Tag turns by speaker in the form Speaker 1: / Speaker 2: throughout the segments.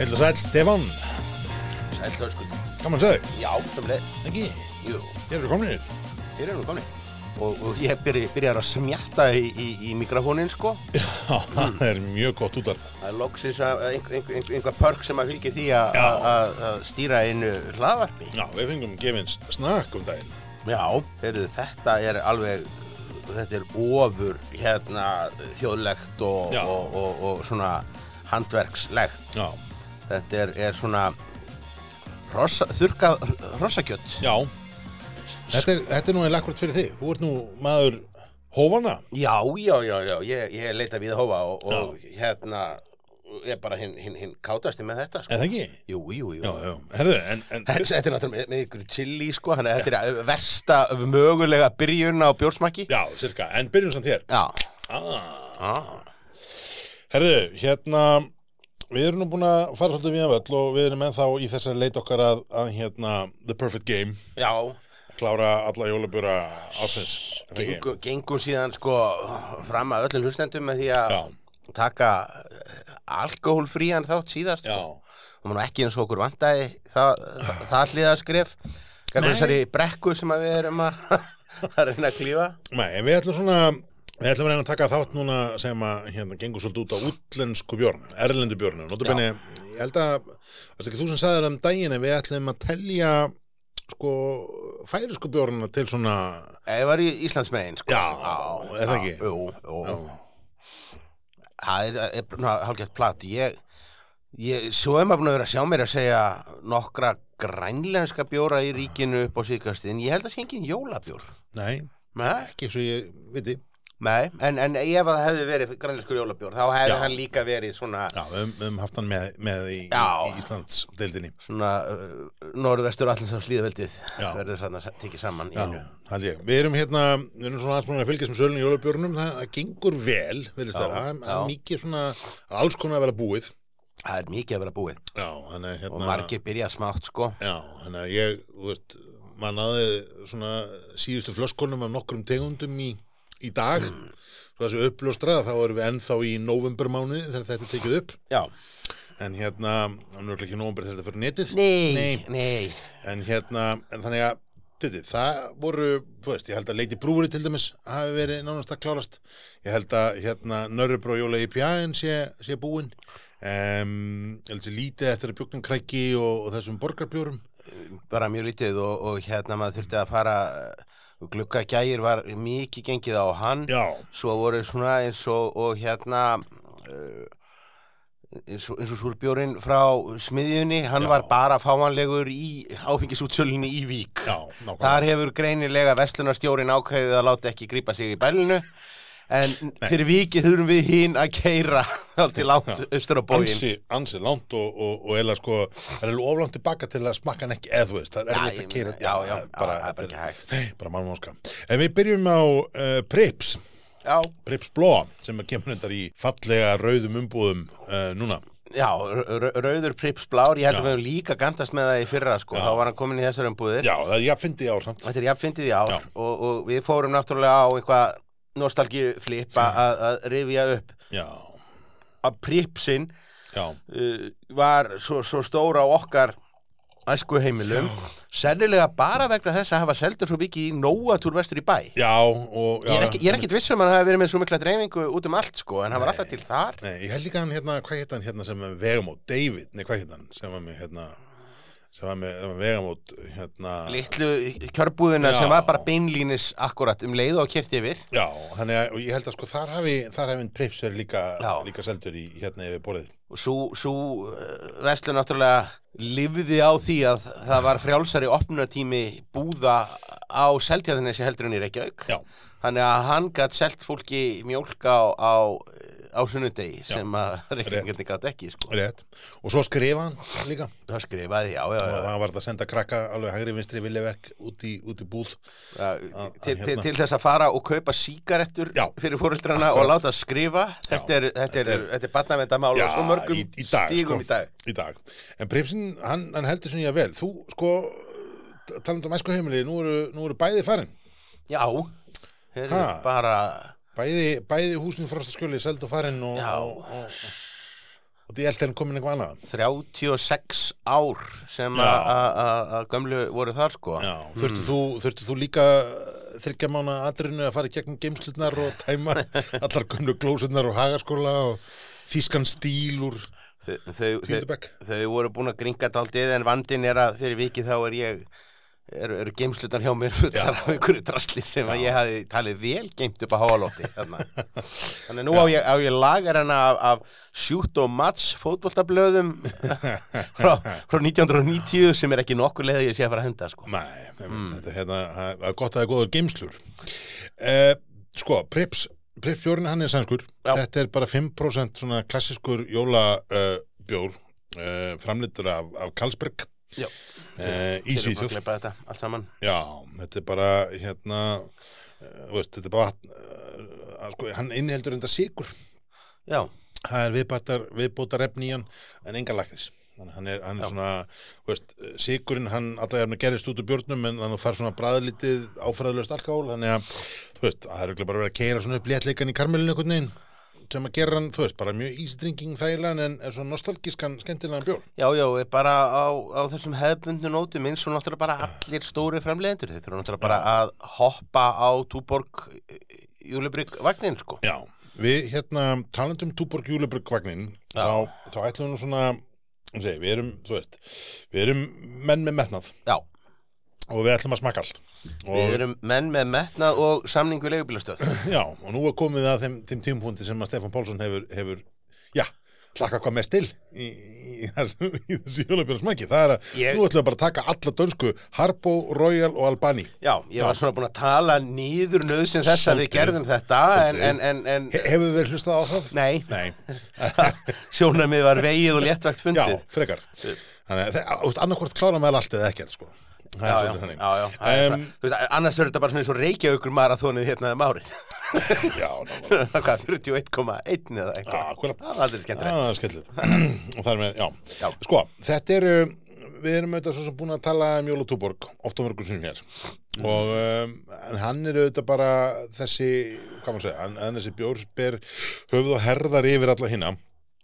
Speaker 1: Heil og sæl, Stefan,
Speaker 2: Sæll Höskuldur.
Speaker 1: gaman að segja,
Speaker 2: Já, sem leið.
Speaker 1: ekki,
Speaker 2: Jú,
Speaker 1: ég eru kominir.
Speaker 2: þeir eru nú komin. Og, og ég byrja, byrjar að smjatta í, í, í mikrofónin, sko.
Speaker 1: Já, það er mjög gott út af.
Speaker 2: Það er loksins að einhver, einhver, einhver, einhver pörk sem að fylgja því að-
Speaker 1: Já.
Speaker 2: að að- að stýra einu hlaðvarpi.
Speaker 1: Já, við fengum gefins snakk um daginn.
Speaker 2: Já. Heyrðu, þetta er alveg, þetta er ofur hérna þjóðlegt og,
Speaker 1: Já.
Speaker 2: og, og, og svona handverkslegt.
Speaker 1: Já,
Speaker 2: Þetta er, er svona hrossa, þurkað hrossakjött.
Speaker 1: já, þetta er, þetta er nú einn lakkvort fyrir þig. Þú ert nú maður hófana.
Speaker 2: Já, já, já, já, ég, ég leita við að hófa og, og hérna er bara hinn hin, hin kátasti með þetta sko.
Speaker 1: Eða ekki?
Speaker 2: Jú, jú, jú
Speaker 1: Já, já, herðu, en, en,
Speaker 2: Þetta þetta er náttúrulega með, með ykkur chili sko, þannig að þetta er versta mögulega byrjun á bjórsmakki
Speaker 1: já, sirka, en byrjum samt hér.
Speaker 2: Já,
Speaker 1: Ah,
Speaker 2: ah.
Speaker 1: herðu, hérna, við erum nú búin að fara svolítið við að völl og við erum ennþá í þess að leita okkar að, að, hérna, The Perfect Game,
Speaker 2: já
Speaker 1: klára alla jólabura ásins. Er það ekki?
Speaker 2: gengu, gengum síðan sko fram að öllum hlustendum með því að
Speaker 1: Já,
Speaker 2: taka eh, alkohólfrían þátt síðast
Speaker 1: já,
Speaker 2: og maður ekki eins og okkur vantaði það, það, það hliðaskref Gæmur
Speaker 1: Nei.
Speaker 2: þessari brekku sem að við erum að, að reyna að klífa
Speaker 1: Nei, en við ætlum svona Við ætlum að reyna að taka þátt núna sem að hérna, gengur svolítið út á útlensku bjórnum, erlendu bjórnum. Nótabenni, ég held að, varst ekki þú sem sagðir um daginn en við ætlum að telja sko færisku bjórnuna til svona,
Speaker 2: Ég Eh, var í Íslands megin sko.
Speaker 1: Já, er það ekki?
Speaker 2: já, Jú, jú Það er, er ná, hálfgett platt ég, ég, Svo er maður búin að vera að sjá mér að segja nokkra grænlenska bjóra í ríkinu upp á síðkastin Ég held að sé engin jólabjór
Speaker 1: nei,
Speaker 2: Nei,
Speaker 1: ekki svo ég viti.
Speaker 2: Nei en, en ef að það hefði verið grænlenskur jólabjór þá hefði
Speaker 1: Já.
Speaker 2: hann líka verið svona,
Speaker 1: Já, við höfum- við höfum haft hann með, með í, í,
Speaker 2: Já.
Speaker 1: í Íslands deildinni.
Speaker 2: svona uh, norðvestur allins af slíðveldið
Speaker 1: Já.
Speaker 2: verður þarna sa- tekið saman í
Speaker 1: Já,
Speaker 2: einu.
Speaker 1: það held ég. Við erum hérna, við erum svona aðeins búin að fylgjast með sölun í jólabjórnum, það það gengur vel, verðist
Speaker 2: Já,
Speaker 1: þeirra, það er
Speaker 2: já.
Speaker 1: mikið svona, alls konar að vera búið.
Speaker 2: Það er mikið að vera búið
Speaker 1: Já, þannig að, hérna...
Speaker 2: og margir byrja smátt sko
Speaker 1: Já, þannig að ég, þú veist, maður náði svona síðustu flöskunum af nokkrum tegundum í, í dag, svo þessu uppljóstra, þá erum við ennþá í novembermánu þegar þetta er tekið upp,
Speaker 2: Já,
Speaker 1: en hérna, hann er örugglega ekki november þegar þetta fyrir netið,
Speaker 2: nei, nei.
Speaker 1: en hérna, en þannig að, þetta, það voru, þú veist, ég held að Lady Brewery til dæmis hafi verið nánast að klárast, ég held að, hérna, Nörrubró Jóla IPA-in sé, sé búin, um, ég held að sé lítið eftir að bjóknum kræki og, og þessum borgarbjórum,
Speaker 2: bara mjög lítið og, og hérna maður þurfti að fara glukkagægir var mikið gengið á hann
Speaker 1: Já,
Speaker 2: svo voru svona eins og, og hérna uh, eins og, eins og súrbjórin frá smiðjunni, hann
Speaker 1: Já.
Speaker 2: var bara fáanlegur í áfengisútsölinni í Vík
Speaker 1: Já, nákvæmlega.
Speaker 2: þar hefur greinilega vestlunarstjórin ákveðið að láta ekki grípa sig í bælinu en fyrir Víkið þurfum við hinn að keira til langt austur á bógin
Speaker 1: Ansi, ansi langt og, og, og eða sko, það er alveg oflangt tilbaka til að smakka hann ekki eða þú veist, það er
Speaker 2: Já,
Speaker 1: erfitt
Speaker 2: ég
Speaker 1: að keira
Speaker 2: meina, já, já,
Speaker 1: það er bara,
Speaker 2: já, það er bara
Speaker 1: þetta
Speaker 2: ekki hægt.
Speaker 1: Nei, bara mannvonska. En við byrjum á uh, Prips,
Speaker 2: Já,
Speaker 1: Prips Blå, sem er kemur þetta í fallega rauðum umbúðum uh, núna.
Speaker 2: Já, rau- rauður Prips blár, ég held að við höfum líka gandast með það í fyrra sko, þá var hann komin í þessar umbúðir.
Speaker 1: Já, það er ég að fyndi í ár samt.
Speaker 2: Þetta er jafnfindið í ár
Speaker 1: Já.
Speaker 2: og, og við fórum náttúrulega á eitthvað nostalgíflipa að, að rifja upp
Speaker 1: Já,
Speaker 2: að Pripsinn
Speaker 1: já,
Speaker 2: uh, var svo, svo stóra á okkar æsku heimilum, sennilega bara vegna þess að hafa seldur svo mikið í nóatúr vestur í bæ.
Speaker 1: já og... Já,
Speaker 2: Ég er ekki- ég er ekkit viss um að hann hafi verið með svo mikla dreifingu út um allt sko, en hann var alltaf til þar.
Speaker 1: Nei, ég held líka hann hérna, hvað hétt hann hérna sem er vegamót, David, nei, hvað hétt hann sem var með hérna, sem var með sem var vegamót, hérna...
Speaker 2: Litlu kjörbúðina
Speaker 1: Já.
Speaker 2: sem var bara beinlínis akkurat um leið og kert yfir.
Speaker 1: Já, þannig að og ég held að sko þar hafi, þar hafi prips er líka,
Speaker 2: Já.
Speaker 1: líka seldur í hérna yfir borðið.
Speaker 2: og svo, svo veslu eh, náttúrulega lifði á því að það var frjálsari opnartími búða á seltjæðinni heldur en í Reykjavík
Speaker 1: Já,
Speaker 2: þannig að hann gætt selt fólki mjólka á, á, á sunnudegi sem að Reykjavíkarnir gætt ekki sko.
Speaker 1: rétt. Og svo skrifa hann líka.
Speaker 2: það skrifaði, já,
Speaker 1: Og
Speaker 2: já, já,
Speaker 1: það var það að senda krakka alveg hægri vinstri viljaverk út í, út í búð.
Speaker 2: já
Speaker 1: að
Speaker 2: til, til,
Speaker 1: hérna.
Speaker 2: til þess að fara og kaupa sígarettur
Speaker 1: Já.
Speaker 2: fyrir fóröldrana og láta skrifa þetta er, þetta er,
Speaker 1: Þetta er-
Speaker 2: þetta er batnavendamál á svo mörgum
Speaker 1: í, í dag, sko,
Speaker 2: stígum í dag
Speaker 1: Í dag. En pripsinn, hann, hann heldur sem ég vel. Þú, sko, t- talandi um æsku heimili, nú eru, nú eru bæði farin.
Speaker 2: já, þeir eru
Speaker 1: Ha.
Speaker 2: bara
Speaker 1: Bæði, bæði húsin frostaskjöli, seld og farin og,
Speaker 2: Já.
Speaker 1: og, og, og því eldi hann komin eitthvað annað
Speaker 2: 36 ár sem
Speaker 1: Já.
Speaker 2: að- að að- að gömlu voru þar sko
Speaker 1: Já, þurftu, þú, þurftu þú líka eh, þryggja mána atrinu að fara í gegnum geimslutnar og tæma allar gömlu glósutnar og hagaskóla og þýskan stíl úr
Speaker 2: þau, þau, þau,
Speaker 1: tíndabæk
Speaker 2: þau voru búin að gringa daldið en vandinn er að fyrir vikið þá er ég eru er geimslutar hjá mér fullar af einhverju drasli sem að ég hafi talið vel geimt upp á háalótti þarna. þannig nú á ég, á ég lagar hana af, af sjútt og mats fótboltablöðum
Speaker 1: Eh,
Speaker 2: frá, frá 1990 sem er ekki nokkuð leið að ég sé að fara að henda sko.
Speaker 1: Nei, mm. þetta er hérna, það er gott að það er góður geimslur eh, Sko, Prips Prips Bjórn, hann er sænskur
Speaker 2: Já.
Speaker 1: Þetta er bara 5% svona klassiskur jólabjór uh, bjór, uh, framlittur af, af Karlsberg
Speaker 2: Já.
Speaker 1: eh, Í
Speaker 2: Þeir eru búin að
Speaker 1: Svíþjóð
Speaker 2: gleypa þetta allt saman
Speaker 1: Já, þetta er bara hérna eh, þú veist, þetta er bara uh, sko, hann inniheldur enda sigur
Speaker 2: já,
Speaker 1: það er viðbættar, viðbótar efni í hann en enga lakris þannig að hann er, hann er
Speaker 2: Já.
Speaker 1: svona þú veist, sigurinn hann allavega er með gerist út úr björnum en þannig að það er svona bræðlítið áfræðulegst alkohól þannig að þú veist, það er örugglega bara verið að keira svona upp léttleikan í karmelinu einhvern veginn sem að gera hann, þú veist, bara mjög ísdringing þægilegan en er svona nostalgískan skemmtilegan bjór
Speaker 2: já, já, er bara á, á þessum hefbundu nótum eins og náttúrulega bara allir stóri framleiðendur þeir þurfa náttúrulega bara að hoppa á Túborg Júlibrygg vagnin sko
Speaker 1: Já, við hérna talandum Túborg Júlebrugvagnin
Speaker 2: Já.
Speaker 1: þá, þá ætlum við nú svona um segi, við erum, þú veist, við erum menn með metnað
Speaker 2: já,
Speaker 1: og við ætlum að smakka allt og,
Speaker 2: við erum menn með metnað og samningu leigubílastöð
Speaker 1: Já, og nú er komið að þeim, þeim tímpúndi sem að Stefán Pálsson hefur, hefur já, hlakka hvað mest til í, í, í þessu, í þessu jólabjörnsmæki það er að,
Speaker 2: Ég-
Speaker 1: nú ætlum við bara að taka alla dönsku Harbo, Royal og Albani
Speaker 2: já, ég var svona búin að tala nýður nöðsinn þess að við
Speaker 1: Svolítið.
Speaker 2: gerðum þetta en, en, en, en
Speaker 1: He, Hefur verið hlustað á það?
Speaker 2: nei,
Speaker 1: Nei,
Speaker 2: sjónamið var vegið og léttvægt
Speaker 1: já,
Speaker 2: fundið
Speaker 1: frekar Þannig að, þú veist, annarkvort klára maður allt eða ekkert, sko Það er
Speaker 2: Já, já,
Speaker 1: svolítið þannig.
Speaker 2: já, já, það er
Speaker 1: Em,
Speaker 2: svona- þú veist, annars verður þetta bara svona eins og reykjaugur marathónið hérna um árið
Speaker 1: já, nákvæmlega.
Speaker 2: hvað, 41,1 eða eitthvað
Speaker 1: Já, akkúrat.
Speaker 2: það er aldrei skemmtilegt
Speaker 1: Já, það er skellilegt og það er með, já.
Speaker 2: Já.
Speaker 1: sko, þetta eru við erum auðvitað svo sem búin að tala um Jóla Túborg oft á mörgum sinni hér
Speaker 2: Mm.
Speaker 1: og um, en hann er auðvitað bara þessi, hvað maður segja hann, hann þessi bjór ber höfuð og herðar yfir alla hinna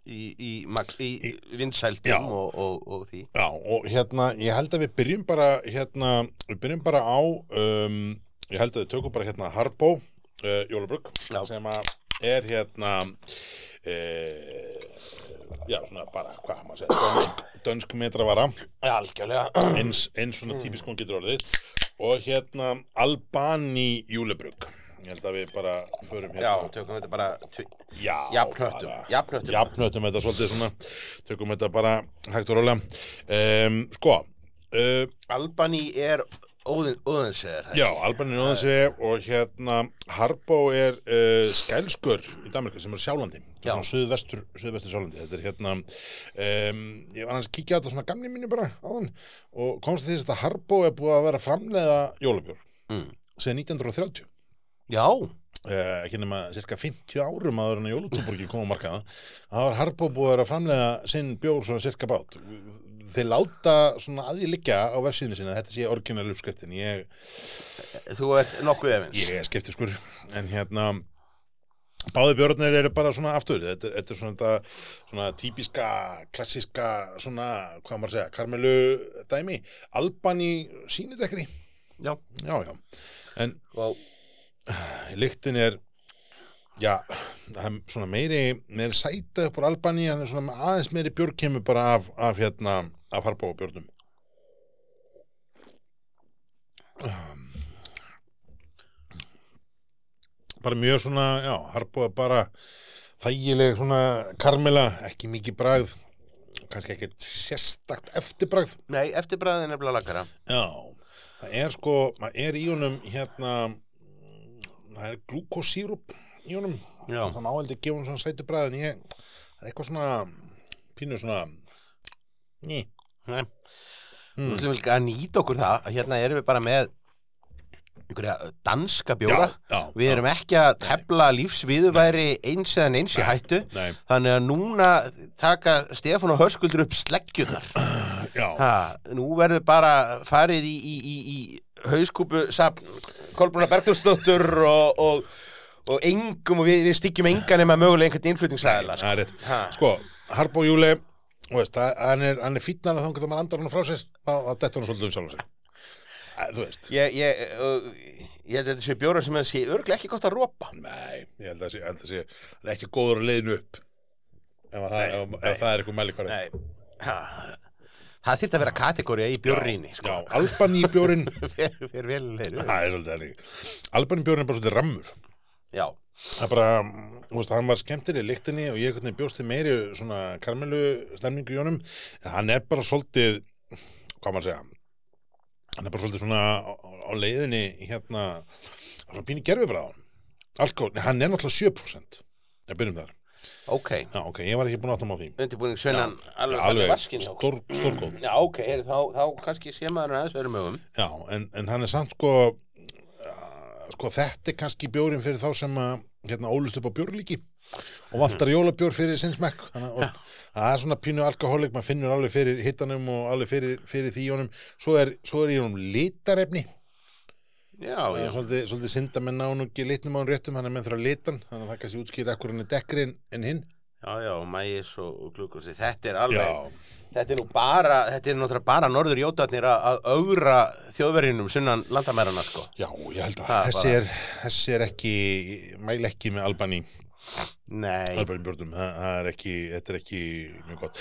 Speaker 2: í, í, mag- í, í vinsældum og, og, og því
Speaker 1: já, og hérna, ég held að við byrjum bara hérna, við byrjum bara á um, ég held að við tökum bara hérna Harbo uh, Jólabrug
Speaker 2: Já.
Speaker 1: sem að er hérna eh, já, svona bara, hvað maður segja dönsk, dönsk metravara
Speaker 2: algjörlega
Speaker 1: eins, eins
Speaker 2: Mm.
Speaker 1: svona típisk hún getur orðið og hérna Albani júlebrugg ég held að við bara förum
Speaker 2: já,
Speaker 1: hérna
Speaker 2: tökum þetta bara tvi-
Speaker 1: já,
Speaker 2: Jafnhöttum,
Speaker 1: bara-
Speaker 2: jafnhöttum.
Speaker 1: jafnhöttum þetta svolítið svona tökum þetta bara hægt og rólega um, sko uh,
Speaker 2: Albani er óðin, óðinsæður
Speaker 1: já, Albani Nóðansi og hérna Harbo er uh, skælskur í Danmarka sem er sjálandi
Speaker 2: Já.
Speaker 1: suðvestur, suðvestur sjálandi þetta er hérna um, ég var aðeins að kíkja á þetta svona gamni mínu bara áðan og komst að því að þetta Harbo er búið að vera að framleiða jólabjór
Speaker 2: mm.
Speaker 1: segja 1930
Speaker 2: já,
Speaker 1: eh, ekki nema cirka 50 árum áður en að Jólutúborgi kom á markaða það var Harbo búið að vera að framlega sinn bjór svona cirka bát þeir láta svona að ég liggja á vefsíðinu sinna þetta sé orginal uppskriftin ég,
Speaker 2: þú ert nokkuð efins
Speaker 1: ég er skipti skur en hérna Báði björnir eru bara svona aftur, þetta, þetta er svona, þetta, svona típiska, klassiska, svona, hvað maður að segja, karmelu dæmi, albani sínidekri,
Speaker 2: já.
Speaker 1: já, já, en
Speaker 2: og
Speaker 1: lyktin er já, það er svona meiri meiri sæta upp úr Albaní hann er svona með aðeins meiri björg kemur bara af, af hérna, af harpa og björnum Um, bara mjög svona, já, harpa bara þægileg svona karmela, ekki mikið bragð kannski ekkert sérstakt eftirbragð
Speaker 2: nei, eftirbræðin er bara lagara
Speaker 1: Já, það er sko, maður er í honum hérna, mm, það er glúkosírup í honum,
Speaker 2: Já.
Speaker 1: það má heldur gefa honum svona sætubræð, en ég, það er eitthvað svona, pínu svona, ný,
Speaker 2: Nei.
Speaker 1: Mm.
Speaker 2: Nú ætlum við líka að nýta okkur það að hérna erum við bara með einhverja danska bjóra
Speaker 1: Já, já,
Speaker 2: við erum ekki að tefla lífsviðuværi eins eða neins í hættu
Speaker 1: nei.
Speaker 2: þannig að núna taka Stefán og Hörskuldur upp sleggjunar
Speaker 1: já,
Speaker 2: ha, nú verður bara farið í, í, í, í hauskúpu safn Kolbruna Bergþjóðsdóttur og, og, og engum og við, við styggjum engan nema mögulega einhvern innflutningsæðala
Speaker 1: það er rétt,
Speaker 2: Ha.
Speaker 1: sko, Harbo Júli, þú veist, það- hann er, hann er fýtnan að þá getur maður andar hann frá sér, þá, þá dettur hann svolítið um sjálf sér. Að, Þú veist.
Speaker 2: Ég, ég, og, ég held að þetta sé bjóra sem það sé örglega ekki gott að rópa.
Speaker 1: Nei, ég held að sé, held að sé, hann er ekki góður að leiðinu upp. Ef, að það,
Speaker 2: Nei,
Speaker 1: ef,
Speaker 2: nei.
Speaker 1: ef það er eitthvað mælikvarði.
Speaker 2: Nei. Ha, það þyrfti að vera kategóri í
Speaker 1: Já,
Speaker 2: bjórrýni, sko.
Speaker 1: albaníbjórin,
Speaker 2: Fer, fer vel leiru.
Speaker 1: það er svolítið þannig. Albaníbjórin er bara svolítið rammur.
Speaker 2: Já,
Speaker 1: Það er bara, mm, þú veist, hann var skemmtir í lyktinni og ég einhvern veginn bjósti meiri svona karmelu stemningu í honum. En hann er bara svolítið, hvað maður að segja, hann er bara svolítið svona á, á leiðinni hérna, það er svona pínu gerfi bara á hann. Alkohol, nei, hann er náttúrulega 7%. Ég byrjum þar.
Speaker 2: ok.
Speaker 1: Já, ok, ég var ekki búin að átta mig á því.
Speaker 2: Undirbúning svennan alveg, alveg
Speaker 1: Alveg
Speaker 2: vaskinn. Stór...
Speaker 1: stór, stórgóð.
Speaker 2: Já, ok, heyr, þá, þá kannski sé maður aðeins öðrum öfum.
Speaker 1: Já, en, en hann er samt sko, uh, sko þetta er kannski bjórin fyrir þá sem að hérna ólust upp á bjórlíki og
Speaker 2: Mhm.
Speaker 1: vantar jólabjór fyrir sinn smekk þannig að oft- það er svona pínu alkohólik maður finnur alveg fyrir hittanum og alveg fyrir, fyrir því í honum svo er, svo er í honum litarefni
Speaker 2: Já,
Speaker 1: það
Speaker 2: já.
Speaker 1: er svolítið, svolítið synda með nán og ekki litnum á hann réttum hann er með þrjá litan þannig að það kannski útskýr ekkur hann er dekkri en, en hinn
Speaker 2: Já, já, mægis og, og glukkosi, þetta er alveg, þetta er nú bara, þetta er náttúrulega bara norður jótatnir að augra þjóðverjunum sunnan landamærana, sko.
Speaker 1: Já, ég held að
Speaker 2: Það er
Speaker 1: þessi
Speaker 2: bara-
Speaker 1: er, þessi er ekki, ég mæla ekki með Albani
Speaker 2: Nei,
Speaker 1: Albertin Björnum, það, það er ekki, þetta er ekki mjög gott.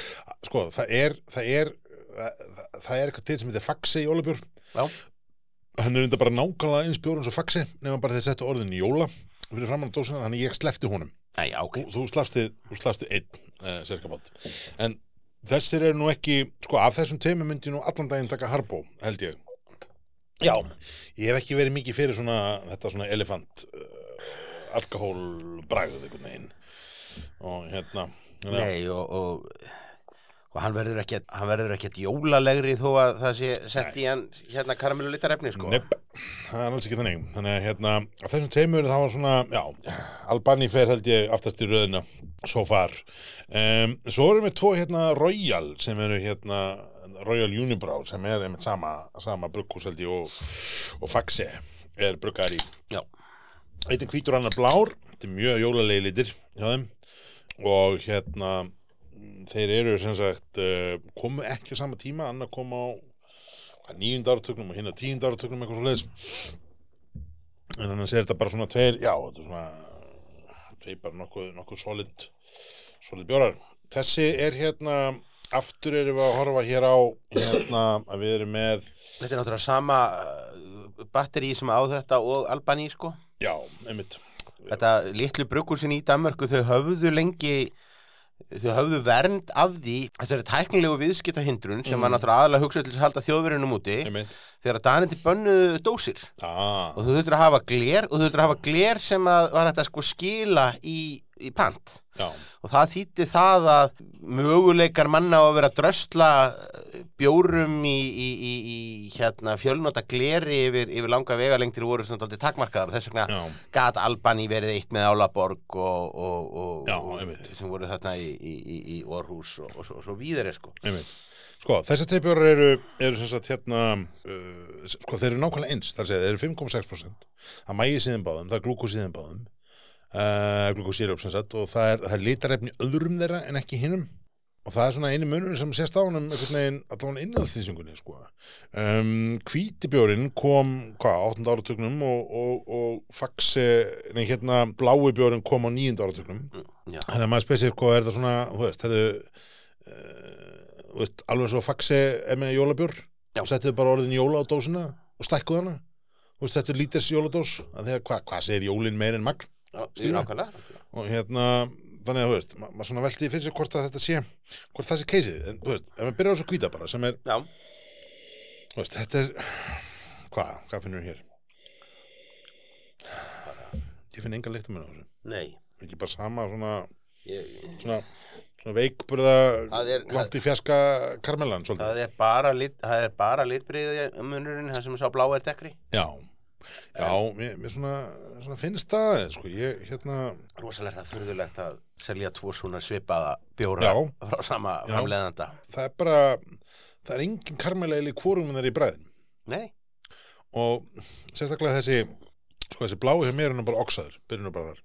Speaker 1: Sko, það er, það er, það, það er eitthvað til sem heitir Faxi í Jólabjörn.
Speaker 2: já,
Speaker 1: Hann er enda bara nákvæmlega eins bjórn svo Faxi, nema bara þeir settu orðin Jóla fyrir framann á dósina, þannig ég slefti honum.
Speaker 2: nei, já, ok.
Speaker 1: Þú, þú slefti, þú slefti einn, uh, sérkabátt. En þessir eru nú ekki, sko, af þessum teimi myndi ég nú allan daginn taka Harbo, held ég.
Speaker 2: Já,
Speaker 1: Ég hef ekki verið mikið fyrir svona, þetta svona elefant, uh, alkohól bragðið einhvern veginn. Og hérna, þannig að-
Speaker 2: nei, og, og, og hann verður ekkert, hann verður ekkert jólalegri þó að það sé sett í hann hérna karamellu litarefni, sko.
Speaker 1: Nepp, það er alls ekki þannig Þannig að hérna, af þessum teimur þá var svona, já, Albani fer held ég aftast í röðina, so far um, Svo erum við tvo hérna Royal sem eru hérna Royal Unibrow sem er einmitt sama, sama brugghús held ég og, og Faxe er bruggar í
Speaker 2: Já,
Speaker 1: Eitt er hvítur annar blár, þetta er mjög jólalegi litir hjá þeim og hérna mm, þeir eru sem sagt eh, komu ekki á sama tíma, annar kom á nýjunda áratögnum og hinn á tíunda áratögnum eitthvað svo leiðis en annars er þetta bara svona tveir já, þetta er svona tveir bara nokkuð, nokkuð solid solid bjórar. Þessi er hérna aftur erum við að horfa hér á hérna að við erum með
Speaker 2: þetta er náttúrulega sama uh, batteri sem á þetta og Albaní, sko.
Speaker 1: já, einmitt
Speaker 2: Þetta litlu brugghúsin í Danmörku, þau höfðu lengi, þau höfðu vernd af því, þessari tæknilegu viðskiptahindrun sem var náttúrulega aðalega hugsað til þess að halda þjóðverjunum úti,
Speaker 1: Mm. einmitt,
Speaker 2: þegar að danindi bönnuðu dósir.
Speaker 1: ah,
Speaker 2: og þú þurftur að hafa gler og þú þurftur að hafa gler sem að var hægt að sko skila í, í pant
Speaker 1: já,
Speaker 2: og það þýtti það að möguleikar manna á að vera að drösla eh, bjórum í, í, í, í hérna, fjölnota gleri yfir, yfir langa vegalengtir voru svona dálítið takmarkaðar og þess vegna
Speaker 1: já
Speaker 2: gat Albani verið eitt með Álaborg og, og, og,
Speaker 1: Já, einmitt.
Speaker 2: og sem voru þarna í, í, í, í Orhus og, og, svo, og svo víðari sko.
Speaker 1: Einmitt. Sko, þessar teipjórar eru, eru sem sagt hérna, uh, sko þeir eru nákvæmlega eins, þar segja þeir eru 5,6%, það mægi síðan báðum, það er glúkos síðan báðum, uh, glúkos sírup sem sagt og það er, það er litarefni öðrum þeirra en ekki hinnum og það er svona einu munurinn sem sést á honum einhvern veginn allan innhaldsýsingunni sko. Um, hvítibjórin kom hvað, á 8. áratugnum og, og, og faxi, nei hérna blái bjórin kom á 9. áratugnum
Speaker 2: Mm, Já.
Speaker 1: Þannig að maður spesir hvað er það svona, þú veist, það eru, þú veist, alveg svo faxi er með jólabjór,
Speaker 2: Já.
Speaker 1: settu bara orðin jóla á dósina og stækkuð hana, þú veist, þetta er líters jóladós, að því að hvað hva segir jólin meir en magn
Speaker 2: Já,
Speaker 1: Skilur.
Speaker 2: nákvæmlega.
Speaker 1: og hérna, þannig að, þú veist, ma maður svona velti fyrir sér hvort að þetta sé, hvort það sé keisið, en þú veist, ef maður byrjar á svo hvíta bara, sem er,
Speaker 2: Já,
Speaker 1: þú veist, þetta er, hvað, hvað finnur við hér? Ég finn enga leiktumenn á þessu,
Speaker 2: nei.
Speaker 1: ekki bara sama svona
Speaker 2: Ég,
Speaker 1: svona, svona veikburða
Speaker 2: Það er-
Speaker 1: langt í fjarska karmelan svolítið.
Speaker 2: Það er bara, lit, það er bara litbriði munurinn, það sem sá blá er dekkri.
Speaker 1: Já, já, mér, mér svona, svona finnst það, aðeins, sko, ég, hérna,
Speaker 2: Rosalega er það furðulegt að selja tvo svona svipaða bjóra
Speaker 1: Já.
Speaker 2: frá sama
Speaker 1: Já.
Speaker 2: framleiðanda.
Speaker 1: það er bara, það er engin karmelaðil í hvorum þeir í bræðin
Speaker 2: Nei,
Speaker 1: og sérstaklega þessi, sko, þessi blái hjá mér er nú bara oxaður, byrjunum bara þar.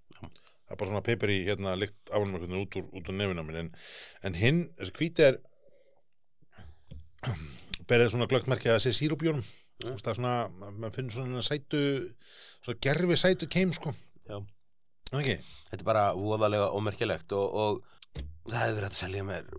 Speaker 1: það er bara svona pepper í hérna lykt ánum einhvern veginn út úr, út úr nefina minn en, en hinn, þessi hvíti er berið svona glöggmerki að það sé sírupjónum mm. það er svona, maður finnur svona sætu svona gerfi sætu keim sko
Speaker 2: Já.
Speaker 1: Er það ekki,
Speaker 2: þetta er bara voðalega ómerkilegt og, og það hefur verið hægt að selja mér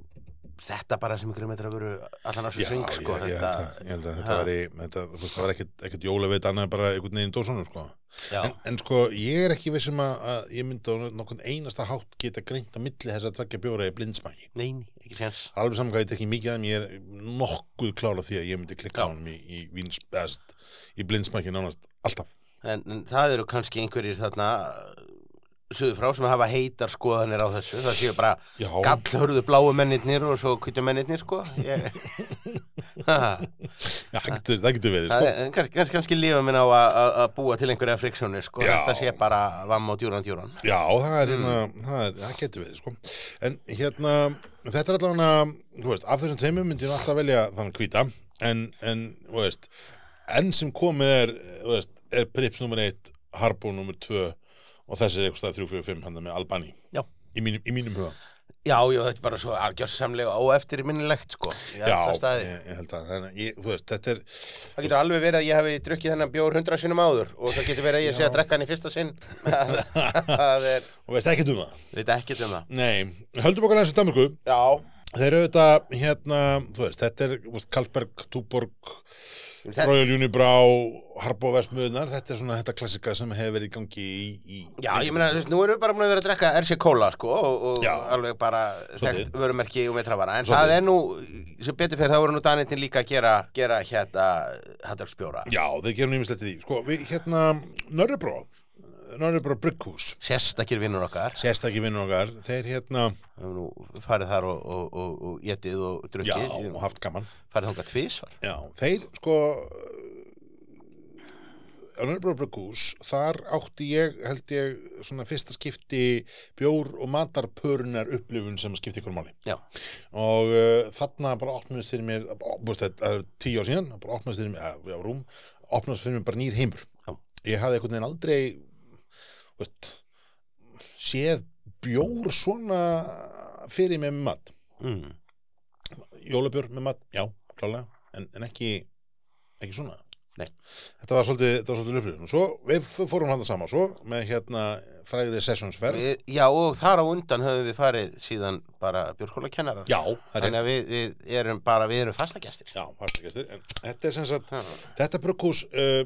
Speaker 2: þetta bara sem ykkur metra veru allan á svo sving sko,
Speaker 1: ég, ég, held að, ég held að þetta
Speaker 2: Ha.
Speaker 1: væri þetta, þú veist, það var ekkert, ekkert jólaveit annað en bara einhvern veginn dósunum sko
Speaker 2: já,
Speaker 1: en, en sko, ég er ekki vissum að, að ég myndi á nokkurn einasta hátt geta greint á milli þess að tvekja bjóra í blindsmæki
Speaker 2: neini, ekki séns
Speaker 1: alveg saman hvað ég tekki mikið af þeim ég er nokkuð klála því að ég myndi klikka á hann í, í, víns- eða st- í blindsmæki nánast alltaf
Speaker 2: en, en það eru kannski einhverjir þarna suðu frá sem hafa heitar skoðanir á þessu það séu bara
Speaker 1: Já,
Speaker 2: gallhörðu bláu mennirnir og svo hvítu mennirnir sko ég, Ha,
Speaker 1: já það, getur, það getur verið
Speaker 2: það
Speaker 1: sko.
Speaker 2: er- kannski, kannski, kannski lífa minn á að- að að búa til einhverja friksjónir sko
Speaker 1: Já.
Speaker 2: þetta sé bara vamm og djúran djúran
Speaker 1: Já, það, er, hérna, það, er, það getur verið sko. En hérna, þetta er allavega þú veist, af þessum tveimum myndi ég nú alltaf velja þannig hvíta en, en þú veist, enn sem komið er þú veist, er Prips nummer 1 Harbo nummer 2 og þessi er eitthvað stað 345 handa með Albani
Speaker 2: Já.
Speaker 1: í mínum, í mínum huga
Speaker 2: Já, já, þetta er bara svo algjörsamlega óeftirminnilegt, sko. í
Speaker 1: Já,
Speaker 2: alla staði.
Speaker 1: ég, ég held að þannig, ég, þú veist, þetta er
Speaker 2: Það getur alveg verið að ég hafi drukkið þennan bjór hundra sinnum áður og það getur verið að ég sé að drekka hann í fyrsta sinn. það er,
Speaker 1: og veist ekki um það
Speaker 2: veit ekki um það.
Speaker 1: Nei, höldum okkar aðeins í Danmarku
Speaker 2: Já,
Speaker 1: Þeir eru þetta, hérna, þú veist, þetta er þú veist, Kalberg, Túborg,
Speaker 2: Þetta-
Speaker 1: Royal Unibrá, Harbo Vestmöðunar, þetta er svona þetta klassika sem hefur verið í gangi í... í
Speaker 2: já, ég meina, þú veist, nú erum við bara búin að vera að drekka RC Cola, sko, og, og
Speaker 1: Já.
Speaker 2: alveg bara þekkt vörumerki og metravara. En
Speaker 1: Svolítið.
Speaker 2: það er nú, sem betur fyrir, þá voru nú Danitin líka að gera, gera hérna Hattarsbjóra.
Speaker 1: Já, þeir gerum nýmislegt í því. Sko, við, hérna, Nörrebró, Nörrebró Brygghús,
Speaker 2: Sérstakir vinnur okkar,
Speaker 1: sérstakki vinnur okkar, þeir hérna,
Speaker 2: við höfum nú farið þar og, og, og, og getið og
Speaker 1: já,
Speaker 2: drukkið, Við
Speaker 1: og
Speaker 2: höfum
Speaker 1: haft gaman.
Speaker 2: farið þangað tvísvar.
Speaker 1: Já, þeir, sko, uh, á Nörrebró Brygghús, þar átti ég, held ég, svona fyrsta skipti bjór og matarpörunar upplifun sem skipti ykkur máli.
Speaker 2: Já,
Speaker 1: og uh, þarna bara opnast fyrir mér ó, búst, þetta- það er tíu ár síðan bara opnast fyrir mér, eða, já, rúm opnast fyrir mér bara nýr heimur
Speaker 2: Já.
Speaker 1: ég hafði einhvern veginn aldrei veist, séð bjór svona fyrir mér með mat
Speaker 2: mm.
Speaker 1: jólabjór með mat, já, klálega en, en ekki, ekki svona
Speaker 2: Nei.
Speaker 1: þetta var svolítið, þetta var svolítið löpilið svo við f- fórum hann saman svo með hérna frægri sessionsferð
Speaker 2: Við, Eh, já, og þar á undan höfum við farið síðan bara björnskólakennarar.
Speaker 1: já, það er rétt
Speaker 2: Þannig að við, við erum bara, við erum fastagestir.
Speaker 1: já, fastagestir, en þetta er sem sagt
Speaker 2: Já.
Speaker 1: Þetta brugghús uh,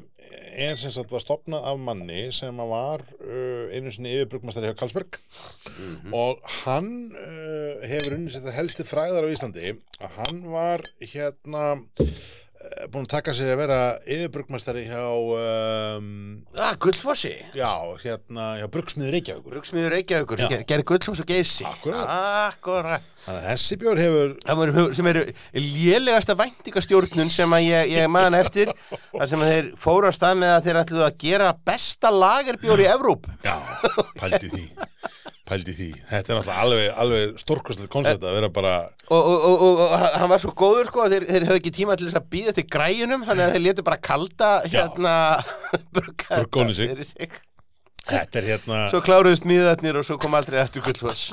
Speaker 1: er sem sagt var stopnað af manni sem að var uh, einu sinni yfirbrugmastari hjá Karlsberg og hann uh, hefur unni sér það helsti fræðar á Íslandi að hann var hérna uh, búin að taka sér að vera yfirbrugmastari hjá um,
Speaker 2: Ah, Gullfossi.
Speaker 1: já, hérna, hjá brugsmiður Reykjavíkur
Speaker 2: Brugsmiður Reykjavíkur, sem
Speaker 1: Já.
Speaker 2: ger- gerir Gullfoss og Geysi.
Speaker 1: Akkúrat.
Speaker 2: Akkurat.
Speaker 1: þannig að þessi bjór hefur
Speaker 2: Það voru, sem eru lélegasta væntingastjórnun sem að ég, ég man eftir, þar sem að þeir fóru á stað með að þeir ætluðu að gera besta lagerbjór í Evróp.
Speaker 1: já, pældi því pældi því, þetta er náttúrulega alveg, alveg stórkostlegt koncept að vera bara
Speaker 2: Og, og, og, og, og hann var svo góður sko að þeir, þeir höfðu ekki tíma til þess að býða til græjunum, þannig að þeir letu bara kalda
Speaker 1: Já.
Speaker 2: hérna brugga-
Speaker 1: Brugga ofan í sig.
Speaker 2: fyrir sig.
Speaker 1: þetta er hérna
Speaker 2: Svo kláruðust miðarnir og svo kom aldrei eftir gullfoss.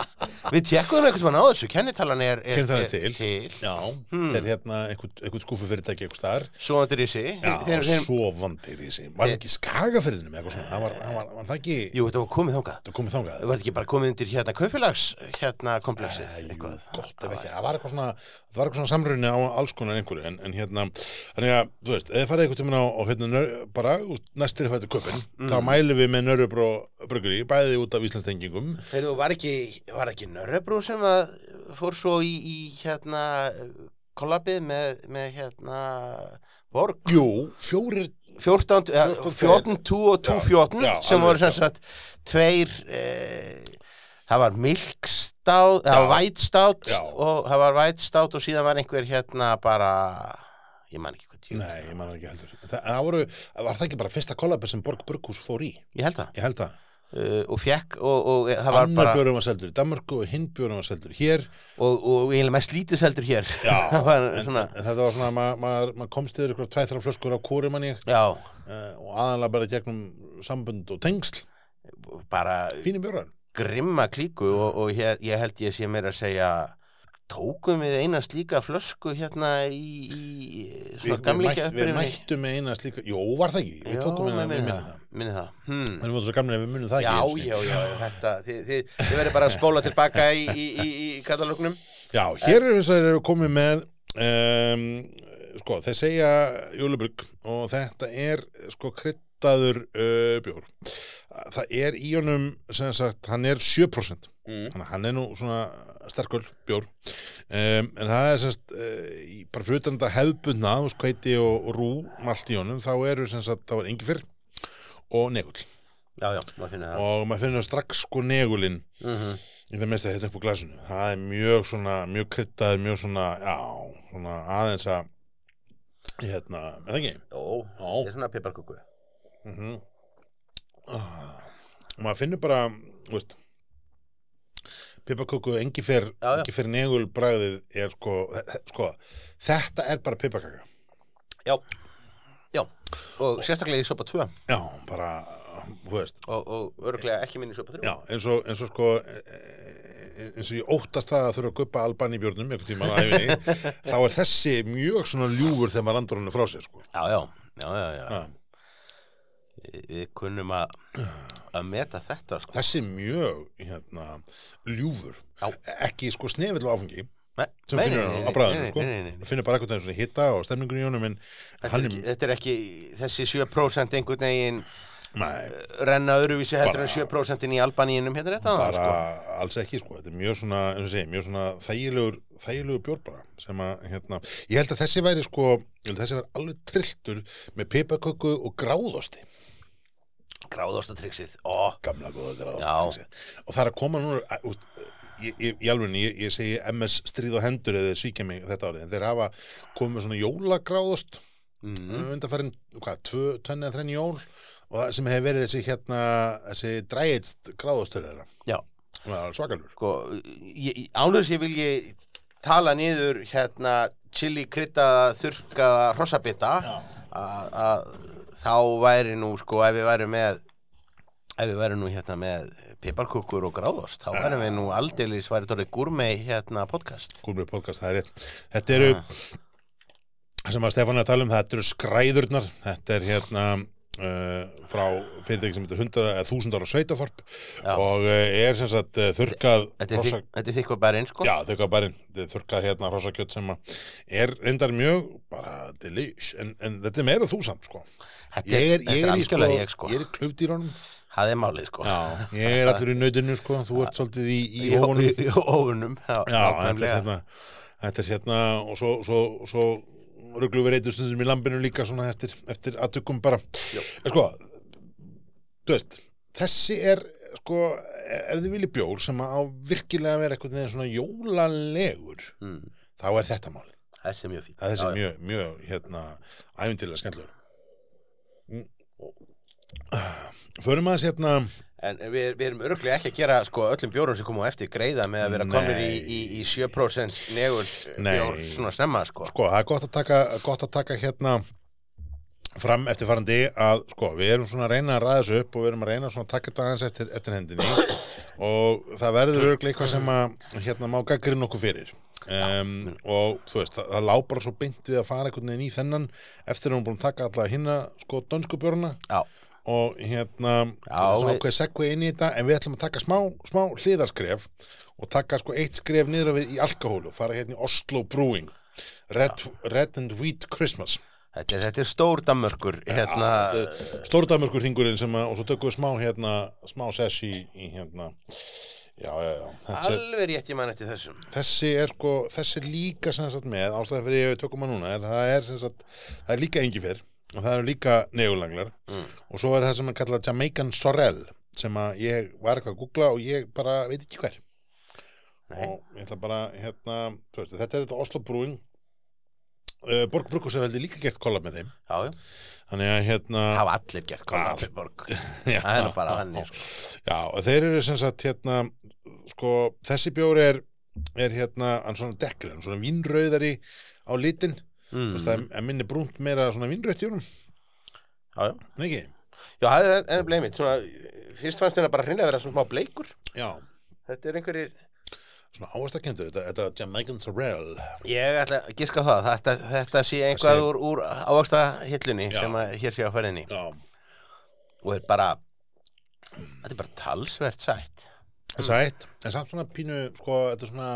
Speaker 2: Við tjekkuðum einhvern veginn á þessu, kennitalan er, er,
Speaker 1: Kennitalan er
Speaker 2: er
Speaker 1: til.
Speaker 2: til.
Speaker 1: Já, þetta er hérna einhvern einhver skúfu fyrirtæki einhver staðar
Speaker 2: Svo hann er í sig.
Speaker 1: Já,
Speaker 2: þeir, þeir,
Speaker 1: svo vandir í sig Var ekki í skagafyrðinum eitthvað svona Það var, hann var, var það ekki
Speaker 2: jú, þetta var komið þákað.
Speaker 1: Það komið þangað
Speaker 2: Það var ekki bara komið undir hérna kaupfélags, hérna kompleksið,
Speaker 1: Jú,
Speaker 2: eitthvað.
Speaker 1: Gott ef ekki, það var eitthvað svona Það var eitthvað svona samrunni á alls konar einhverju En, en hérna, þannig að, þú veist Eða farið eitthvað tímann á, á hérna, nör, bara út Næstir fættu köpinn, þá mælum við með Nörrubró Brugri, bæði út af Íslandstengingum
Speaker 2: Þeir, var ekki, var ekki Nörrebrú sem að fór svo í, í hérna kollabið með, með hérna Borg?
Speaker 1: Jú, fjórir
Speaker 2: 14, ja, 14, 2 og 2, 14
Speaker 1: Já, já,
Speaker 2: sem
Speaker 1: alveg,
Speaker 2: voru sem
Speaker 1: já.
Speaker 2: sagt tveir eh, það var milkstátt, það var
Speaker 1: Já.
Speaker 2: vætstátt
Speaker 1: Já.
Speaker 2: og það var vætstátt og síðan var einhver hérna bara ég man ekki hvað tíu,
Speaker 1: Nei, ég man það ekki heldur Það, það voru, var það ekki bara fyrsta kollabir sem Borg Brughús fór í
Speaker 2: ég held það
Speaker 1: Ég held það
Speaker 2: uh, og fekk og, og e, það var
Speaker 1: annar
Speaker 2: bara
Speaker 1: björnum var seldur í Danmarku og hinn björnum var seldur hér
Speaker 2: og, og eiginlega mest lítið seldur hér
Speaker 1: Já,
Speaker 2: það var
Speaker 1: en,
Speaker 2: svona,
Speaker 1: en þetta var svona maður mað, mað komst yfir ykkur tveið þrjá flöskur á kóri manni uh,
Speaker 2: já,
Speaker 1: og aðanlega bara gegnum sambund og tengsl
Speaker 2: bara
Speaker 1: fínum björnum
Speaker 2: grimma klíku og, og ég, ég held ég sé mér að segja tókum við eina slíka flösku hérna í, í svona gamlíkja
Speaker 1: við
Speaker 2: upprýfni
Speaker 1: mættum með eina slíka Jó, var það ekki, við tókum eina við minna það
Speaker 2: minni það. Hmm.
Speaker 1: Við vorum svo gamlega við munum það
Speaker 2: Já,
Speaker 1: ekki einu sinni.
Speaker 2: já, já, þetta, þið, þið, þið verður bara að spóla tilbaka í, í, í, í katalógnum.
Speaker 1: Já, hér eru þessar eru komið með um, sko, þeir segja júlubrugg og þetta er sko kryttaður uh, bjór það er í honum sem sagt, hann er 7%
Speaker 2: Mm.
Speaker 1: þannig að hann er nú svona sterkul bjór um, en það er semst uh, í- bara fyrir utan þetta hefðbundna þú veist, hveiti og, og rú malt í honum þá eru sem sagt, þá er engi fyrr og negull
Speaker 2: Já, já, maður finnir það.
Speaker 1: og maður finnur strax sko negulinn
Speaker 2: Mm
Speaker 1: í það mesta hérna upp á glasinu það er mjög svona, mjög kryttað mjög svona, já, svona aðeins að hérna, er það ekki?
Speaker 2: Jó,
Speaker 1: Já.
Speaker 2: þetta er svona piparkuku.
Speaker 1: Mm -hmm. og Ah, maður finnur bara þú veist piparköku, engi fyrr
Speaker 2: Já, já.
Speaker 1: engi fyrr negul bragðið er sko, þe- þe- sko þetta er bara piparkaka
Speaker 2: Já, já, og sérstaklega í sopa 2
Speaker 1: já, bara, þú veist
Speaker 2: og, og örglega ekki minni í sopa 3.
Speaker 1: Já, eins og, eins og sko eh, eins og ég óttast það að þurfa að guppa Alban í björnum einhvern tímann á æfinni þá er þessi mjög svona ljúfur þegar maður andur hann frá sér sko.
Speaker 2: já, já, já, já, já.
Speaker 1: Ha,
Speaker 2: Við- Við kunnum að, að meta þetta, sko.
Speaker 1: þessi er mjög hérna, ljúfur
Speaker 2: Já.
Speaker 1: ekki sko snefill og áfengi
Speaker 2: Nei,
Speaker 1: sem
Speaker 2: nei,
Speaker 1: finnur
Speaker 2: nei,
Speaker 1: hann
Speaker 2: nei,
Speaker 1: á bræðinu
Speaker 2: nei,
Speaker 1: sko.
Speaker 2: nei, nei, nei, nei.
Speaker 1: finnur bara eitthvað svona hitta og stemningun í honum en
Speaker 2: Þetta er,
Speaker 1: hann er,
Speaker 2: ekki, þetta er ekki, þessi 7% einhvern veginn eh,
Speaker 1: nei,
Speaker 2: renna öðruvísi heldur en
Speaker 1: Bara-
Speaker 2: 7% í Albaníinum hérna rétt
Speaker 1: bara
Speaker 2: aðan, sko.
Speaker 1: alls ekki sko. þetta er mjög svona, eins og segi, mjög svona þægilegur, þægilegur bjór bara sem að, hérna, ég held að þessi væri sko, ég held að þessi væri alveg trilltur með pipaköku og gráðosti
Speaker 2: Gráðostatryggsið, sko. ó,
Speaker 1: gamla góða
Speaker 2: Já.
Speaker 1: gráðosti og það er að koma núna að, úst, ég, ég, í alveg, ég, ég segi MS stríð og hendur eða þeir svíkja mig þetta árið en þeir hafa komið með svona jólagráðost
Speaker 2: mm,
Speaker 1: mm. undanfærin, hvað, tvö, tvenni að þrenni jól og það sem hefur verið þessi hérna, þessi drægitst gráðostur þeirra,
Speaker 2: já,
Speaker 1: og það er svakalur
Speaker 2: sko, ég, ánlega sem ég vil ég tala niður hérna chili kryddaða þurrkaða hrossabita að að þá væri nú sko ef við væri með ef við væri nú hérna með piparkukkur og gráðost þá væri við nú aldeilis væri tórið gúrmei hérna podcast
Speaker 1: Gúlbrið podcast, það er rétt Þetta eru, það sem að Stefán er að tala um þetta eru skræðurnar, þetta er hérna uh, frá fyrirtæki sem heitir 100 eða 1000 ára sveitaþorp
Speaker 2: Já.
Speaker 1: og uh, er sem sagt uh, þurrkað
Speaker 2: Þetta er,
Speaker 1: hrossa-
Speaker 2: þykk, þetta er þykkur bara eins sko
Speaker 1: Já, þurrkað bærin, þurrkað hérna hrossakjött sem að er reyndar mjög bara delish, en, en þetta er meira þú samt sko.
Speaker 2: Þetta
Speaker 1: Ég er, ég
Speaker 2: þetta
Speaker 1: er í sko,
Speaker 2: algjörlega ég sko
Speaker 1: ég er í klufdýrunum
Speaker 2: Það er málið sko
Speaker 1: Já, ég er allur í nautinu sko, þú ert svolítið í, í
Speaker 2: Í
Speaker 1: hófunum.
Speaker 2: í- í óvunum Já,
Speaker 1: Já, þetta er
Speaker 2: nákvæmlega.
Speaker 1: hérna, þetta er hérna og svo, svo, svo rugglu við reytum stundum í lambinu líka svona eftir, eftir aðtökum bara. En sko, þú veist, þessi er, sko, ef þið vilji bjór sem á virkilega að vera eitthvað neðan svona jólalegur,
Speaker 2: Mm,
Speaker 1: þá er þetta málið.
Speaker 2: Þessi er mjög fín
Speaker 1: Það er þessi
Speaker 2: Já, já.
Speaker 1: mjög, mjög, hérna, æfintilega skemmtilegur. Mm. Förum aðeins hérna...
Speaker 2: En við, við erum örglega ekki að gera sko, öllum bjórum sem koma á eftir greiða með að vera komin í, í, í 7% negul
Speaker 1: Nei.
Speaker 2: eh, bjór svona snemma sko.
Speaker 1: sko, það er gott að taka, gott að taka hérna fram eftir farandi að sko, við erum svona að reyna að ræða þessu upp og við erum að reyna svona að taka þetta aðeins eftir, eftir hendinni og það verður örglega eitthvað sem að hérna má gaggrinn okkur fyrir um, og þú veist, það, það lá bara svo beint við að fara einhvern veginn í þennan eftir að hún búin að taka alla hinna sko dönsku björna
Speaker 2: Já,
Speaker 1: og hérna
Speaker 2: Já,
Speaker 1: það er
Speaker 2: við-
Speaker 1: ákveð segvi inn í þetta en við ætlum að taka smá, smá hliðarskref og taka sko eitt skref niður á við í alkohólu og fara hérna í Oslo Brewing Red, Red and Wheat Christmas
Speaker 2: þetta er, þetta er stór dammörkur hérna,
Speaker 1: Stórdamörkur hringurinn sem að og svo tökum við smá hérna smá sess í, í hérna já, já, já þessi,
Speaker 2: alveg rétt ég mann eftir þessum
Speaker 1: þessi er sko, þessi er líka sem sagt með, ástæðan fyrir ég við tökum að núna er, það er sem sagt, það er líka engi fyrr og það eru líka negulanglar
Speaker 2: Mm.
Speaker 1: og svo er það sem að kalla Jamaican Sorrel sem að ég var eitthvað að googla og ég bara veit ekki hver
Speaker 2: Nei.
Speaker 1: og ég ætla bara hérna, þú veist, þetta er þetta Oslo Brewing uh, Borg Brukus er heldur líka gert kollab með þeim
Speaker 2: Já, já,
Speaker 1: þannig að hérna
Speaker 2: hafa allir gert kolla
Speaker 1: Allt.
Speaker 2: Pipborg
Speaker 1: Já.
Speaker 2: Það er nú bara þannig sko.
Speaker 1: Já, og þeir eru sem sagt hérna, sko, þessi bjór er, er hérna, hann svona dekkri, hann svona vínrauðari á litin, þú veist, það
Speaker 2: mm.
Speaker 1: er- er minni brúnt meira svona vínrautt í honum,
Speaker 2: Já, já
Speaker 1: en ekki?
Speaker 2: Já, það er, er bleið mitt svona, fyrst fannst hérna bara hreinlega að vera svona smá bleikur
Speaker 1: já,
Speaker 2: þetta er einhverjir
Speaker 1: svona ávastakendur þetta, þetta Jamaican Sorrel
Speaker 2: ég ætla að giska á það þetta, þetta sé einhvað
Speaker 1: sé-
Speaker 2: úr, úr ávaksta hillunni
Speaker 1: Já.
Speaker 2: sem að hér sé á ferðinni
Speaker 1: já,
Speaker 2: og er bara þetta er bara talsvert sætt
Speaker 1: sætt en samt svona pínu, sko, þetta er svona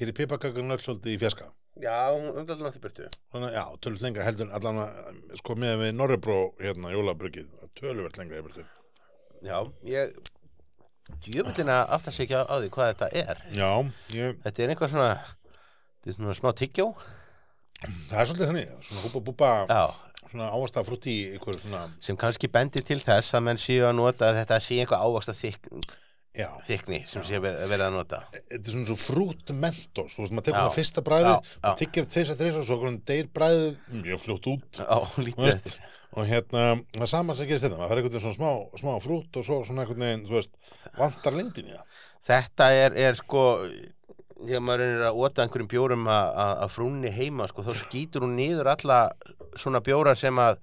Speaker 1: hér er pipakakan öll svolítið í fjaska
Speaker 2: já, hún er alltaf burtu
Speaker 1: Þannig, að, já, tölvöld lengra heldur en allan að, sko, með við Norrebró, hérna, jólabryggið, tölvöld lengra, ég byrtu.
Speaker 2: já, ég djöfullina átt að segja á því hvað þetta er
Speaker 1: Já, ég,
Speaker 2: þetta er einhvað svona þetta er svona smá tyggjó
Speaker 1: það er svolítið þannig, svona húpa búpa,
Speaker 2: já,
Speaker 1: svona ávasta frútt í ykkur, svona,
Speaker 2: sem kannski bendir til þess að menn séu að nota að þetta sé einhver ávaksta þyk,
Speaker 1: já,
Speaker 2: þykni sem sé ver- verið að nota
Speaker 1: þetta er svona svo frútt mentós, þú veist, maður tekur
Speaker 2: Já.
Speaker 1: það fyrsta bræðið,
Speaker 2: Já, já.
Speaker 1: maður tyggir tveis að þreis og svo hvernig deyr bræðið mjög fljótt út
Speaker 2: á, lítið
Speaker 1: Veist.
Speaker 2: eftir
Speaker 1: og hérna, það er sama sem gerist þetta, maður fer einhvern veginn svona smá, smá frútt og svo svona einhvern veginn, þú veist, vantar lindin í það.
Speaker 2: þetta er, er sko þegar maður reynir að ota einhverjum bjórum að- að að frúnni heima sko, þá skýtur hún niður alla svona bjóra sem að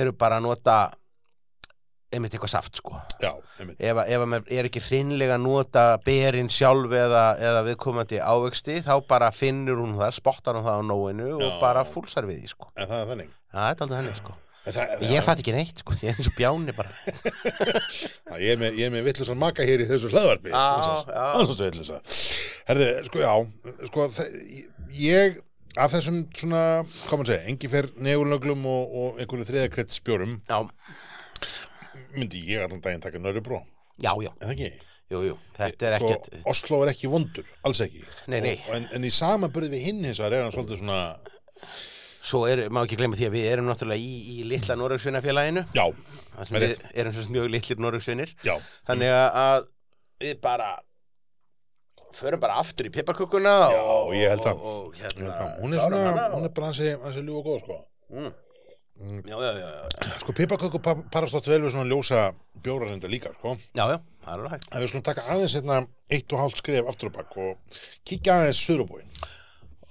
Speaker 2: eru bara að nota einmitt eitthvað saft sko
Speaker 1: Já, einmitt,
Speaker 2: ef, að- ef að maður er ekki hreinlega að nota berin sjálf eða, eða viðkomandi ávexti þá bara finnur hún það, spottar hún það á nóinu og
Speaker 1: Já.
Speaker 2: bara fúlsar við því sko
Speaker 1: en það er þannig.
Speaker 2: Já, þetta er aldrei þannig sko
Speaker 1: En það-
Speaker 2: Ég fatt ekki neitt, sko, ég er eins og bjáni bara
Speaker 1: Já, ég er með, ég er með vittlusan maka hér í þessu hlaðvarpi
Speaker 2: Já, já.
Speaker 1: Þannig að vitlusa Herði, sko, já, sko þe- ég, af þessum svona, hvað maður segja, engi fer negulöglum og, og einhverju þriðakrett spjórum
Speaker 2: Já,
Speaker 1: myndi ég allan daginn taka nörubró
Speaker 2: já, já,
Speaker 1: en það ekki,
Speaker 2: jú, jú, þetta er
Speaker 1: sko,
Speaker 2: ekkert
Speaker 1: Oslo er ekki vondur, alls ekki
Speaker 2: Nei, nei.
Speaker 1: Og, en, en í samanburði við hinn hins vegar er hann svolítið svona,
Speaker 2: Svo er, má ekki glemma því að við erum náttúrulega í, í litla Norröksvinnafélaginu
Speaker 1: já,
Speaker 2: Það sem við erum svo sem mjög litlir Norröksvinnir
Speaker 1: já
Speaker 2: Þannig að- að við bara Förum bara aftur í pipparkukkuna
Speaker 1: Já,
Speaker 2: og,
Speaker 1: ég held það.
Speaker 2: og, og,
Speaker 1: Ég
Speaker 2: hérna,
Speaker 1: veit það, Hún er
Speaker 2: klárum
Speaker 1: svona,
Speaker 2: hana
Speaker 1: hún er
Speaker 2: og,
Speaker 1: bara hansi, hansi ljúf og góð, sko
Speaker 2: mm. Já, já, já, já,
Speaker 1: Sko, pipaköku parast átt vel við svona ljósa bjóra reynda líka, sko
Speaker 2: já, já, það er alveg hægt
Speaker 1: að við skulum taka aðeins hérna eitt og hálft skref aftur á bakk og kíkja aðeins Suðurubóin.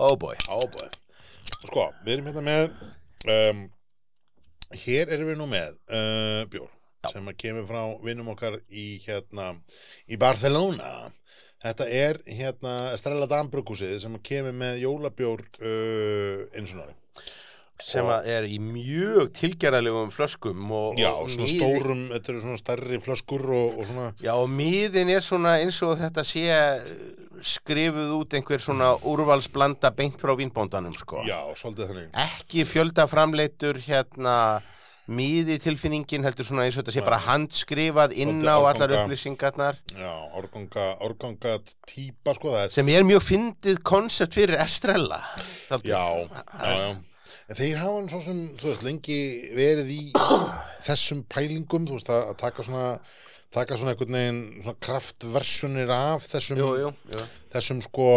Speaker 2: Oh boy,
Speaker 1: Ábæði. Sko, við erum hérna með um, hér erum við nú með uh, bjór sem að kemur frá vinnum okkar í hérna í Barcelona. Þetta er hérna Estrella Dambrugusið sem að kemur með jólabjór uh, eins og nári.
Speaker 2: sem að er í mjög tilgerðalegum flöskum og,
Speaker 1: Já,
Speaker 2: og
Speaker 1: svona
Speaker 2: miði-
Speaker 1: stórum, þetta eru svona stærri flöskur og, og svona
Speaker 2: Já, og miðin er svona eins og þetta sé eh, skrifuð út einhver svona úrvalsblanda beint frá vínbóndanum, sko.
Speaker 1: Já, svolítið þannig.
Speaker 2: Ekki fjöldaframleitur hérna miði tilfinningin heldur svona eins og þetta sé bara handskrifað inn
Speaker 1: Svolítið
Speaker 2: á allar
Speaker 1: árganga.
Speaker 2: upplýsingarnar
Speaker 1: Já, árganga, árganga típa, sko, það er
Speaker 2: sem er mjög fyndið konsept fyrir Estrella. Þaldið.
Speaker 1: já, já, já. En þeir hafa hann svo sem, þú veist, lengi verið í þessum pælingum, þú veist, að, að taka svona taka svona einhvern veginn svona kraftversunir af þessum,
Speaker 2: Jú, jú, jú.
Speaker 1: þessum sko,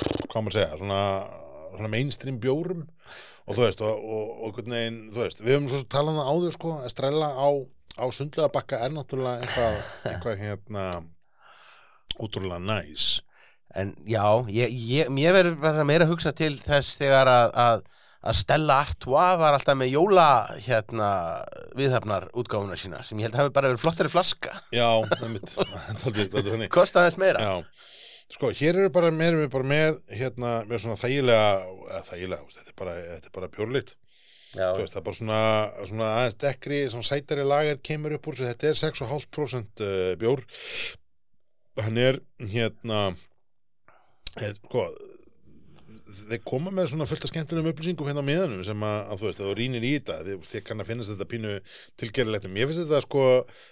Speaker 1: pff, hvað maður segja, svona, svona mainstream bjórum og þú veist, og, og, og einhvern veginn, þú veist, við höfum svo sem talað það áður sko, að strella á, á sundlega bakka er náttúrulega eitthvað, eitthvað hérna útrúlega næs.
Speaker 2: En já, ég, ég, mér verður bara meira að hugsa til þess þegar að, að, að Stella Artois var alltaf með jóla hérna, viðhafnar útgáfuna sína sem ég held að hafi bara verið flottari flaska
Speaker 1: Já, einmitt, tóldi, tóldi þannig.
Speaker 2: kostaði þess meira
Speaker 1: Já, sko, hér eru bara, mér erum við bara með, hérna, með svona þægilega, eða þægilega, þú veist, þetta er bara, þetta er bara bjórlitt,
Speaker 2: Já,
Speaker 1: þú veist, það er bara svona, svona aðeins dekkri, svona sætari lager kemur upp úr, þessu, þetta er 6,5% eh, bjór, hann er, hérna, er, sko, þeir koma með svona fullt af skemmtilegum upplýsingum hérna á miðanum sem að, að þú veist, að þú rýnir í þetta, þið, þið kann að finnast þetta pínu tilgerðilegt, en mér finnst þetta sko,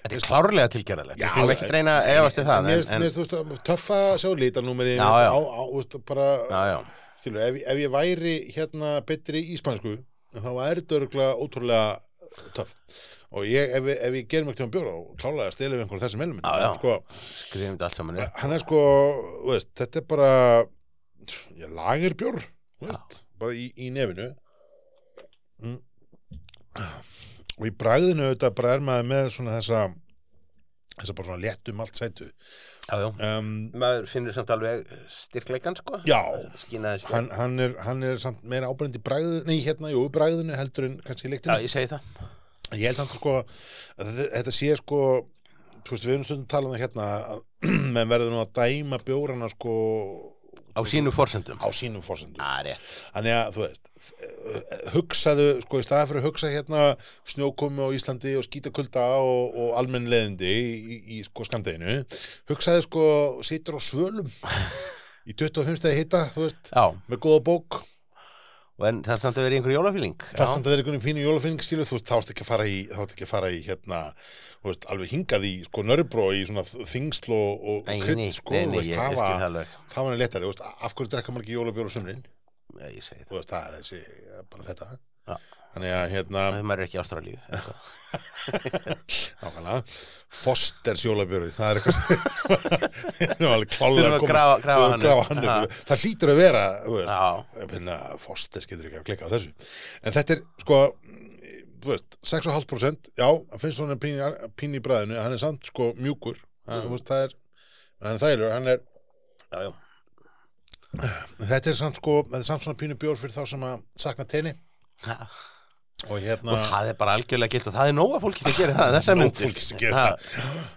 Speaker 2: þetta er klárlega tilgerðalegt
Speaker 1: Já,
Speaker 2: Við skulum ekki
Speaker 1: en-
Speaker 2: reyna að efast í það
Speaker 1: mér
Speaker 2: en,
Speaker 1: finnst,
Speaker 2: en,
Speaker 1: mér finnst, þú veist, töffa sjá lítarnúmeri,
Speaker 2: Já,
Speaker 1: mér finnst
Speaker 2: já.
Speaker 1: á, á, þú veist, bara,
Speaker 2: já, já,
Speaker 1: skilur, ef, ef ég væri hérna betri í spænsku, þá væri þetta örgulega ótrúlega töff. Og ég, ef, ég- ef ég gerum ekki um bjóra, þá klálega stelum við einhverjum þessum elementum.
Speaker 2: Já, já.
Speaker 1: Sko,
Speaker 2: skrifum þetta allt saman upp
Speaker 1: hann er sko, þú veist, þetta er bara, ég lagir bjór, þú veist, bara í, í nefinu. Mm. Og í bragðinu auðvitað bara er maður með svona þessa, þessa bara svona léttum allt sætu.
Speaker 2: Já, já
Speaker 1: Um,
Speaker 2: Maður finnur samt alveg styrkleikan sko
Speaker 1: Já.
Speaker 2: Skínaði sko
Speaker 1: hann, hann, er, hann er samt meira ábrendi bræðu, nei hérna, jú, bræðinu heldur en kannski
Speaker 2: Já,
Speaker 1: líktinu
Speaker 2: ég segi það
Speaker 1: ég held samt sko að þe- þetta sé sko þú veist, við erum stundum talað um hérna að menn verður nú að dæma bjórana sko
Speaker 2: á sínu forsendum
Speaker 1: á sínum fórsendum
Speaker 2: Á, rétt
Speaker 1: þannig að þú veist eh, hugsaðu, sko í staðan fyrir að hugsa hérna snjókomi á Íslandi og skítakulda og, og almenn leðindi í, í, í sko skandeinu hugsaðu sko, situr á svölum í 25 stegi hitta, þú veist
Speaker 2: Já,
Speaker 1: með góða bók,
Speaker 2: og en það er samt að vera einhver jólafíling
Speaker 1: það samt að vera einhvern pínu jólafynning skilur, þú veist, þá ertu ekki að fara í þá ertu ekki að fara í hérna, þú veist, alveg hingað í sko nörbró í svona þingsl og, og
Speaker 2: Nei,
Speaker 1: krydd,
Speaker 2: nei,
Speaker 1: sko,
Speaker 2: nei, nei,
Speaker 1: þú veist,
Speaker 2: ég- ég skil það
Speaker 1: það
Speaker 2: alveg.
Speaker 1: var það var léttari, þú veist, af hverju drekka maður ekki jólabjór á sumrin,
Speaker 2: Já, ég segi það
Speaker 1: þú veist, það er þessi eh, bara þetta,
Speaker 2: Já.
Speaker 1: þannig að hérna
Speaker 2: Ef maður er ekki í ástralíu eða eitthvað.
Speaker 1: Nákvæmlega, Fosters jólabjörði, það er eitthvað sem við erum alveg
Speaker 2: Við
Speaker 1: klálega
Speaker 2: erum að
Speaker 1: komin-
Speaker 2: grafa-
Speaker 1: við
Speaker 2: grafa
Speaker 1: erum
Speaker 2: hann
Speaker 1: að
Speaker 2: upp.
Speaker 1: grafa hann upp. Það hlýtur að vera, þú veist,
Speaker 2: Já,
Speaker 1: ég finna, Fosters getur ekki að klikka á þessu. En þetta er, sko, þú veist, 6,5%, já, það finnst svona pín, pín í bræðinu, en hann er samt, sko, mjúkur, það, mm. veist, það er, hann er þægilegur, hann er,
Speaker 2: já, já
Speaker 1: þetta er samt, sko, þetta er samt svona pínu bjór fyrir þá sem að sakna tenni
Speaker 2: Ha.
Speaker 1: og hérna...
Speaker 2: Og það er bara algjörlega gilt og það er nóga fólki sem gerir það Þessar
Speaker 1: Nóg
Speaker 2: myndir
Speaker 1: fólki sem gerir
Speaker 2: Ha,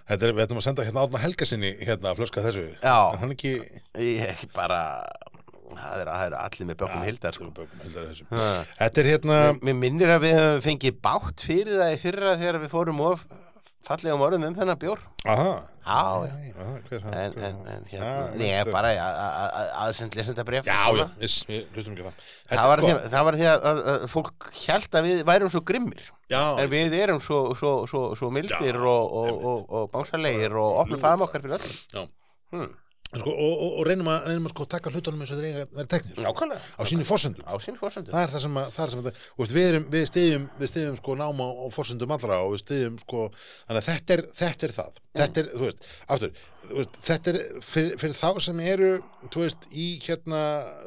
Speaker 1: Þetta er, við ætlum að senda hérna Átna Helga sinni hérna að flöska þessu
Speaker 2: Já.
Speaker 1: En Hann ekki
Speaker 2: Ég bara Það er, það er allir með bökum hildar sko.
Speaker 1: Bökum Helga þessu
Speaker 2: Ha.
Speaker 1: Þetta er hérna
Speaker 2: Mér minnir að við höfum fengið bátt fyrir það í fyrra þegar við fórum of fallegum orðum um þennan bjór
Speaker 1: Aha
Speaker 2: Já, já.
Speaker 1: Æ, aha, hver er hann?
Speaker 2: En,
Speaker 1: Hver er
Speaker 2: en,
Speaker 1: hann?
Speaker 2: en
Speaker 1: Já,
Speaker 2: hérna, ég
Speaker 1: þetta-
Speaker 2: bara aðsend lesendabref
Speaker 1: Já, já, viss, við hlustum ekki á það Þetta
Speaker 2: Það var,
Speaker 1: sko-
Speaker 2: því, það var því að, að, að fólk hjælt að við værum svo grimmir en
Speaker 1: Já,
Speaker 2: við erum svo, svo, svo, svo mildir
Speaker 1: Já,
Speaker 2: og, og, og, og bánsalegir og opnum faðum okkar fyrir öllum
Speaker 1: já
Speaker 2: hmm.
Speaker 1: Sko, og, og, og reynum að, reynum að sko taka hlutunum eins og þeir eiga að vera teknir sko,
Speaker 2: Nákvæmlega
Speaker 1: á sínu forsendum
Speaker 2: Á sín fórsöndu
Speaker 1: það er það sem að, það er sem að og veist, við, erum, við stiðjum, við stiðjum sko náma og forsendum allra og við stiðjum sko þannig að þetta er, þetta er það þetta er, þú veist, aftur, þú veist, þetta er fyrir, fyrir þá sem eru þú veist, í hérna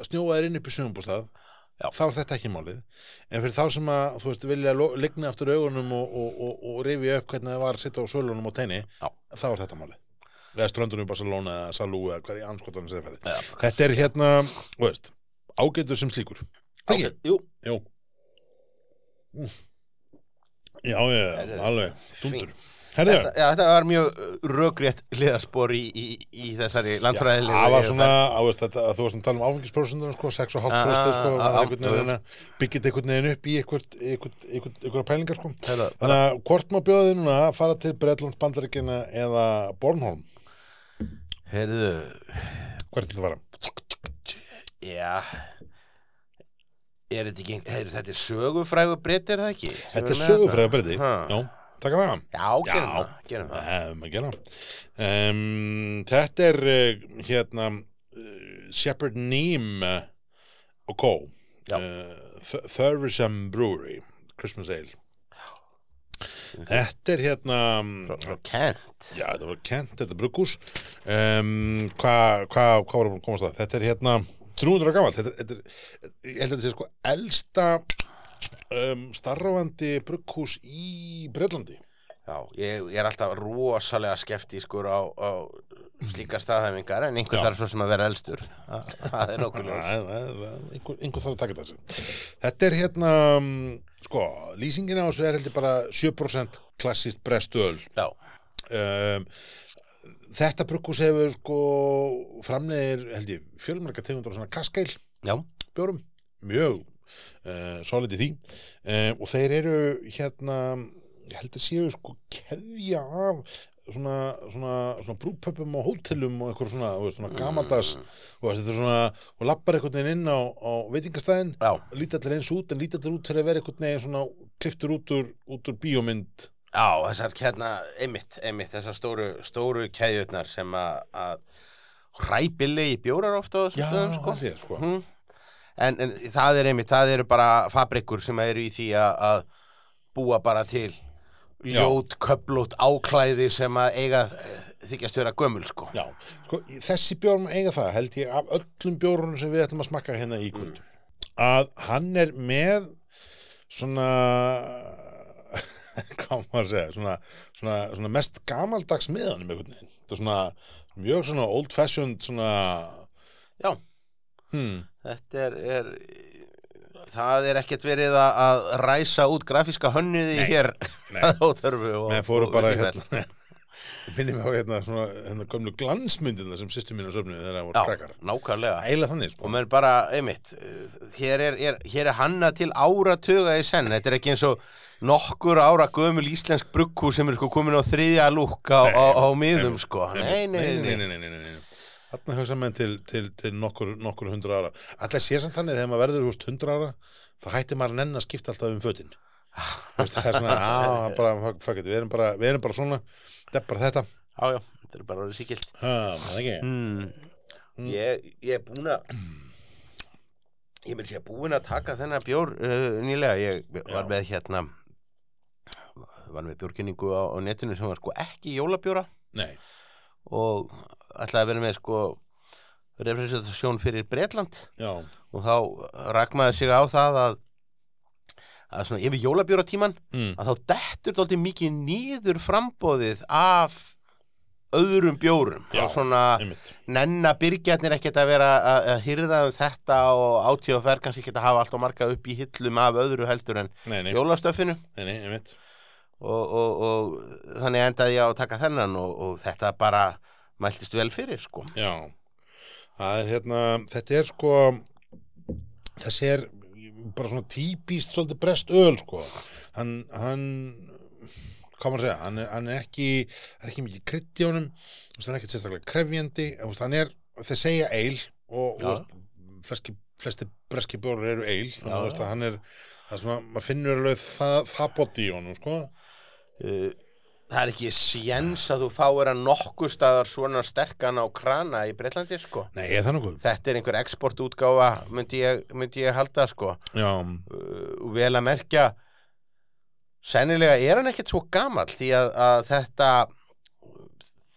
Speaker 1: snjóaðir inn upp í sjöfumbústað
Speaker 2: Já.
Speaker 1: þá er þetta ekki málið en fyrir þá sem að, þú veist, vilja lo- ligna aftur augunum og, og, og, og rifja upp hvernig það var að sitta á sölunum og tenni
Speaker 2: Já.
Speaker 1: þá er þetta málið eða ströndunum í Barcelona eða Salú eða hverja anskotanum sem þið færið þetta er hérna, þú veist, ágætur sem slíkur Ekki?
Speaker 2: Jú
Speaker 1: Jú Mm. Já, já,
Speaker 2: Herðu,
Speaker 1: alveg, dundur
Speaker 2: fín.
Speaker 1: Herðu,
Speaker 2: Þetta, já, þetta var mjög uh, rökrétt hliðarspor í, í, í þessari landfræðilegu
Speaker 1: það var svona, á, veist, þetta, að þú varst að tala um áfengisprósundum, sko, 6,5%
Speaker 2: Ah,
Speaker 1: sko,
Speaker 2: ah,
Speaker 1: maður
Speaker 2: ah,
Speaker 1: einhvern
Speaker 2: jú, jú.
Speaker 1: veginn að byggja einhvern veginn upp í einhvern, einhvern, einhvern, einhvern pælingar, sko
Speaker 2: Þetta,
Speaker 1: Þannig að hvort má bjóða þið núna að fara til Bretlands bandaríkina eða Bornholm,
Speaker 2: Herðu
Speaker 1: hvert til það fara?
Speaker 2: Já Er þetta ekki Herðu, þetta er sögufrægu breytir það ekki Sem
Speaker 1: Þetta er
Speaker 2: er með
Speaker 1: sögufræða
Speaker 2: þarna?
Speaker 1: breyti,
Speaker 2: Ha.
Speaker 1: já, taka það
Speaker 2: Já, gerum
Speaker 1: Já.
Speaker 2: það, gerum það.
Speaker 1: Það hefum að gera um, Þetta er uh, hérna uh, Shepard Neem uh, og Co
Speaker 2: Já.
Speaker 1: uh, Th- Thursam Brewery Christmas Ale Þetta er hérna
Speaker 2: Frá- frá Kent
Speaker 1: Já, þetta var kent, þetta er bruggús um, Hvað hva, hva var að komast að? Þetta er hérna 300 ára gamalt þetta, þetta er, Ég held að þetta sé sko elsta um, starfandi bruggús í Breitlandi
Speaker 2: Já, ég, ég er alltaf rosalega skeftískur á, á slíka staðhæfingar en einhver
Speaker 1: Já.
Speaker 2: þarf svo sem að vera elstur Þa, það er nokkuð ljós.
Speaker 1: Það- það- það- einhver, einhver þarf að taka þessu þetta er hérna um, sko, lýsingin á þessu er heldur bara 7% klassist brestuöl
Speaker 2: Já,
Speaker 1: um, þetta brugghús hefur sko framleiðir held ég fjölmarga tegundur á svona kaskeil
Speaker 2: já,
Speaker 1: bjórum, mjög uh, solid í því um, og þeir eru hérna ég held að séu sko keðja af svona, svona, svona brúpöpum og hótelum og eitthvað svona, þú veist, svona gamaldags
Speaker 2: Mm.
Speaker 1: og þetta er svona, og lappar einhvern veginn inn á, á veitingastæðin
Speaker 2: já,
Speaker 1: líta allir eins út, en líta allir út fyrir að vera einhvern veginn svona kliftur út úr, út úr bíómynd
Speaker 2: já, þessar hérna, einmitt, einmitt, þessar stóru, stóru keðjurnar sem að, að hræpilegi bjórar ofta á þessum stöðum, sko.
Speaker 1: held ég, sko
Speaker 2: Mhm. En, en það er einmitt, það eru bara fabrikur sem eru í því að, að búa bara til
Speaker 1: Já.
Speaker 2: ljót, köplót, áklæði sem að eiga eh, þykjast vera gömul, sko.
Speaker 1: Já, sko, í- þessi bjórn eiga það, held ég, af öllum bjórnum sem við ætlum að smakka hérna í kvöld að hann er með svona hvað maður að segja svona, svona, svona mest gamaldags miðanum einhvern veginn, þetta er svona mjög svona old fashioned svona
Speaker 2: Já.
Speaker 1: hmm,
Speaker 2: Þetta er, er það er ekkert verið að, að ræsa út grafíska hönnuði
Speaker 1: Nei,
Speaker 2: hér
Speaker 1: nei.
Speaker 2: að óþörfu og,
Speaker 1: menn fóru bara
Speaker 2: og-
Speaker 1: hérna minnum á hérna, svona, hérna gömlu glansmyndina sem sýstum mínu söfnið þegar það
Speaker 2: Já,
Speaker 1: voru krakkar
Speaker 2: nákvæmlega
Speaker 1: æla þannig
Speaker 2: og
Speaker 1: sko.
Speaker 2: menn bara, einmitt eh, hér er, er, hér er hanna til áratuga í senn, þetta er ekki eins og nokkur ára gömul íslensk brugghú sem er sko komin á þriðja lúk á, á, á miðum sko nei, nei, nei, nei.
Speaker 1: nei, nei, nei, nei. Þarna hugsa menn til, til, til nokkur, nokkur hundra ára Alltaf sé samt þannig þegar maður verður húst hundra ára þá hættir maður að nenn að skipta alltaf um fötin Þú veist, Það er svona, á, bara, fuck, fuck it, við erum bara, við erum bara svona Þetta er bara þetta
Speaker 2: Já, já, þetta er bara orðið síkilt
Speaker 1: ha, það ekki.
Speaker 2: mm. ég, ég er búin að ég myndi sé búin að taka þennan bjór uh, nýlega, ég var
Speaker 1: Já.
Speaker 2: með hérna var með bjórkynningu á, á netinu sem var sko ekki jólabjóra
Speaker 1: Nei,
Speaker 2: og ætlaði að vera með sko representasjón fyrir Bretland
Speaker 1: já,
Speaker 2: og þá rakmaði sig á það að að svona yfir jólabjóratíman
Speaker 1: mm,
Speaker 2: að þá dettur dálítið mikið nýður frambóðið af öðrum bjórum
Speaker 1: Já,
Speaker 2: og svona
Speaker 1: einmitt
Speaker 2: nenna byrgjarnir ekkert að vera að, að hýrða um þetta og átíðafer kannski ekkert að hafa allt og marga upp í hillum af öðru heldur en
Speaker 1: Nei, nei,
Speaker 2: jólastöffinu
Speaker 1: nei, nei, einmitt
Speaker 2: og, og, og þannig endaði ég á að taka þennan og, og þetta bara mæltist vel fyrir sko
Speaker 1: Já, það er hérna, þetta er sko, þessi er bara svona típist svolítið brest öl sko, hann, hann, hvað maður að segja, hann er, hann er ekki, það er ekki mikið krydd í honum, þú veist, hann er ekkert sérstaklega krefjandi, en, þú veist, hann er, þeir segja eil og, þú
Speaker 2: Já.
Speaker 1: veist, fleski, flesti breski bjórar eru eil, þannig að
Speaker 2: Já,
Speaker 1: þú veist að hann er, það er svona, maður finnur alveg það, það bóti í honum sko,
Speaker 2: uh, það er ekki séns að þú fáir að nokkuð staðar svona sterkan á krana í Breitlandi sko
Speaker 1: nei, er það nokkuð,
Speaker 2: þetta er einhver exportútgáfa myndi ég, myndi ég halda sko
Speaker 1: já,
Speaker 2: uh, og vel að merkja sennilega er hann ekkert svo gamall því að, að þetta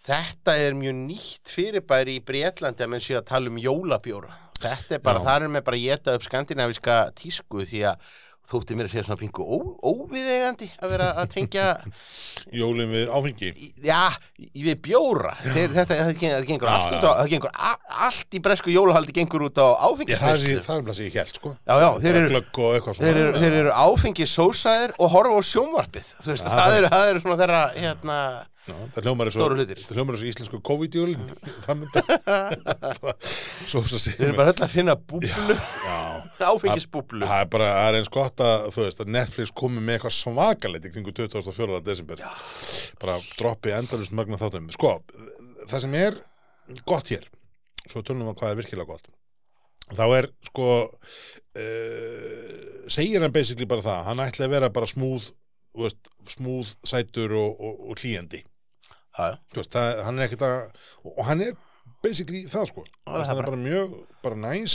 Speaker 2: þetta er mjög nýtt fyrirbæri í Breitlandi að menn sé að tala um jólabjóra þetta er bara,
Speaker 1: Já.
Speaker 2: þar er með bara að geta upp skandinaviska tísku því að þótti mér að segja svona pingu ó, óviðegandi að vera að tengja
Speaker 1: jólum við áfengi,
Speaker 2: í- já, í- við bjóra Þeir, þetta, það gen- það gengur
Speaker 1: Já,
Speaker 2: allt
Speaker 1: já.
Speaker 2: út á það gengur a, allt í bresku jólahaldi gengur út á
Speaker 1: ég, það er
Speaker 2: áfengisneyslu
Speaker 1: sem- það er um það sem ég held sko,
Speaker 2: já, já, þeir eru,
Speaker 1: glögg og eitthvað svona
Speaker 2: þeir eru, þeir eru áfengissósaðir og horfa á sjónvarpið þú veist, það eru, það eru svona þeirra hérna,
Speaker 1: Já, það hljómar eins og
Speaker 2: Stóru hlutir.
Speaker 1: Það hljómar eins og íslensku COVID-júlin framönda Sósa sig
Speaker 2: þeir eru bara öll að finna búblu
Speaker 1: Já,
Speaker 2: áfengisbúblu
Speaker 1: það er bara það er eins gott að, þú veist, að Netflix komi með eitthvað svakalegt í kringu 2004. desember Já. bara droppi endalust magna þáttum sko, það sem er gott hér svo tölum við um hvað er virkilega gott þá er sko uh, segir hann basically bara það hann ætli að vera bara smúð þú veist, smúð, sætur og, og, og hlýjandi
Speaker 2: Já, já.
Speaker 1: þú veist, það, hann er ekkert að og hann er basically það sko
Speaker 2: það er
Speaker 1: hann er bara mjög, bara næs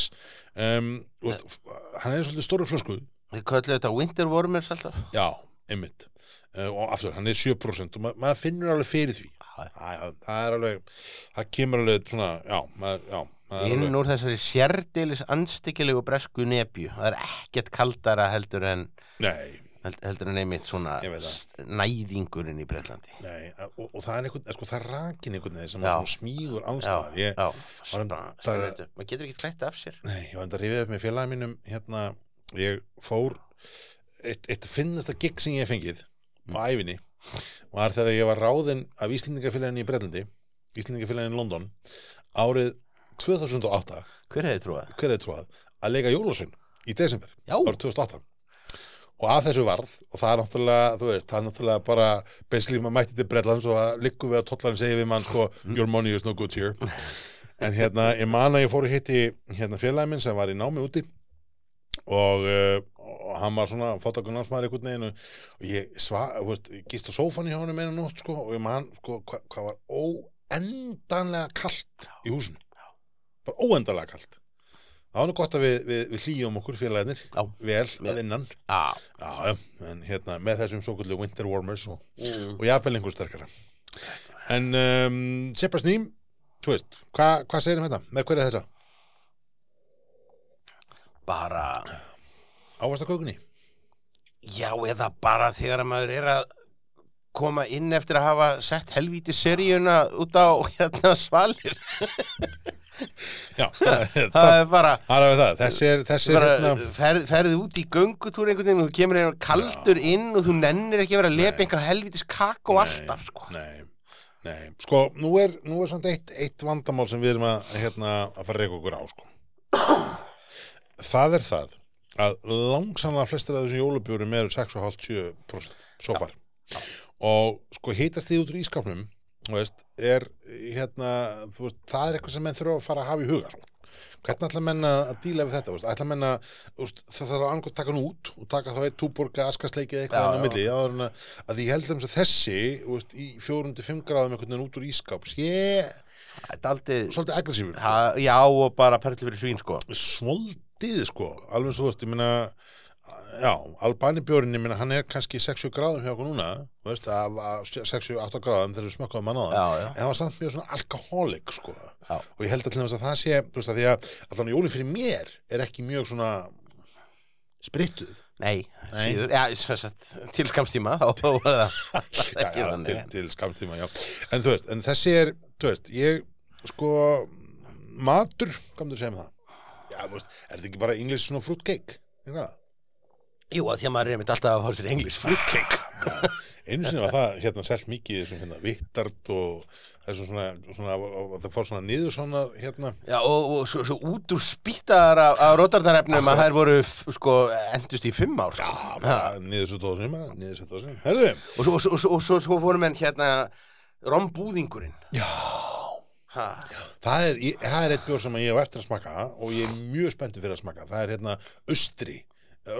Speaker 1: um, þú veist, f- hann er svolítið stóru flösku
Speaker 2: við köllum þetta winterwormers alltaf
Speaker 1: já, einmitt uh, og aftur, hann er 7% og ma maður finnur alveg fyrir því
Speaker 2: Já, já.
Speaker 1: það, það er alveg, það kemur alveg svona, já, maður, já maður er
Speaker 2: inn
Speaker 1: alveg,
Speaker 2: úr þessari sérdeilis anstykkilegu bresku nebju það er ekkert kaldara heldur en
Speaker 1: nei,
Speaker 2: held, heldur en einmitt svona
Speaker 1: Ég veit það.
Speaker 2: st- næðingurinn í Breitlandi
Speaker 1: nei og, og það er einhvern, eh, sko, það er rakin einhvern veginn sem
Speaker 2: Já.
Speaker 1: er svona smígur allstaðar, ég,
Speaker 2: já,
Speaker 1: var- um
Speaker 2: bara-
Speaker 1: það er-
Speaker 2: þetta- maður getur ekki klætt af sér
Speaker 1: Nei, ég var enda að rifið upp með félagin mínum hérna, ég fór eitt, eitt finnasta gig sem ég hef fengið á æfinni var þegar ég var ráðinn af Íslendingafélaginu í Bretlandi Íslendingafélaginu í London árið 2008
Speaker 2: hver hefði trúað?
Speaker 1: hver er trúað, að leika Jólasvein í desember
Speaker 2: Já.
Speaker 1: árið 2008 og að þessu varð og það er náttúrulega, þú veist, það er náttúrulega bara basically maður mætti til Bretlands og það liggur við að tollarinn segja við mann sko your money is no good here en hérna, ég man að ég fór að hitti hérna félagin minn sem var í námi úti og, uh, og hann var svona fótakun námsmaður einhvern veginn og- og ég sva, þú veist, ég gist á sófan í honum einu nótt sko og ég man sko hvað hva var óendanlega kalt í húsinu bara óendanlega kalt Það var nú gott að við, við, við hlýjum okkur félagarnir
Speaker 2: Já.
Speaker 1: vel að innan
Speaker 2: Já,
Speaker 1: já, já, en hérna með þessum svo kvöldu winter warmers og, og jafnvel einhver sterkara en um, Seppars Ným þú veist, hva- hvað segir um þetta? með hverja þessa?
Speaker 2: bara
Speaker 1: Ávast að kókunni?
Speaker 2: já eða bara þegar maður er að koma inn eftir að hafa sett helvíti seríuna út á hérna svalir
Speaker 1: Já, það
Speaker 2: það er bara,
Speaker 1: það er það. Þessi er, þessi er
Speaker 2: bara
Speaker 1: hérna,
Speaker 2: ferð, ferði út í göngutúr einhvern veginn og þú kemur einhvern kaldur inn og þú nennir ekki að vera að lepa einhver helvítis kakó alltaf sko.
Speaker 1: nei, nei. Sko, nú er, nú er samt eitt, eitt vandamál sem við erum að, hérna, að fara að reyka okkur á, sko. Það er það að langsamlega flestir af þessum jólubjórum eru 6,5-7% svo far. Og sko, hitast þið út úr ískapnum, þú veist, er, hérna, þú veist, það er eitthvað sem menn þurfa að fara að hafa í huga, sko. Hvernig ætla menn að að díla við þetta? þú veist? Ætla menn að þú veist, það þarf að angótt taka hann út og taka þá eitt túborga askasleikið eitthvað
Speaker 2: Já,
Speaker 1: hann á
Speaker 2: já.
Speaker 1: milli áður en að, að ég held þeim að þessi þú veist, í 4-5 gráðum einhvern veginn út úr ískáp sé
Speaker 2: Þetta er aldrei
Speaker 1: svolítið aggressífur sko.
Speaker 2: ha, já og bara perli fyrir svín sko.
Speaker 1: svolítið sko alveg svo þú veist, ég meina já, albanibjörn, ég meina hann er kannski 60 gráðum hjá okkur núna þú veist, af, af 68 gráðum þegar við smökkaðum hann á það
Speaker 2: Já, já.
Speaker 1: en það var samt mjög svona alkohólik sko
Speaker 2: Já.
Speaker 1: og ég held að til þess að það sé þú veist, að því að allan jólin fyrir mér er ekki mjög svona sprittuð
Speaker 2: Nei,
Speaker 1: Nei.
Speaker 2: síður, ja, sem sagt, til skamstíma þá þá var það
Speaker 1: já,
Speaker 2: ekki
Speaker 1: já,
Speaker 2: þannig,
Speaker 1: til,
Speaker 2: en-
Speaker 1: til skamtíma, já en þú veist, en þessi er, þú veist, ég sko, matur kannum þú segja um það já, þú veist, er þetta ekki bara english svona fruitcake eitthvað?
Speaker 2: Jú, að því að maður er einmitt alltaf að fá sér englis fruitcake
Speaker 1: einu sinni var það hérna selt mikið í þessum hérna vittart og þessum svona, svona að það fór svona niður svona hérna
Speaker 2: Já, og, og svo, svo út úr spýttaðar af, af rotardarefnum að þær voru, f- sko, endust í fimm ár sko.
Speaker 1: Já, bara niður svo dóðsum, niður svo dóðsum Herðu,
Speaker 2: og, svo, og, svo, og, svo, og svo, svo voru menn hérna rombúðingurinn
Speaker 1: já
Speaker 2: ha.
Speaker 1: Það er, ég, það er eitt bjór sem ég hef eftir að smakka og ég er mjög spenntur fyrir að smakka það er hérna austri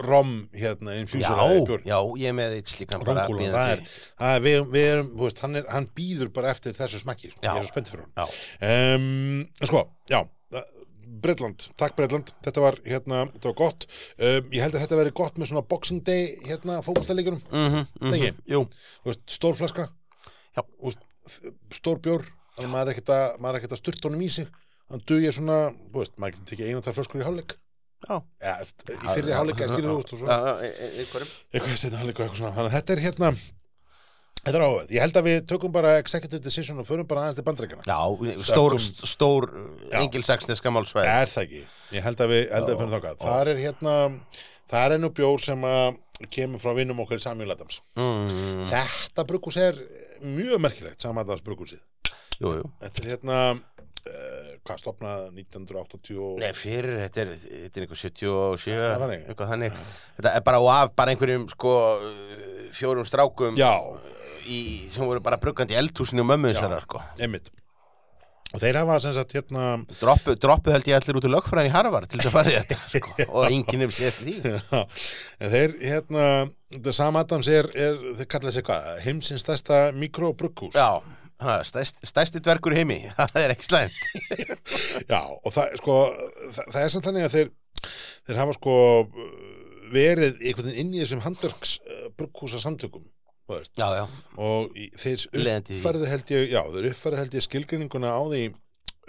Speaker 1: rom hérna
Speaker 2: Já,
Speaker 1: infjúsuraði bjór
Speaker 2: já, ég er með eitt slíkan bara
Speaker 1: Rómkúlan,
Speaker 2: bíðandi.
Speaker 1: það er, það er við, við erum, þú veist, hann, er, hann býður bara eftir þessu smakki, sko,
Speaker 2: Já.
Speaker 1: ég er svo spennt fyrir
Speaker 2: Já.
Speaker 1: hann um, sko, já Bredland, takk Bredland, þetta var hérna, þetta var gott, um, ég held að þetta veri gott með svona boxing day, hérna, fótboltaleikjunum
Speaker 2: Mhm, mhm.
Speaker 1: Þegi.
Speaker 2: Jú,
Speaker 1: þú veist, stór flaska
Speaker 2: Já.
Speaker 1: Þú veist, f- stór bjór þannig að maður er ekkert að, maður er ekkert að sturt honum í sig hann dugir svona, þú veist, maður getur tekið einu tær flöskur í hálfleik
Speaker 2: já
Speaker 1: ja, í fyrri hálfleik, skilur þú veist og svo
Speaker 2: Já, já, e- e- einhverjum
Speaker 1: eitthvað setna hálfleik og eitthvað svona þannig að þetta er hérna þetta er áhverð, ég held að við tökum bara executive decision og förum bara aðeins til bandreikana
Speaker 2: Já, stór, stór engilsaksneska málsvæð
Speaker 1: er það ekki, ég held að við, held að við förum þákað þar er hérna, þar er nú bjór sem að kemur frá vinnum okkar Samuel Adams
Speaker 2: mm,
Speaker 1: þetta brugghús er mjög merkilegt Samuel Adams brugghúsið
Speaker 2: Jú, jú
Speaker 1: þetta er hérna uh, hvað stopnað 1980 og
Speaker 2: Nei, fyrir, þetta er, þetta er einhver 77,
Speaker 1: Það er þannig.
Speaker 2: eitthvað þannig. Þetta er bara og af bara einhverjum, sko, uh, fjórum strákum
Speaker 1: já,
Speaker 2: í, sem voru bara bruggandi í eldhúsinu og mömmu þessara, sko.
Speaker 1: einmitt og þeir hafa sem sagt hérna
Speaker 2: Droppu, droppu held ég allir út úr lögfræðin í Harvard til þess að fara í þetta, sko, og enginn um sér því.
Speaker 1: Já, en þeir, hérna, The Sam Adams er, er þeir kalla þessi hvað, heimsins stærsta mikrobrukkús.
Speaker 2: Já, ha, stæst, stæsti dvergur í heimi, það er ekki slæmt.
Speaker 1: Já, og það, sko, það, það er samt þannig að þeir, þeir hafa sko verið einhvern veginn inn í þessum handverks uh, brukkúsa samtökum, þú veist,
Speaker 2: Já, já.
Speaker 1: og í- þeir
Speaker 2: Leðandi því.
Speaker 1: uppfærðu held ég, já, þeir uppfærðu held ég skilgreininguna á því,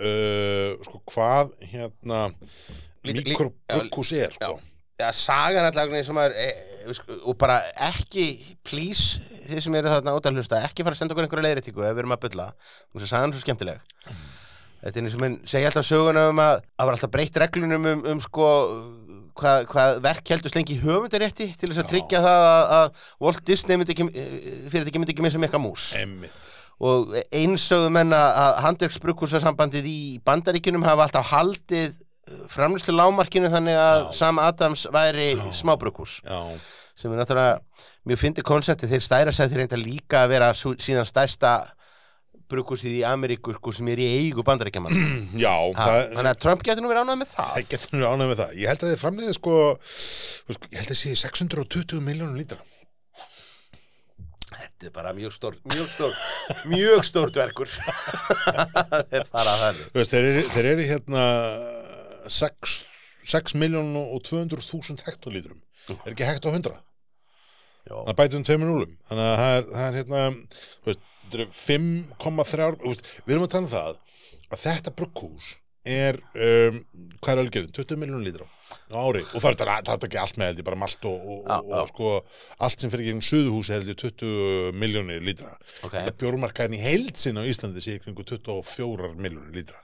Speaker 1: uh, sko, hvað, hérna,
Speaker 2: Lít- lít-
Speaker 1: mikrobrukkús er, sko.
Speaker 2: Já, sagan allavega eins og maður, e, e, sko, og bara ekki, please, þið sem eru þarna út að hlusta, ekki fara að senda okkur einhverja leiðréttingu ef við erum að bulla. Þú veist að sagan er svo skemmtileg. Þetta er eins og minn segja alltaf söguna um að það var alltaf breytt reglunum um, um sko, hvað, hvað verk heldur slengi í höfundarétti til þess að
Speaker 1: Já.
Speaker 2: tryggja það að, að Walt Disney myndi ekki, e, fyrir þetta ekki myndi ekki missa mikka mús
Speaker 1: Einmitt.
Speaker 2: og einsögðu menna að handverksbrukursasambandið í bandaríkjunum hafa alltaf haldið framlustu lámarkinu þannig að Sam Adams væri smábrukurs
Speaker 1: Já,
Speaker 2: sem er náttúrulega mjög fyndi konsepti þeir stæra sæði reynda líka að vera sú, síðan stærsta brukursið í Ameríku sko, sem er í eigu bandaríkjaman
Speaker 1: já, það,
Speaker 2: þannig að Trump getur nú verið ánægð með það
Speaker 1: Það getur nú ánægð með það. Ég held að þið framleiði sko, þú veist, ég held að sé 620 miljónum lítra.
Speaker 2: þetta er bara mjög stór mjög stór, mjög stór dverkur það er bara þannig
Speaker 1: Þú veist, þeir eru, þeir eru hérna 6, 6 miljónum og 200.000 hektolítrum. Er ekki hekt á 100?
Speaker 2: Já.
Speaker 1: Það bætum um tveimur núlum. Þannig að það er, það er hérna, þú veist, þetta eru 5,3, þú veist, við erum að tala um það að þetta brugghús er, um, hvað er algjörðin? 20 miljónum lítra. á ári og það er þetta það er ekki allt með held ég bara malt og, og,
Speaker 2: Já,
Speaker 1: og,
Speaker 2: já.
Speaker 1: og sko allt sem fyrir gegn suðuhúsi held ég 20 miljónir lítra
Speaker 2: Ok.
Speaker 1: þetta bjórmarkaðin í held sinna á Íslandi sé ykkur 24 miljónir lítra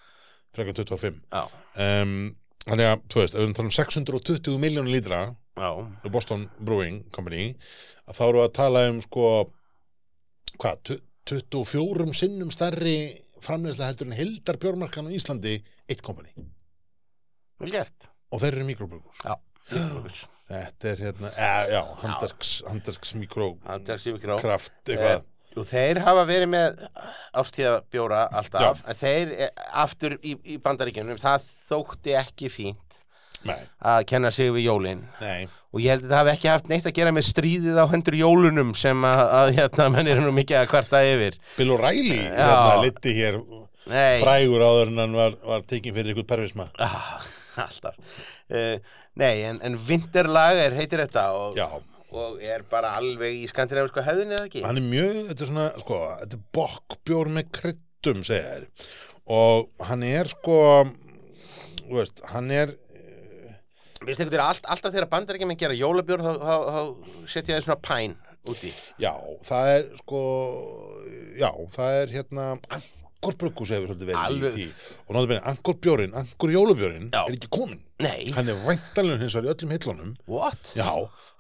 Speaker 1: frekar 25
Speaker 2: já,
Speaker 1: um, þannig að, þú veist, ef við erum að tala um 620 miljónir lítra
Speaker 2: já,
Speaker 1: og Boston Brewing Company að þá eru að tala um sko hvað, tu- 24 sinnum stærri framleiðsla heldur en heldar bjórmarkan á Íslandi eitt kompani
Speaker 2: vel gert
Speaker 1: og þeir eru mikrobrugurs
Speaker 2: Já, Mikrobrugghús.
Speaker 1: þetta er hérna, e, já, handverks handverks
Speaker 2: Hann
Speaker 1: mikrókraft
Speaker 2: tek sér mikið á.
Speaker 1: eitthvað,
Speaker 2: og Eh, þeir hafa verið með ástíðabjóra alltaf, en þeir eh, aftur í, í bandaríkjunum, það þótti ekki fínt
Speaker 1: nei,
Speaker 2: að kenna sig við jólin
Speaker 1: nei
Speaker 2: og ég held að það hafi ekki haft neitt að gera með stríðið á hendur jólunum sem að, að hérna, menn eru nú mikið að kvarta yfir
Speaker 1: Bill O'Reilly, hérna, liti hér
Speaker 2: Nei,
Speaker 1: frægur áður en hann var, var tekin fyrir ykkur pervisma
Speaker 2: ah, alltaf uh, Nei, en, en vinterlager heitir þetta og,
Speaker 1: já,
Speaker 2: og er bara alveg í skandinavísku höfðinu eða ekki?
Speaker 1: hann er mjög, þetta er svona, sko, þetta er bokkbjór með kryddum, segja þær og hann er sko þú veist, hann er
Speaker 2: Veistu einhvern veginn, allt, alltaf þegar bandaríkjumenn gera jólabjór þá, þá, þá setja þeir svona pæn úti
Speaker 1: já, það er sko já, það er hérna angorbrukus hefur svolítið verið
Speaker 2: Alveg.
Speaker 1: í því og náttúrulega angorbjórin, angorjólabjórin
Speaker 2: Já.
Speaker 1: er ekki komin,
Speaker 2: Nei,
Speaker 1: hann er væntalun hins vegar í öllum hillunum
Speaker 2: what?
Speaker 1: Já,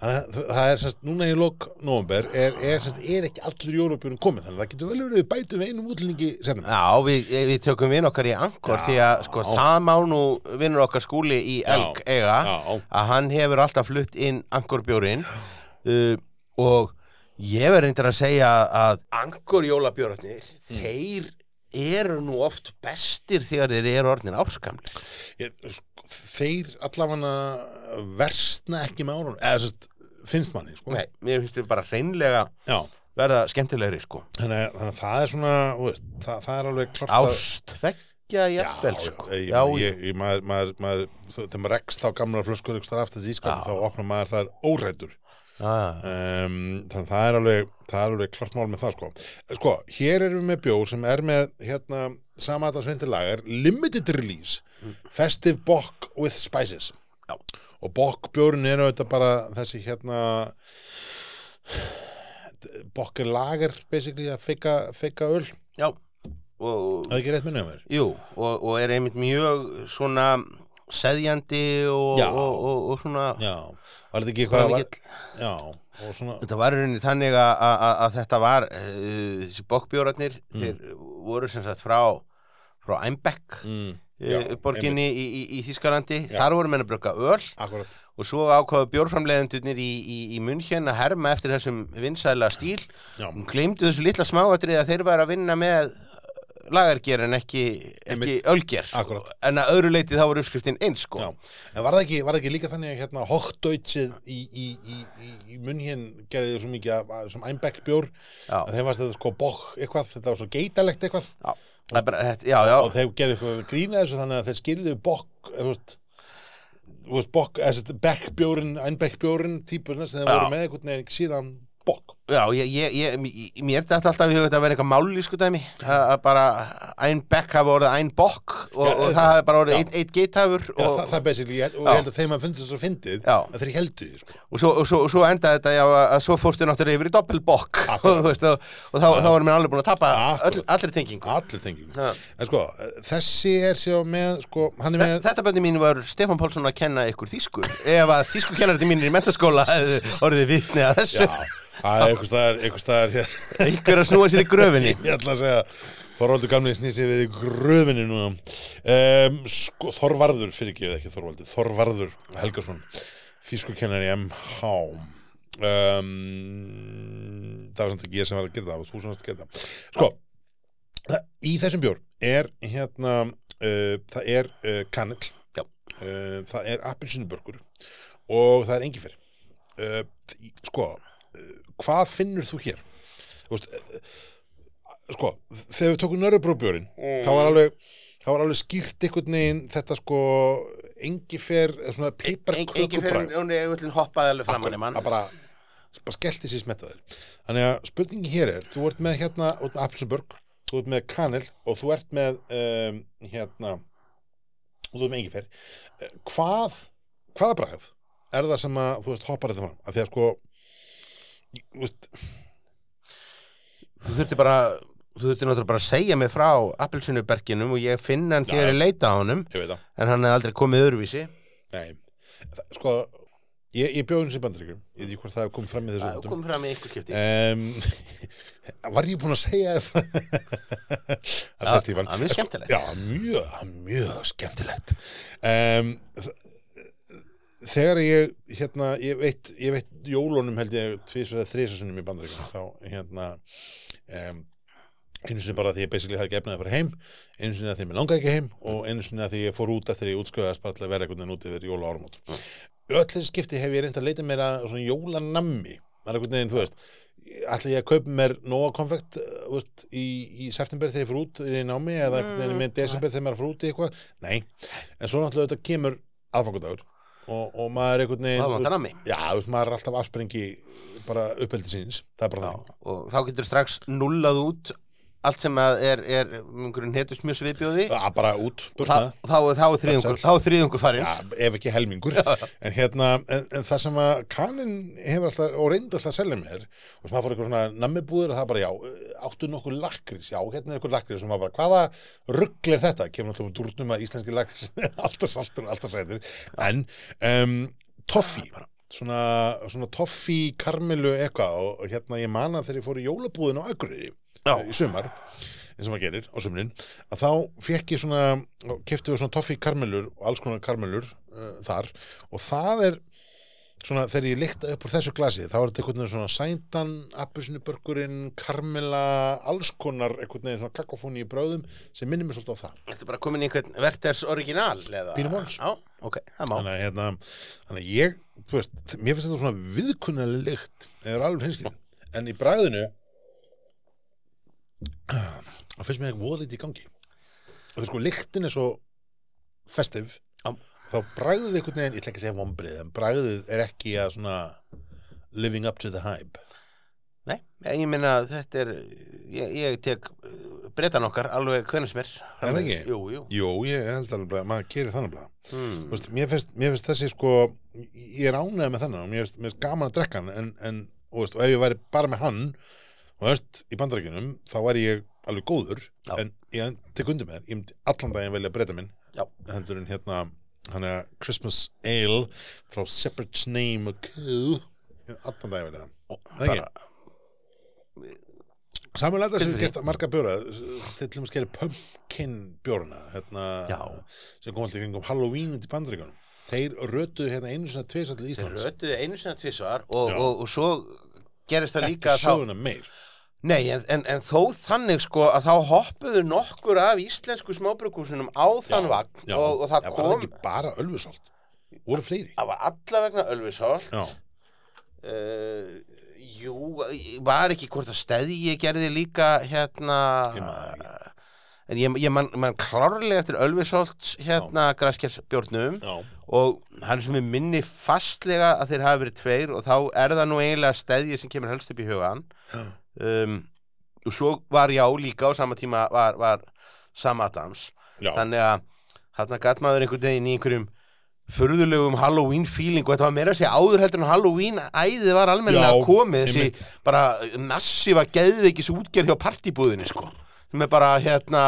Speaker 1: það, það er semst, núna í lok nóvember er, er, semst, er ekki allur jólabjörn komið, þannig að það getur vel verið að við bætum við einum útlendingi senum.
Speaker 2: Já, við, eh, við tökum vinn okkar í angor
Speaker 1: Já.
Speaker 2: því að sko, það má nú vinnur okkar skúli í elg eiga
Speaker 1: Já.
Speaker 2: að hann hefur alltaf flutt inn angorbjórin uh, og ég verður reyndir að segja að angorjólabjórarnir,
Speaker 1: Mm.
Speaker 2: þeir eru nú oft bestir þegar þeir eru orðin árskamli
Speaker 1: ég, sko, þeir allavega versna ekki með árunum eða sérst, finnst manni sko.
Speaker 2: Nei, mér finnst þið bara hreinlega
Speaker 1: Já,
Speaker 2: verða skemmtilegri sko
Speaker 1: þannig, að- þannig að það er svona þú veist, það, það er alveg klart að-
Speaker 2: ástveggja
Speaker 1: Já,
Speaker 2: jafnvel
Speaker 1: já,
Speaker 2: sko
Speaker 1: ég,
Speaker 2: já,
Speaker 1: ég, ég, maður, maður, maður, þó- þegar maður rekst á gamla flöskur ykkur starf aftast í skapin þá opnar maður þar órættur
Speaker 2: já,
Speaker 1: um, þannig að það er alveg það er alveg klart mál með það sko sko, hér erum við með bjór sem er með hérna, sama að það sveintilagar limited release, festive bock with spices
Speaker 2: Mm. Já.
Speaker 1: og bock bjórin er auðvitað bara þessi hérna bokk er lager basically að feika, feika öl það
Speaker 2: já. Og,
Speaker 1: er ekki rétt minni á mér
Speaker 2: jú, og, og er einmitt mjög svona seðjandi og,
Speaker 1: Já.
Speaker 2: og, og, og svona
Speaker 1: já, var þetta ekki
Speaker 2: Var
Speaker 1: eitthvað var,
Speaker 2: mikill-
Speaker 1: já, og svona
Speaker 2: þetta var í rauninni þannig að, að, að- að þetta var uh, þessi bokkbjórarnir
Speaker 1: Mm.
Speaker 2: þeir voru sem sagt frá frá Einbeck
Speaker 1: mm, já,
Speaker 2: mm, borginni í, í, í Þískalandi
Speaker 1: Já.
Speaker 2: þar voru menn að brugga öl
Speaker 1: akkurat
Speaker 2: og svo ákvaðu bjórframleiðendurnir í, í, í munnkjön að herma eftir þessum vinsæla stíl
Speaker 1: já,
Speaker 2: Hún gleymdi þessu litla smáatrið að þeir væri að vinna með lagarger en ekki, ekki
Speaker 1: Einmitt.
Speaker 2: ölger
Speaker 1: Akkúrat.
Speaker 2: en að öðru leiti þá voru uppskriftin eins sko
Speaker 1: Já, en var það ekki, var það ekki líka þannig að hérna, Hochdeutsið í, í, í, í, í munn hér gerði þau svo mikið af- af- sem Einbeck bjór,
Speaker 2: Já.
Speaker 1: að þeim varst þetta sko bók eitthvað, þetta var svo geitalegt eitthvað
Speaker 2: Já, það er bara, þetta, já, já,
Speaker 1: og þeim gerði eitthvað grína þessu þannig að þeir skilðu bók, þú veist þú veist, eh, bók, þessi bekkbjórin Einbeckbjórin típurna sem þeim
Speaker 2: Já.
Speaker 1: voru með einhvern veginn síðan bók
Speaker 2: já ég, ég, ég, mér dætt alltaf í hugað að vera eitthvað mállísku dæmi að að bara ein bekk hafi orðið ein bokk og,
Speaker 1: Já, eh,
Speaker 2: og það hafi bara orðið
Speaker 1: já.
Speaker 2: einn eitt geithafur
Speaker 1: Já,
Speaker 2: og,
Speaker 1: það, það er basically, ég- og
Speaker 2: Já.
Speaker 1: ég held að þeim að fundið svo fyndið
Speaker 2: Já.
Speaker 1: að þeir heldu því, sko.
Speaker 2: og, svo, og, svo, og svo endaði þetta já, að að svo fórstu náttúrulega yfir í doppelbokk og,
Speaker 1: Akkúrat.
Speaker 2: þú veist, og, og þá, þá voru mér alveg búin að tapa öll,
Speaker 1: Akkúrat.
Speaker 2: allri tengingu
Speaker 1: Allir tengjum.
Speaker 2: Já.
Speaker 1: En sko, þessi er sér með, sko, hann er með...
Speaker 2: Þetta bönni mín var Stefán Pálsson að kenna ykkur þýsku ef að þýsku kennarinn mínir í mentaskóla hefði orðið vitni að þessu
Speaker 1: Já, það er einhvers staðar, einhvers staðar hér,
Speaker 2: ykkur að snúa sér í gröfinni
Speaker 1: ég ætla að segja Þorvaldur gamli snýsi við í gröfinni núna um, sko, Þorvarður fyrir ekki ekki Þorvaldur, Þorvarður Helgason þýskukennari MH um, það var samt ekki ég sem var að gera það það var þú sem var að gera það sko, það- í þessum bjór er hérna uh, það er uh, kanill
Speaker 2: Já.
Speaker 1: uh, það er appelsinubörkur og það er engi fyrir uh, í- sko, uh, hvað finnur þú hér? Þú veist, eh, sko, þegar við tókum nörðurbróbjörinn þá var alveg þá var alveg skýrt einhvern veginn þetta sko engi fer eh, svona
Speaker 2: Engi fyrir
Speaker 1: peiparkökubræð
Speaker 2: hún er öllin hoppaði alveg fram hann í mann
Speaker 1: að bara, bara skellti sér smetaðir þannig að spurningin hér er þú ert með hérna út með Apsenburg þú ert með Kanel og þú ert ehm, með um, hérna og þú ert með engi fer Eh, hvað hvaða bragð er það sem að, þú veist, hoppar þetta fram að því að sko þú veist,
Speaker 2: Þú þurfti bara, þú þurfti náttúrulega bara að segja mig frá appelsinuberginum og ég finna hann þegar ég leita á honum
Speaker 1: ég veit það
Speaker 2: en hann hefði aldrei komið öðruvísi
Speaker 1: Nei, það, sko ég, ég bjóðin sem bandaríkjum, ég veit ekki hvort það kom fram í þessu
Speaker 2: Það
Speaker 1: þáttum.
Speaker 2: kom fram í einhver kipti
Speaker 1: um, Var ég búinn að segja það? Það er Stífan
Speaker 2: það er mjög skemmtilegt.
Speaker 1: Já, mjög, mjög skemmtilegt um, Þegar ég, hérna, ég veit, ég veit jólunum held ég tvisvar eða þrisasunum í bandaríkjum þá, hérna um, einu sinni bara því ég basically hafði gefnaði að fara heim einu sinni að því mér langaði ekki heim og einu sinni að því ég fór út eftir að ég útskrifaðist bara til að vera einhvern veginn út yfir jóla áramót öll þessi skipti hef ég reynd að leita mér að svona jólanammi það er einhvern veginn, þú veist ætla ég að kaupa mér nóa konfekt uh, þú veist, í, í september þegar ég fór út er ég í námi eða einhvern veginn með desember þegar maður fór út í eitthvað nei, en svo náttúrulega þetta kemur aðfangudagur og, og maður einhvern veginn
Speaker 2: Það
Speaker 1: þú
Speaker 2: var
Speaker 1: veist,
Speaker 2: hann að mig
Speaker 1: já, þú veist, maður er alltaf afsprengi bara uppheldi síns, það er bara það
Speaker 2: og þá getur strax nullað út allt sem að er, er einhverjum hetust mjög sviðbjóði
Speaker 1: Já, bara út, burt
Speaker 2: þá,
Speaker 1: með það
Speaker 2: þá, er- þá er þriðungur,
Speaker 1: Blessaður.
Speaker 2: þá er þriðungur farin
Speaker 1: Já, ef ekki helmingur en, hérna, en, en það sem að kanin hefur alltaf, og reyndi alltaf að selja mér og sem að fór eitthvað svona nammibúður og það bara, já, áttu nokkuð lakrís já, hérna er eitthvað lakrís sem var bara, hvaða rugl er þetta, kemur alltaf úr dúrnum að íslenski lakrís er alltaf saltur og alltaf sætur en um, toffi svona, svona toffi karmelu eitthvað og, og hérna ég mana þegar ég fór í jólabúðin á Akureyri í sumar eins og maður gerir á sumrin að þá fekk ég svona keftu við svona toffi karmelur og alls konar karmelur uh, þar og það er svona þegar ég líkta upp úr þessu glasi þá er þetta einhvern veginn svona sændan appelsinubörkurinn, karmela alls konar einhvern veginn svona kakofóni í bröðum sem minnir mér svolítið á það
Speaker 2: Þetta er bara komin í einhvern Verters original eða?
Speaker 1: Pínum alls.
Speaker 2: Já, ok, það má
Speaker 1: þannig að, hérna, þannig að ég þú veist, mér finnst þetta svona viðkunnalega lykt eða alveg hinskil en í bræðinu það finnst mér eitthvað voðlítið í gangi og það er sko lyktin er svo festiv
Speaker 2: Já.
Speaker 1: þá bræðið einhvern veginn, ég ætla ekki að segja vombrið en bræðið er ekki að svona living up to the hype
Speaker 2: Nei, ég meina að þetta er ég, ég tek uh, bretan okkar alveg hvernig sem er
Speaker 1: Er það ekki?
Speaker 2: Jú, jú
Speaker 1: Jú, ég held alveg að maður gerir þannig bara Þú
Speaker 2: hmm.
Speaker 1: veist, mér, finnst, mér finnst þessi sko ég er ánægð með þennan og mér finnst, mér finnst gaman að drekka hann en, en og, veist, og ef ég væri bara með hann og veist, í bandarækjunum þá væri ég alveg góður
Speaker 2: Já.
Speaker 1: en ég tek undir með þér, ég myndi allan daginn velja breyta minn
Speaker 2: Já.
Speaker 1: hendur en hérna hann er Christmas Ale frá Shepherd's Name og Q Ég myndi allan daginn velja það Það ekki? Samuel Adams hefur
Speaker 2: Fyrir.
Speaker 1: gert marga bjóra þeir til að skeri pumpkin bjórana hérna,
Speaker 2: Já.
Speaker 1: sem kom alltaf í kringum Halloween út í bandaríkanum þeir rötuðu hérna einu svona tvisar til Íslands
Speaker 2: Rötuðu einu sinna tvisvar og,
Speaker 1: Já.
Speaker 2: og, og svo gerist það
Speaker 1: ekki
Speaker 2: líka að þá
Speaker 1: söguna meir
Speaker 2: Nei, en, en, en þó þannig sko að þá hoppuðu nokkur af íslensku smábrukúsunum á þann vagn
Speaker 1: Já,
Speaker 2: og, og það
Speaker 1: en var
Speaker 2: kom,
Speaker 1: það ekki bara ölfusolt voru fleiri
Speaker 2: það var alla vegna Ölfishóll
Speaker 1: Já,
Speaker 2: uh, Jú, var ekki hvort að steði ég gerði líka hérna
Speaker 1: Ég man það
Speaker 2: En ég, ég man, man klárlega eftir Ölfishóll hérna græskjarsbjórnum
Speaker 1: já,
Speaker 2: og hann sem er minni fastlega að þeir hafa verið tveir og þá er það nú eiginlega steðið sem kemur helst upp í hugan
Speaker 1: Já.
Speaker 2: um, og svo var já líka á sama tíma var, var Sam Adams
Speaker 1: já,
Speaker 2: þannig að þarna gatt maður einhvern veginn í einhverjum furðulegum Halloween feeling og þetta var meira að segja áður heldur en Halloween æðið var almennilega
Speaker 1: Já,
Speaker 2: komið
Speaker 1: einmitt.
Speaker 2: þessi bara massífa geðveikis útgerð hjá partibúðinni sko sem er bara hérna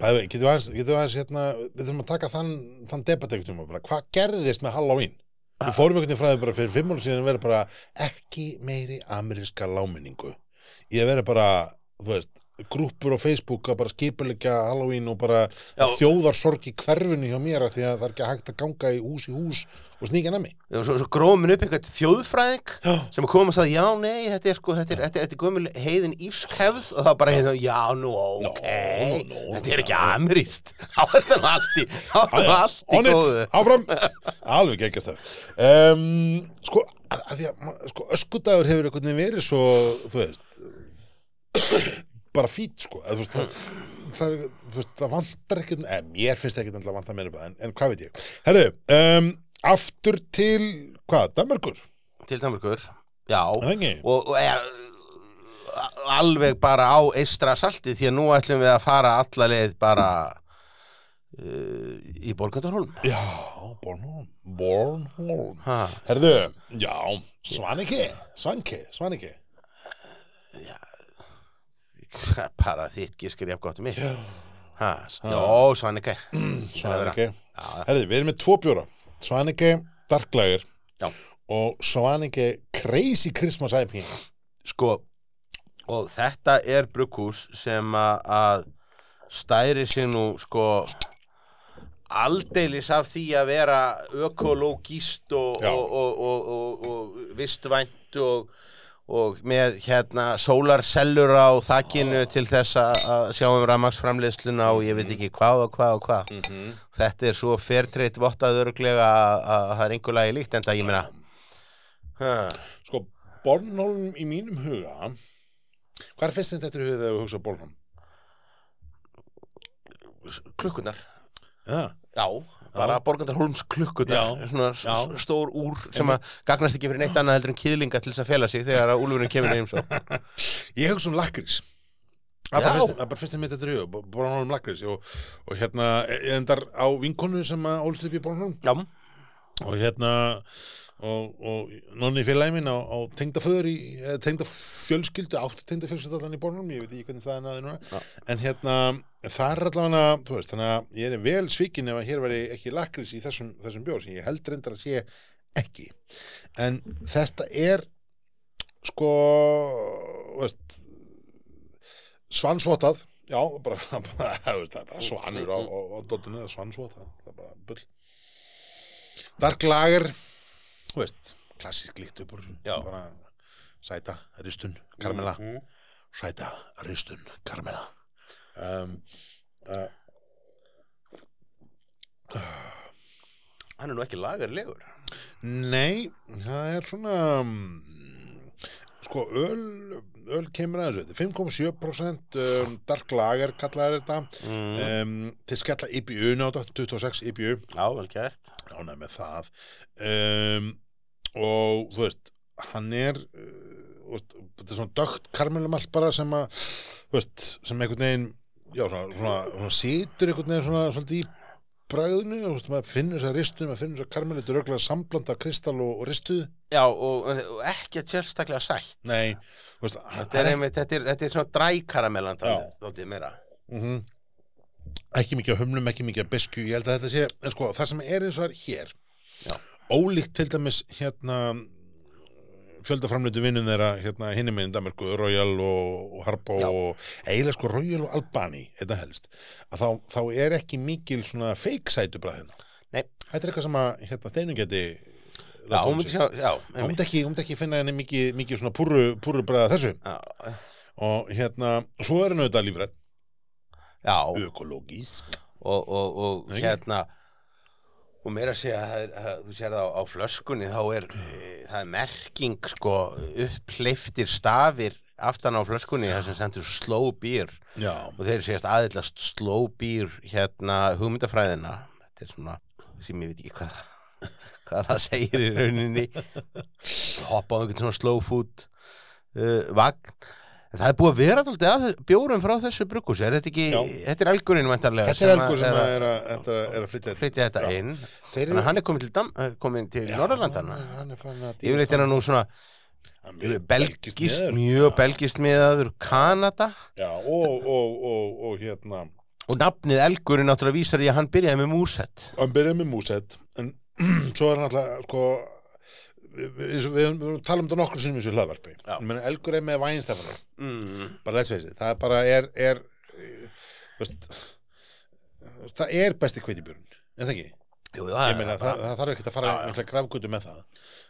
Speaker 1: bæði veginn, getum við aðeins, getum við aðeins hérna, við þurfum að taka þann, þann debatteikutum bara, hvað gerðist með Halloween? Við fórum einhvern veginn frá því bara fyrir fimm ára síðan að vera bara ekki meiri ameríska láminningu. Ég vera bara, þú veist, grúppur á Facebook að bara skipuleika Halloween og bara
Speaker 2: Já.
Speaker 1: þjóðarsorg í hverfinu hjá mér af því að það er ekki hægt að ganga í hús í hús og sníkja nami.
Speaker 2: og svo, svo grómin upp einhvern þjóðfræðing
Speaker 1: Já.
Speaker 2: sem kom og sagði, já, nei, þetta er sko þetta er, þetta er, þetta er gömul heiðin írsk hefð og það bara hérna, já, nú, ok
Speaker 1: Nó, nó,
Speaker 2: þetta er ekki
Speaker 1: nó.
Speaker 2: ameríst þá er það nú allt í þá er það nú allt í
Speaker 1: On it,
Speaker 2: góðu
Speaker 1: áfram Alveg geggjast það um, Sko, að, að því að ma- sko, öskudagur hefur einhvern veginn verið svo þú veist bara fít sko að, þú veist, það, það, er- þú veist, það vantar ekkert en mér finnst ekkert alltaf vantar meira upp á það, en, en hvað veit ég Herðu, um, aftur til hvað, Danmarkur?
Speaker 2: til Danmarkur, já og,
Speaker 1: Engi?
Speaker 2: og er, alveg bara á eistra salti því að nú ætlum við að fara alla leið bara uh, í Borgundarholm
Speaker 1: Já, Bornholm Bornholm
Speaker 2: ha,
Speaker 1: Herðu, já, Svaniki Svaniki, Svaniki
Speaker 2: bara þitt gískir jafn gott um mig
Speaker 1: Já,
Speaker 2: ha, s- já, Svanike
Speaker 1: Svaniki
Speaker 2: já,
Speaker 1: Herðu, við erum með tvo bjóra Svaniki Dark Lager
Speaker 2: Já.
Speaker 1: og Svaniki Crazy Christmas IP
Speaker 2: sko og þetta er brugghús sem að- að stæri sig nú sko aldeilis af því að vera ökológist og,
Speaker 1: Já.
Speaker 2: og, og, og, og, og vistvænt og, og með hérna sólarsellur á þakkinu til þess að að sjá um rafmaksframleiðsluna og ég veit ekki hvað og hvað og hvað
Speaker 1: -hmm.
Speaker 2: þetta er svo fertreyt vottað örglega að, að það er einhver lagi líkt en það ég meina huh.
Speaker 1: Sko, Bornholm í mínum huga Hvað er fyrst sem þetta er í huga þegar við hugsa Bornholm?
Speaker 2: klukkunar
Speaker 1: Já,
Speaker 2: Já, bara já. Borgundarholms klukkutar,
Speaker 1: Já,
Speaker 2: svona
Speaker 1: já.
Speaker 2: já. stór úr sem að gagnast ekki fyrir neitt annað heldur en kýðlinga til þess að fela sig þegar að úlfurinn kemur heim svo.
Speaker 1: ég hugsa um lakrís Það er bara
Speaker 2: Já.
Speaker 1: fyrst- það er bara fyrst sem mitt þetta er í huga Bornholm lakrís og, og hérna, ég endar á vinkonu sem að ólst upp í Bornholm
Speaker 2: Já,
Speaker 1: og hérna og, og nonni félagi minn á, á tengdaföður í tengdafjölskyldu átti tengdafjölskyldu allan í Bornholm ég veit ekki hvernig staðan að það er núna en hérna það er allavega þú veist þannig að ég er vel svikin ef að hér væri ekki lakris í þessum, þessum bjór sem ég held reyndar að sé ekki en þetta er sko þú veist svansvotað já, bara, bara, þú veist, það er bara svanur á, á, á dottinu, það er svansvotað það er bara bull Dark Lager þú veist, klassísk líkt upp úr þessu.
Speaker 2: Já.
Speaker 1: bara sæta, ristun, karmela
Speaker 2: Mhm.
Speaker 1: sæta, ristun, karmela um, uh,
Speaker 2: hann er nú ekki lagarlegur.
Speaker 1: nei, það er svona um, sko, öl öl kemur að þessu, þetta er 5,7% um, Dark Lager kallaði þetta
Speaker 2: Mm.
Speaker 1: um, til skella IBU náta, 26 IBU
Speaker 2: Já, vel gert.
Speaker 1: ánæg með það um, og þú veist hann er uh, veist, þetta er svona dögt karmelumall bara sem að þú veist, sem einhvern veginn já, svona, svona, svona situr einhvern veginn svona svolítið í bragðinu þú veist, maður finnur þess að ristu, maður finnur þess að karmelu þetta er auðvitað samblanda kristall og, og ristuð
Speaker 2: Já, og, og ekki sérstaklega sætt.
Speaker 1: nei, þú veist
Speaker 2: Þetta er, einmitt, þetta er, þetta er svona drækaramellan
Speaker 1: Já.
Speaker 2: þóttið meira.
Speaker 1: mm ekki mikið af humlum, ekki mikið af bisku ég held að þetta sé, en sko, það sem er eins og er hér
Speaker 2: Já.
Speaker 1: ólíkt til dæmis hérna fjöldaframleitu vinnum þeirra hérna hinni meginn Danmarku, Royal og, og Harpo
Speaker 2: Já.
Speaker 1: og eiginlega sko Royal og Albani þetta helst, að þá, þá er ekki mikil svona fake sætu bræðina
Speaker 2: Nei.
Speaker 1: þetta er eitthvað sem að hérna, steinum geti
Speaker 2: Já, hún myndi sjá, já,
Speaker 1: um hún
Speaker 2: einmitt.
Speaker 1: myndi ekki, hún myndi ekki finna henni mikið, mikið svona púru, púru bræða þessu
Speaker 2: Já,
Speaker 1: og hérna, svo er henni auðvitað lífrætt
Speaker 2: já.
Speaker 1: ökologísk
Speaker 2: og, og, og
Speaker 1: Nei.
Speaker 2: hérna og meira að segja það er, að, þú sér það á, á flöskunni þá er e, það er merking sko uppleiftir stafir aftan á flöskunni þar sem sendur slow beer
Speaker 1: já,
Speaker 2: og þeir séast aðillast slow beer hérna hugmyndafræðina þetta er svona sem ég veit ekki hvað hvað það segir í rauninni hoppa á einhvern svona slow food uh, vagn en það er búið að vera alltaf að þessu- bjórum frá þessu brugghúsi, er þetta ekki
Speaker 1: Já.
Speaker 2: þetta er elgurinn vantarlega
Speaker 1: Þetta er elgur sem að er að, er að, er að flytja þetta.
Speaker 2: flytja þetta
Speaker 1: Já.
Speaker 2: inn
Speaker 1: Þeir
Speaker 2: þannig að hann er komin til, Dam, eh, komin til Norðurlandana
Speaker 1: Já, Hann er farin að
Speaker 2: yfirleitt er hann nú svona
Speaker 1: hann
Speaker 2: belgist,
Speaker 1: miðaður.
Speaker 2: mjög belgist miðaður Kanada
Speaker 1: Já, og, og, og, og hérna,
Speaker 2: og nafnið Elgur er náttúrulega vísar í að hann byrjaði með Músett
Speaker 1: hann byrjaði með músett, en svo er hann alltaf, sko, við, við, við, við talum um þetta nokkur sinnum í þessu hlaðvarpi.
Speaker 2: Já.
Speaker 1: Ég meina, elgur er með vænstafnir,
Speaker 2: mm.
Speaker 1: bara let's face it, það er bara, er, er, eh, þú veist, þú veist, það er besti kveitibjörn, en það ekki?
Speaker 2: Jú, það,
Speaker 1: ég meina, það, það þarf ekki að fara mikla grafgötu með það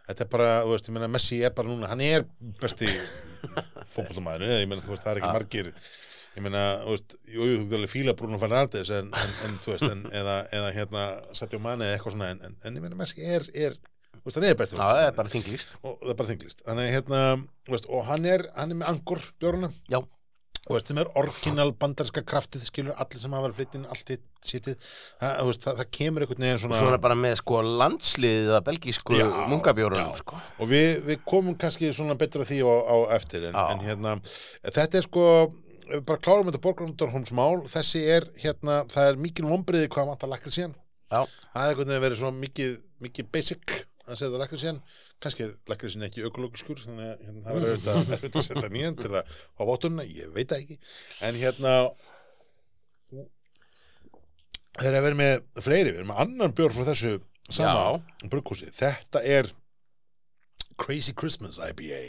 Speaker 1: þetta er bara, þú veist, ég meina, Messi er bara núna hann er besti fótboltamæður, ég meina, þú veist, það er ekki margir ég meina, þú veist, jú, jú, þú getur alveg fíla Bruno Fernandes, en, en, en þú veist en, eða, eða hérna, Sadio Mane eða eitthvað svona en, en, en ég meina, Messi er, er þú veist, hann er besti
Speaker 2: Já, það er bara þinglist
Speaker 1: og það er bara þinglist, þannig, hérna þú veist, og hann er, hann er með angur bjórnum
Speaker 2: Já,
Speaker 1: þú veist, sem er orginal bandarska kraftið skilur allir sem hafa verið flyttin allt hitt, sitið, það, þú veist, það, það kemur einhvern veginn svona,
Speaker 2: svona bara með sko landsliðið að belgísku
Speaker 1: Já,
Speaker 2: mungabjórunum
Speaker 1: já.
Speaker 2: sko.
Speaker 1: og við, við komum kannski svona betra því á, á eftir en,
Speaker 2: Já.
Speaker 1: en hérna, þetta er sko ef við bara klárum þetta borgarundarhómsmál þessi er hérna, það er mikil vombriði hvað vantar lakri síðan
Speaker 2: já,
Speaker 1: það er einhvern veginn verið svona mikið, mikið basic að setja lakkrísinn kannski er lakkrísinn ekki ökológiskur þannig að hérna, það verður auðvitað auðvitað að setja nýjan til að fá vottunna, ég veit það ekki en hérna þeir eru að vera með fleiri, við erum með annan bjór frá þessu sama brugghúsi þetta er Crazy Christmas IPA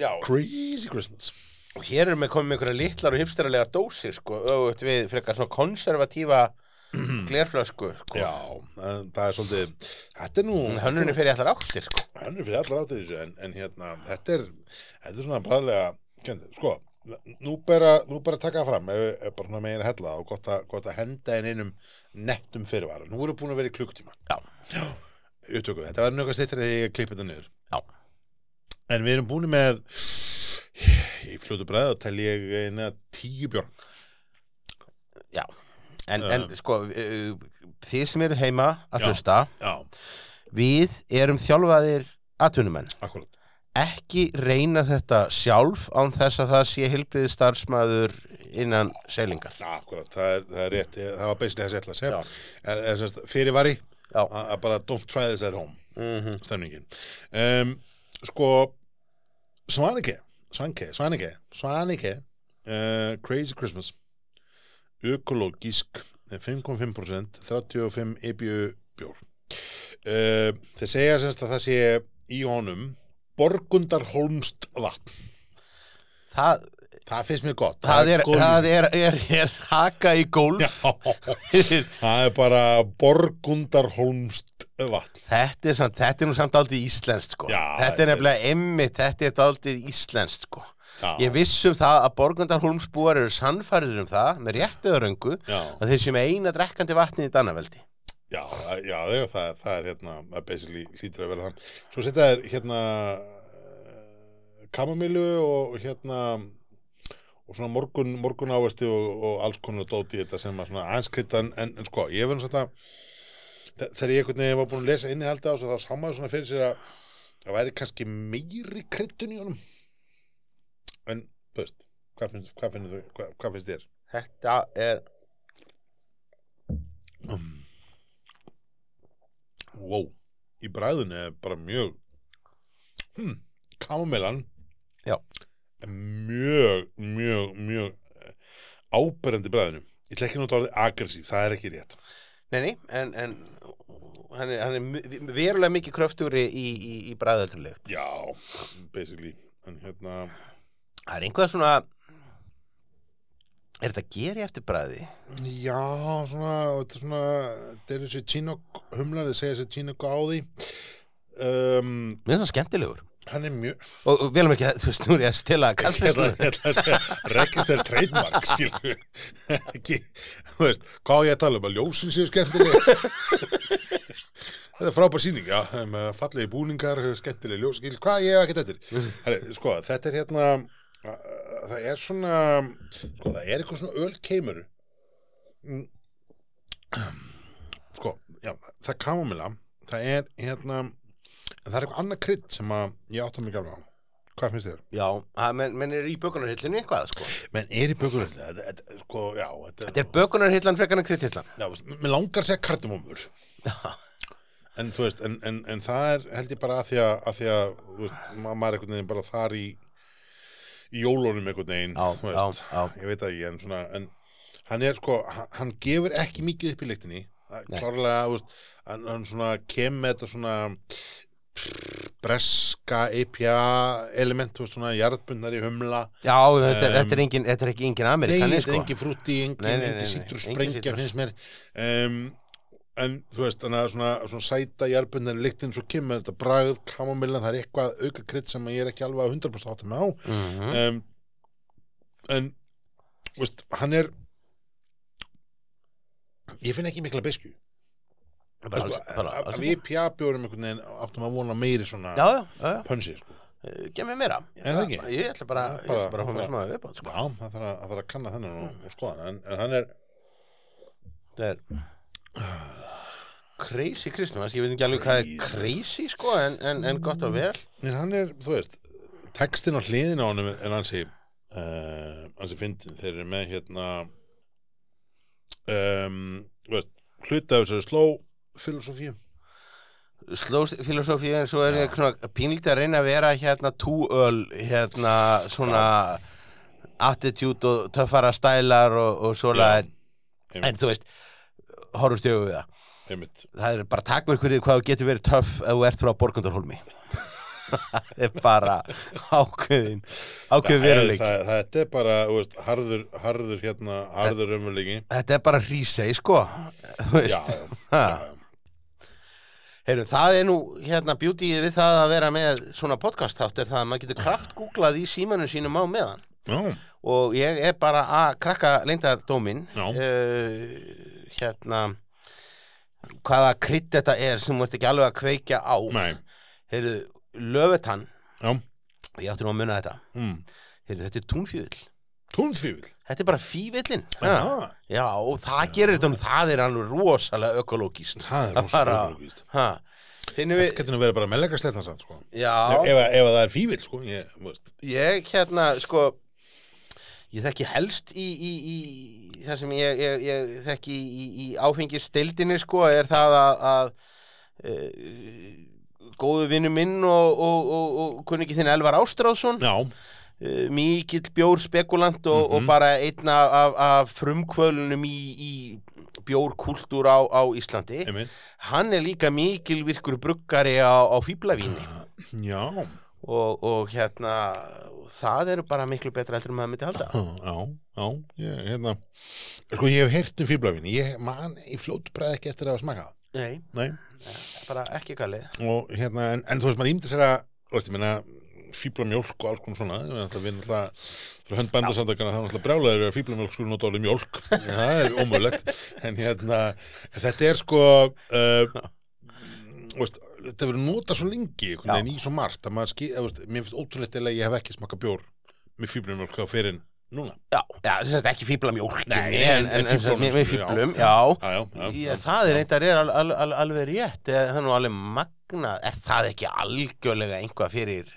Speaker 2: já.
Speaker 1: Crazy Christmas
Speaker 2: Og hér erum við komið með einhverja litlar og hipsteralegar dósir, sko, öfugt við frekar svona konservatíva glerflösku, sko.
Speaker 1: Mhm. já, en það er svolítið þetta er nú
Speaker 2: En Hönnunni fyrir allar áttir, sko.
Speaker 1: hann er fyrir allar áttir þessu en, en hérna, þetta er þetta er svona bræðlega kendið, sko nú bara, nú bara taka það fram ef, ef bara svona megin að hella það og gott, að- gott að henda inn einum nettum fyrirvara nú erum búin að vera í klukktíma
Speaker 2: Já,
Speaker 1: upptöku, þetta var njög að steyttir þegar ég klippi þetta niður
Speaker 2: já.
Speaker 1: en við erum búin með í fljótu bræði og tel ég eina tíu björn
Speaker 2: Já, en,
Speaker 1: Já.
Speaker 2: en sko, eh, þið sem eru heima
Speaker 1: Uh.
Speaker 2: að
Speaker 1: Já.
Speaker 2: hlusta,
Speaker 1: já,
Speaker 2: við erum þjálfaðir atvinnumenn.
Speaker 1: akkurat
Speaker 2: Ekki reyna þetta sjálf án þess að það sé heilbriði starfsmæður innan selingar.
Speaker 1: akkurat, það er, það er rétt, ég- það var basically þessi ætla að
Speaker 2: Já.
Speaker 1: segja en, en semst, fyrirvari,
Speaker 2: Já.
Speaker 1: að að bara don't try this at home
Speaker 2: Mm
Speaker 1: Mhm.
Speaker 2: -hmm.
Speaker 1: stemningin um, sko Svanike Svanike, Svanike, Svanike uh, Crazy Christmas ökologísk eh, 5,5% 35 EBU E bjór uh, þeir segja semst að það sé í honum Borgundarholmst vatn
Speaker 2: Það,
Speaker 1: það finnst mér gott
Speaker 2: það, er,
Speaker 1: góð
Speaker 2: það
Speaker 1: lýsing.
Speaker 2: er, er, er haka í gólf.
Speaker 1: það er bara Borgundarholmst vatn
Speaker 2: Þetta er, samt, þetta er nú samt aldrei íslenskt sko.
Speaker 1: Já,
Speaker 2: þetta er
Speaker 1: þetta er-
Speaker 2: nefnilega emmitt, þetta er aldrei íslenskt sko.
Speaker 1: Já.
Speaker 2: Ég vissum það að borgundarhólmsbúar eru sannfærir um það með réttuðuröngu
Speaker 1: Já.
Speaker 2: að þeir sem eina drekkandi vatni í Danaveldi.
Speaker 1: Já, já, já það, það er hérna að basically hlýtur að vera þann Svo setja þær hérna kamamilu og hérna og svona morgun, morgun ávesti og, og alls konar dóti þetta sem að svona anskrittan en, en sko, ég verðum satt að þe- þegar ég einhvern veginn var búin að lesa inni halda á þessu þá samaði svona fyrir sér að það væri kannski meiri kryddun í honum en, þú veist hvað finnst, hvað finnst, þú- hvað, hvað finnst þér?
Speaker 2: Þetta er,
Speaker 1: Wow, í bræðinu er bara mjög hmm, kamamelan
Speaker 2: Já.
Speaker 1: er mjög, mjög, mjög eh, áberandi í bræðinu ég ætla ekki að nota orðið agressív, það er ekki rétt
Speaker 2: neini, en, en hann er, hann er mu- verulega mikið kröftugri í, í, í bræðöldurlegt.
Speaker 1: já, basically en hérna,
Speaker 2: Það er einhvað svona, er þetta geri eftir bræði?
Speaker 1: já, svona þetta er svona, þetta er þessi tínok humlar, þið segja þessi tínok á því um,
Speaker 2: Mér finnst það skemmtilegur.
Speaker 1: hann er mjög
Speaker 2: Og, og velum ekki, að- þú veist, nú er ég að stila
Speaker 1: Hérna,
Speaker 2: kallfiskum.
Speaker 1: hérna að segja, rekist er trademark, skilur ekki, þú veist, hvað á ég að tala um að ljósin séu skemmtileg þetta er frábær sýning, já með fallegi búningar, uh, skemmtileg ljós skil, hvað ég hef ekkert eftir Heri, sko, þetta er hérna uh, það er svona sko, það er eitthvað svona ölkeimur Mm. sko, já, það er kamomila það er hérna það er eitthvað annað krydd sem að ég átta mig ekki alveg á hvað finnst þér?
Speaker 2: Já, það- menn menn er í bökunarhillinu eitthvað, sko.
Speaker 1: menn er í bökurhullu sko, já, þetta
Speaker 2: Þetta er bökunarhillan frekar en kryddhillan.
Speaker 1: já, veist, mér langar að segja kardamómur en þú veist, en, en, en það er held ég bara að því að, að, því að þú veist, ma maður er einhvern veginn bara þar í í jólunum einhvern veginn
Speaker 2: Já,
Speaker 1: þú veist,
Speaker 2: já, já.
Speaker 1: ég veit það ekki en, svona, en hann er sko, hann, hann gefur ekki mikið upp í leiktinni klárlega, þú veist, hann, hann svona kem með þetta svona breska IPA element, þú veist, svona jarðbundnar í humla
Speaker 2: Já, þetta, þetta, er engin, þetta er ekki engin
Speaker 1: Nei,
Speaker 2: ameríkani,
Speaker 1: þetta
Speaker 2: sko.
Speaker 1: er engin frúti, engin,
Speaker 2: Nei, nei, nei,
Speaker 1: engin
Speaker 2: nei,
Speaker 1: sítrus
Speaker 2: engin
Speaker 1: sprengja
Speaker 2: sítrus.
Speaker 1: finnst mér um, en þú veist, þannig að svona, svona sæta jarðbundin lyktin svo kemur þetta bragð, kamomillan, það er eitthvað auka krydd sem ég er ekki alveg að 100% áttum á
Speaker 2: Mhm.
Speaker 1: um, en þú veist, hann er ég finn ekki mikla besku
Speaker 2: Bara
Speaker 1: sko,
Speaker 2: alls- bara alls
Speaker 1: að- að
Speaker 2: ekki.
Speaker 1: við pjabjórum einhvern veginn áttum að vona meiri svona
Speaker 2: Já, já, já, já.
Speaker 1: pönsi sko.
Speaker 2: Eh, Gef mér meira.
Speaker 1: Er það ekki?
Speaker 2: Ég ætla bara,
Speaker 1: Það er
Speaker 2: ég
Speaker 1: bara-
Speaker 2: ætla bara að fá
Speaker 1: bara-
Speaker 2: mér smá viðbót, sko.
Speaker 1: já, það þarf að, það þarf að kanna þennan og, og skoða hann, en, en hann er
Speaker 2: Þetta er
Speaker 1: Ah.
Speaker 2: crazy Christmas. Ég veit ekki alveg hvað er crazy, sko, en, en, en gott og vel.
Speaker 1: En hann er, þú veist, textin á hliðin á honum er eh, hansi uh, hansi fyndin, þeir eru með hérna um, þú veist, hluta af þessu sló filosofíu
Speaker 2: slóst filosófíu en svo er ég svona pínlítið að reyna að vera hérna túöl hérna svona attitude og töffara stælar og, og svona
Speaker 1: Já,
Speaker 2: en,
Speaker 1: einmitt.
Speaker 2: þú veist horfumst yfir við það
Speaker 1: einmitt
Speaker 2: það er bara takmörkur í hvað þú getur verið töff ef þú ert frá Borgundarholmi það er bara ákveðin
Speaker 1: það,
Speaker 2: ákveðin veruleik
Speaker 1: það, þetta er bara þú veist, harður, harður hérna harður raunveruleiki
Speaker 2: þetta er bara hrísei sko
Speaker 1: já,
Speaker 2: þú veist
Speaker 1: já,
Speaker 2: Ha.
Speaker 1: já,
Speaker 2: Heyrðu, það er nú hérna bjútið við það að vera með svona podcast þátt er það að maður getur kraftgúglað í símanum sínum á meðan
Speaker 1: já.
Speaker 2: og ég er bara að krakka leindardómin
Speaker 1: Já.
Speaker 2: hérna hvaða krydd þetta er sem þú ert ekki alveg að kveikja á
Speaker 1: Nei,
Speaker 2: heyrðu, löfutann
Speaker 1: já,
Speaker 2: ég átti nú að muna þetta
Speaker 1: mm.
Speaker 2: heyrðu, þetta er túnfjövill
Speaker 1: túnfífil
Speaker 2: þetta er bara fývillin
Speaker 1: Já.
Speaker 2: já, og það gerir þetta um það er alveg rosalega ökológist
Speaker 1: það er rosa
Speaker 2: bara-
Speaker 1: raunveruleikist
Speaker 2: ha, finnum
Speaker 1: þetta
Speaker 2: við
Speaker 1: getur nú verið bara meðleikastlegt hans sko.
Speaker 2: já,
Speaker 1: ef, ef, ef það er fífil sko, ég, þú veist,
Speaker 2: Ég hérna, sko Ég þekki helst í, í, í það sem ég, ég, ég þekki í, í, í áfengisdeildinni sko er það að, að e, góðu vinnu minn og, og, og, og kunningi þinn Elvar Ástráðsson
Speaker 1: já,
Speaker 2: e, mikill bjórspekulant og,
Speaker 1: Mhm.
Speaker 2: og bara einn af, af, af frumkvölunum í, í bjórkúltúr á, á Íslandi
Speaker 1: einmitt
Speaker 2: hann er líka mikil virkur bruggari á, á fíblavíni
Speaker 1: já,
Speaker 2: og, og hérna og það eru bara miklu betra heldur en maður myndi halda
Speaker 1: já, já ég, hérna, sko ég hef heyrt um fíflavín ég man í fljótu bræð ekki eftir að hafa smakað það.
Speaker 2: nei,
Speaker 1: nei,
Speaker 2: Eh, bara ekki galið
Speaker 1: og hérna, en, en þú veist, maður ímdi sér að þú veist, ég meina, fíblamjólk og alls konar svona, ég meina, það vinna alltaf fyrir hönd bændasamtakana, það er alltaf brjálæður að fíblamjólk skulle nota alveg mjólk, það er ómögulegt en hérna, en þetta er sko uh, þú veist, þetta verður nota svo lengi einhvern
Speaker 2: Já.
Speaker 1: veginn í svo margt, að maður skil, þú veist, mér finnst ótrúlegt eða ég hef ekki smakað bjór með fíblamjólk á fyrir núna
Speaker 2: já, já þess að ekki fíbla mjólk
Speaker 1: Nei, nei, en
Speaker 2: en, en, en,
Speaker 1: fíflunum,
Speaker 2: en með
Speaker 1: sko, já.
Speaker 2: fíblum, já,
Speaker 1: já, já,
Speaker 2: já,
Speaker 1: já,
Speaker 2: það er eitthvað er al, al, al, alveg rétt eða það er nú alveg magna er það ekki algjörlega einhvað fyrir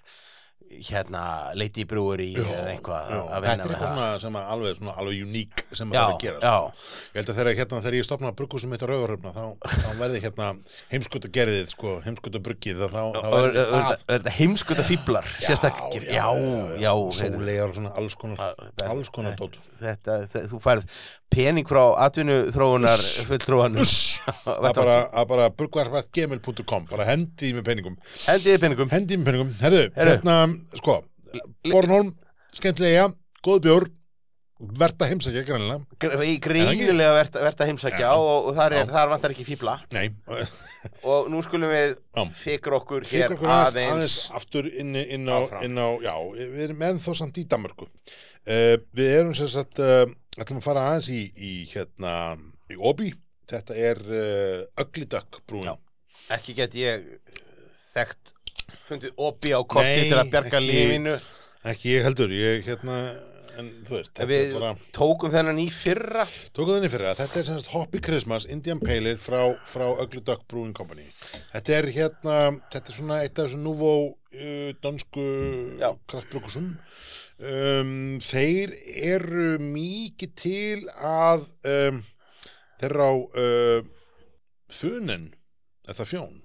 Speaker 2: hérna, leiti í brúri eða eitthvað
Speaker 1: já,
Speaker 2: að
Speaker 1: þetta er
Speaker 2: vinna með
Speaker 1: eitthvað
Speaker 2: það
Speaker 1: svona sem að alveg, svona alveg uník sem að það er að
Speaker 2: já,
Speaker 1: gera sko.
Speaker 2: já,
Speaker 1: Ég held að þegar, hérna, þegar ég stopna brugghúsum mitt á rauðaröfna þá, þá verði hérna heimskuta gerðið, sko, heimskuta bruggið þá, þá, þá
Speaker 2: og er
Speaker 1: verði það
Speaker 2: þetta heimskuta fíblar sérstakir, já, já, hérna. já
Speaker 1: sólegar og svona alls konar,
Speaker 2: Það-
Speaker 1: alls konar dót
Speaker 2: þetta, þe- þú færð pening frá atvinnu þróunar fulltróanum
Speaker 1: að bara, að bara bruggvarfættgemil.com bara hendið með peningum
Speaker 2: hendiði peningum
Speaker 1: hendið með peningum, herðu,
Speaker 2: Herðu.
Speaker 1: hérna sko, Bornholm, skemmtilega góð bjór, verða heimsækja grannlega,
Speaker 2: gr- í grínilega verðt vert að heimsækja
Speaker 1: Já.
Speaker 2: og, og þar, er,
Speaker 1: Já.
Speaker 2: þar vantar ekki fíbla
Speaker 1: nei
Speaker 2: og nú skulum við
Speaker 1: Já.
Speaker 2: fikra okkur
Speaker 1: fyrir
Speaker 2: hér
Speaker 1: okkur aðeins,
Speaker 2: aðeins,
Speaker 1: aðeins aftur inn, inn, á,
Speaker 2: Áfram.
Speaker 1: inn á, já, við erum ennþá samt í Danmörku. Uh, við erum sem sagt, uh, ætlum að fara aðeins í, í hérna, í Obi, þetta er uh, Ugly Duck brúin.
Speaker 2: Já. ekki get ég þekkt fundið opi á korti
Speaker 1: Nei,
Speaker 2: til að bjarga
Speaker 1: ekki.
Speaker 2: lífinu
Speaker 1: Ekki ég heldur, ég hérna, en þú veist, þetta
Speaker 2: við
Speaker 1: er bara,
Speaker 2: tókum þennan í fyrra
Speaker 1: tókum þenni fyrir að þetta er sem sagt Hoppy Christmas Indian Pale Ale frá, frá Ugly Duck Brewing Company. Þetta er hérna, þetta er svona eitt af þessum núvó uh, dansku
Speaker 2: Já.
Speaker 1: kraftbrukusum. um, þeir eru mikið til að um, þeir eru á uh, funen er það fjón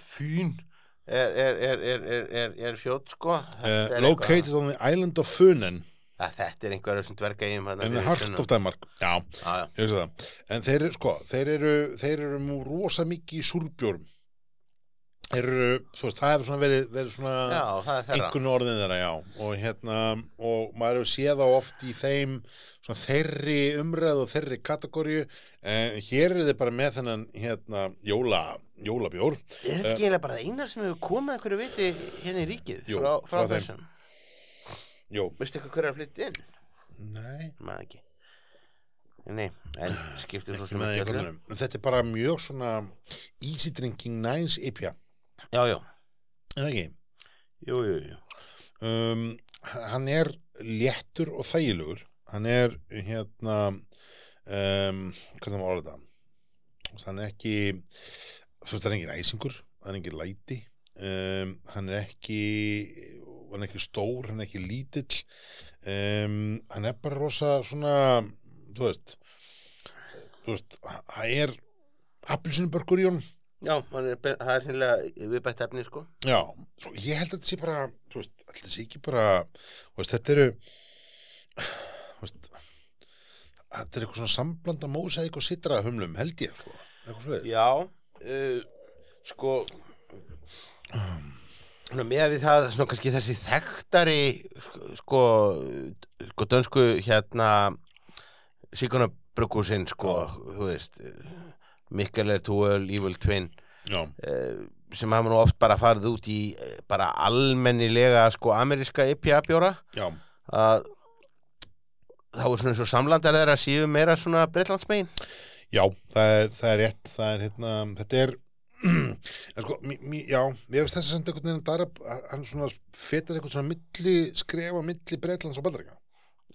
Speaker 2: fín er, er, er, er, er, er, er fjótt sko
Speaker 1: uh,
Speaker 2: Þetta er eitthvað-
Speaker 1: located on the island of funen
Speaker 2: að þetta er einhverjum sem dverga í
Speaker 1: in the heart of Denmark já,
Speaker 2: já,
Speaker 1: ég veist það en þeir, eru- sko, þeir eru þeir eru mú rosa mikið í súrbjörn þeir eru, þú veist, það hefur svona verið, verið svona
Speaker 2: já. já, það er þeirra
Speaker 1: einhvern orðin þeirra, já og hérna, og maður hefur séð þá oft í þeim, svona þeirri umræð og þeirri kategóriu eh, hér eru þið bara með þennan hérna, jóla, jólabjór
Speaker 2: er þetta ekki eiginlega bara það eina sem hefur komið einhverju viti hérna í ríkið
Speaker 1: Jú,
Speaker 2: frá, frá,
Speaker 1: frá þeim.
Speaker 2: þessum
Speaker 1: Jó,
Speaker 2: veistu eitthvað hverju er að flytta inn?
Speaker 1: nei
Speaker 2: maður ekki nei, en skiptir svo sem
Speaker 1: með í
Speaker 2: ekki öllu
Speaker 1: kollinum. En þetta er bara mjög svona easy drinking, nice IPA
Speaker 2: já, já,
Speaker 1: eða ekki
Speaker 2: jú, jú, jú
Speaker 1: um, hann er léttur og þægilegur hann er hérna um, hvernig maður orða þetta hann er ekki þú veist, hann er engin æsingur, hann er engin læti um, hann er ekki hann er ekki stór, hann er ekki lítill um, hann er bara rosa svona þú veist þú veist, hann er appelsinubörkur í honum
Speaker 2: Já, hann er, be- það er hinnlega viðbætt efni, sko.
Speaker 1: Já, svo ég held að þetta sé bara þú veist, held að þetta sé ekki bara þú veist, þetta eru þú veist, þetta er eitthvað svona samblanda mósæk og sitra humlum, held ég sko. eitthvað svo leið,
Speaker 2: Já, uh, sko, svona, með við það, svona kannski þessi þekktari, sko, sko dönsku hérna, síkunabrukúsin, sko, þú veist, Mikkel er túöl, Evil Twin,
Speaker 1: já,
Speaker 2: uh, sem hafa nú oft bara farið út í eh, bara almennilega, sko, ameríska IPA bjóra.
Speaker 1: já,
Speaker 2: að þá er svona eins og samlandar þeirra síðu meira svona Breitlandsmegin
Speaker 1: já það er, það er rétt það er hérna, þetta er en sko, mí, mí, já, ég veist þess að senda einhvern veginn darab, hann svona fetar eitthvað svona milli, skrefa milli Breitlands og Bandaríka,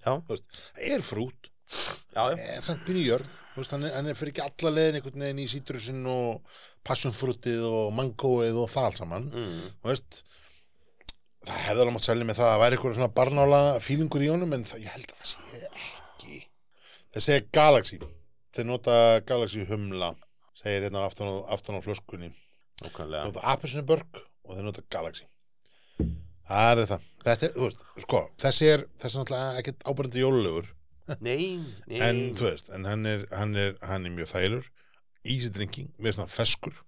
Speaker 2: Já,
Speaker 1: þú veist, það er frút
Speaker 2: já,
Speaker 1: er Eh, samt pínu jörð þú veist, hann, er, hann er fyrir ekki alla leiðin einhvern veginn í sítrusinn og passionfrútið og mangóið og það allt saman
Speaker 2: Mm.
Speaker 1: þú veist það hefði alveg mátt selja með það að væri eitthvað svona barnála fílingur í honum en það, ég held að það sé ekki það segir Galaxy þeir nota Galaxy humla segir hérna aftan á, aftan á flöskunni
Speaker 2: okkarlega
Speaker 1: nota Apesunbörg og þeir nota Galaxy það er það þetta er, þú veist, sko, þessi er þessi er náttúrulega ekkert ábærandi jólulegur
Speaker 2: Nei, nei
Speaker 1: en þú veist, en hann er, hann er, hann er mjög þælur easy drinking, með svona feskur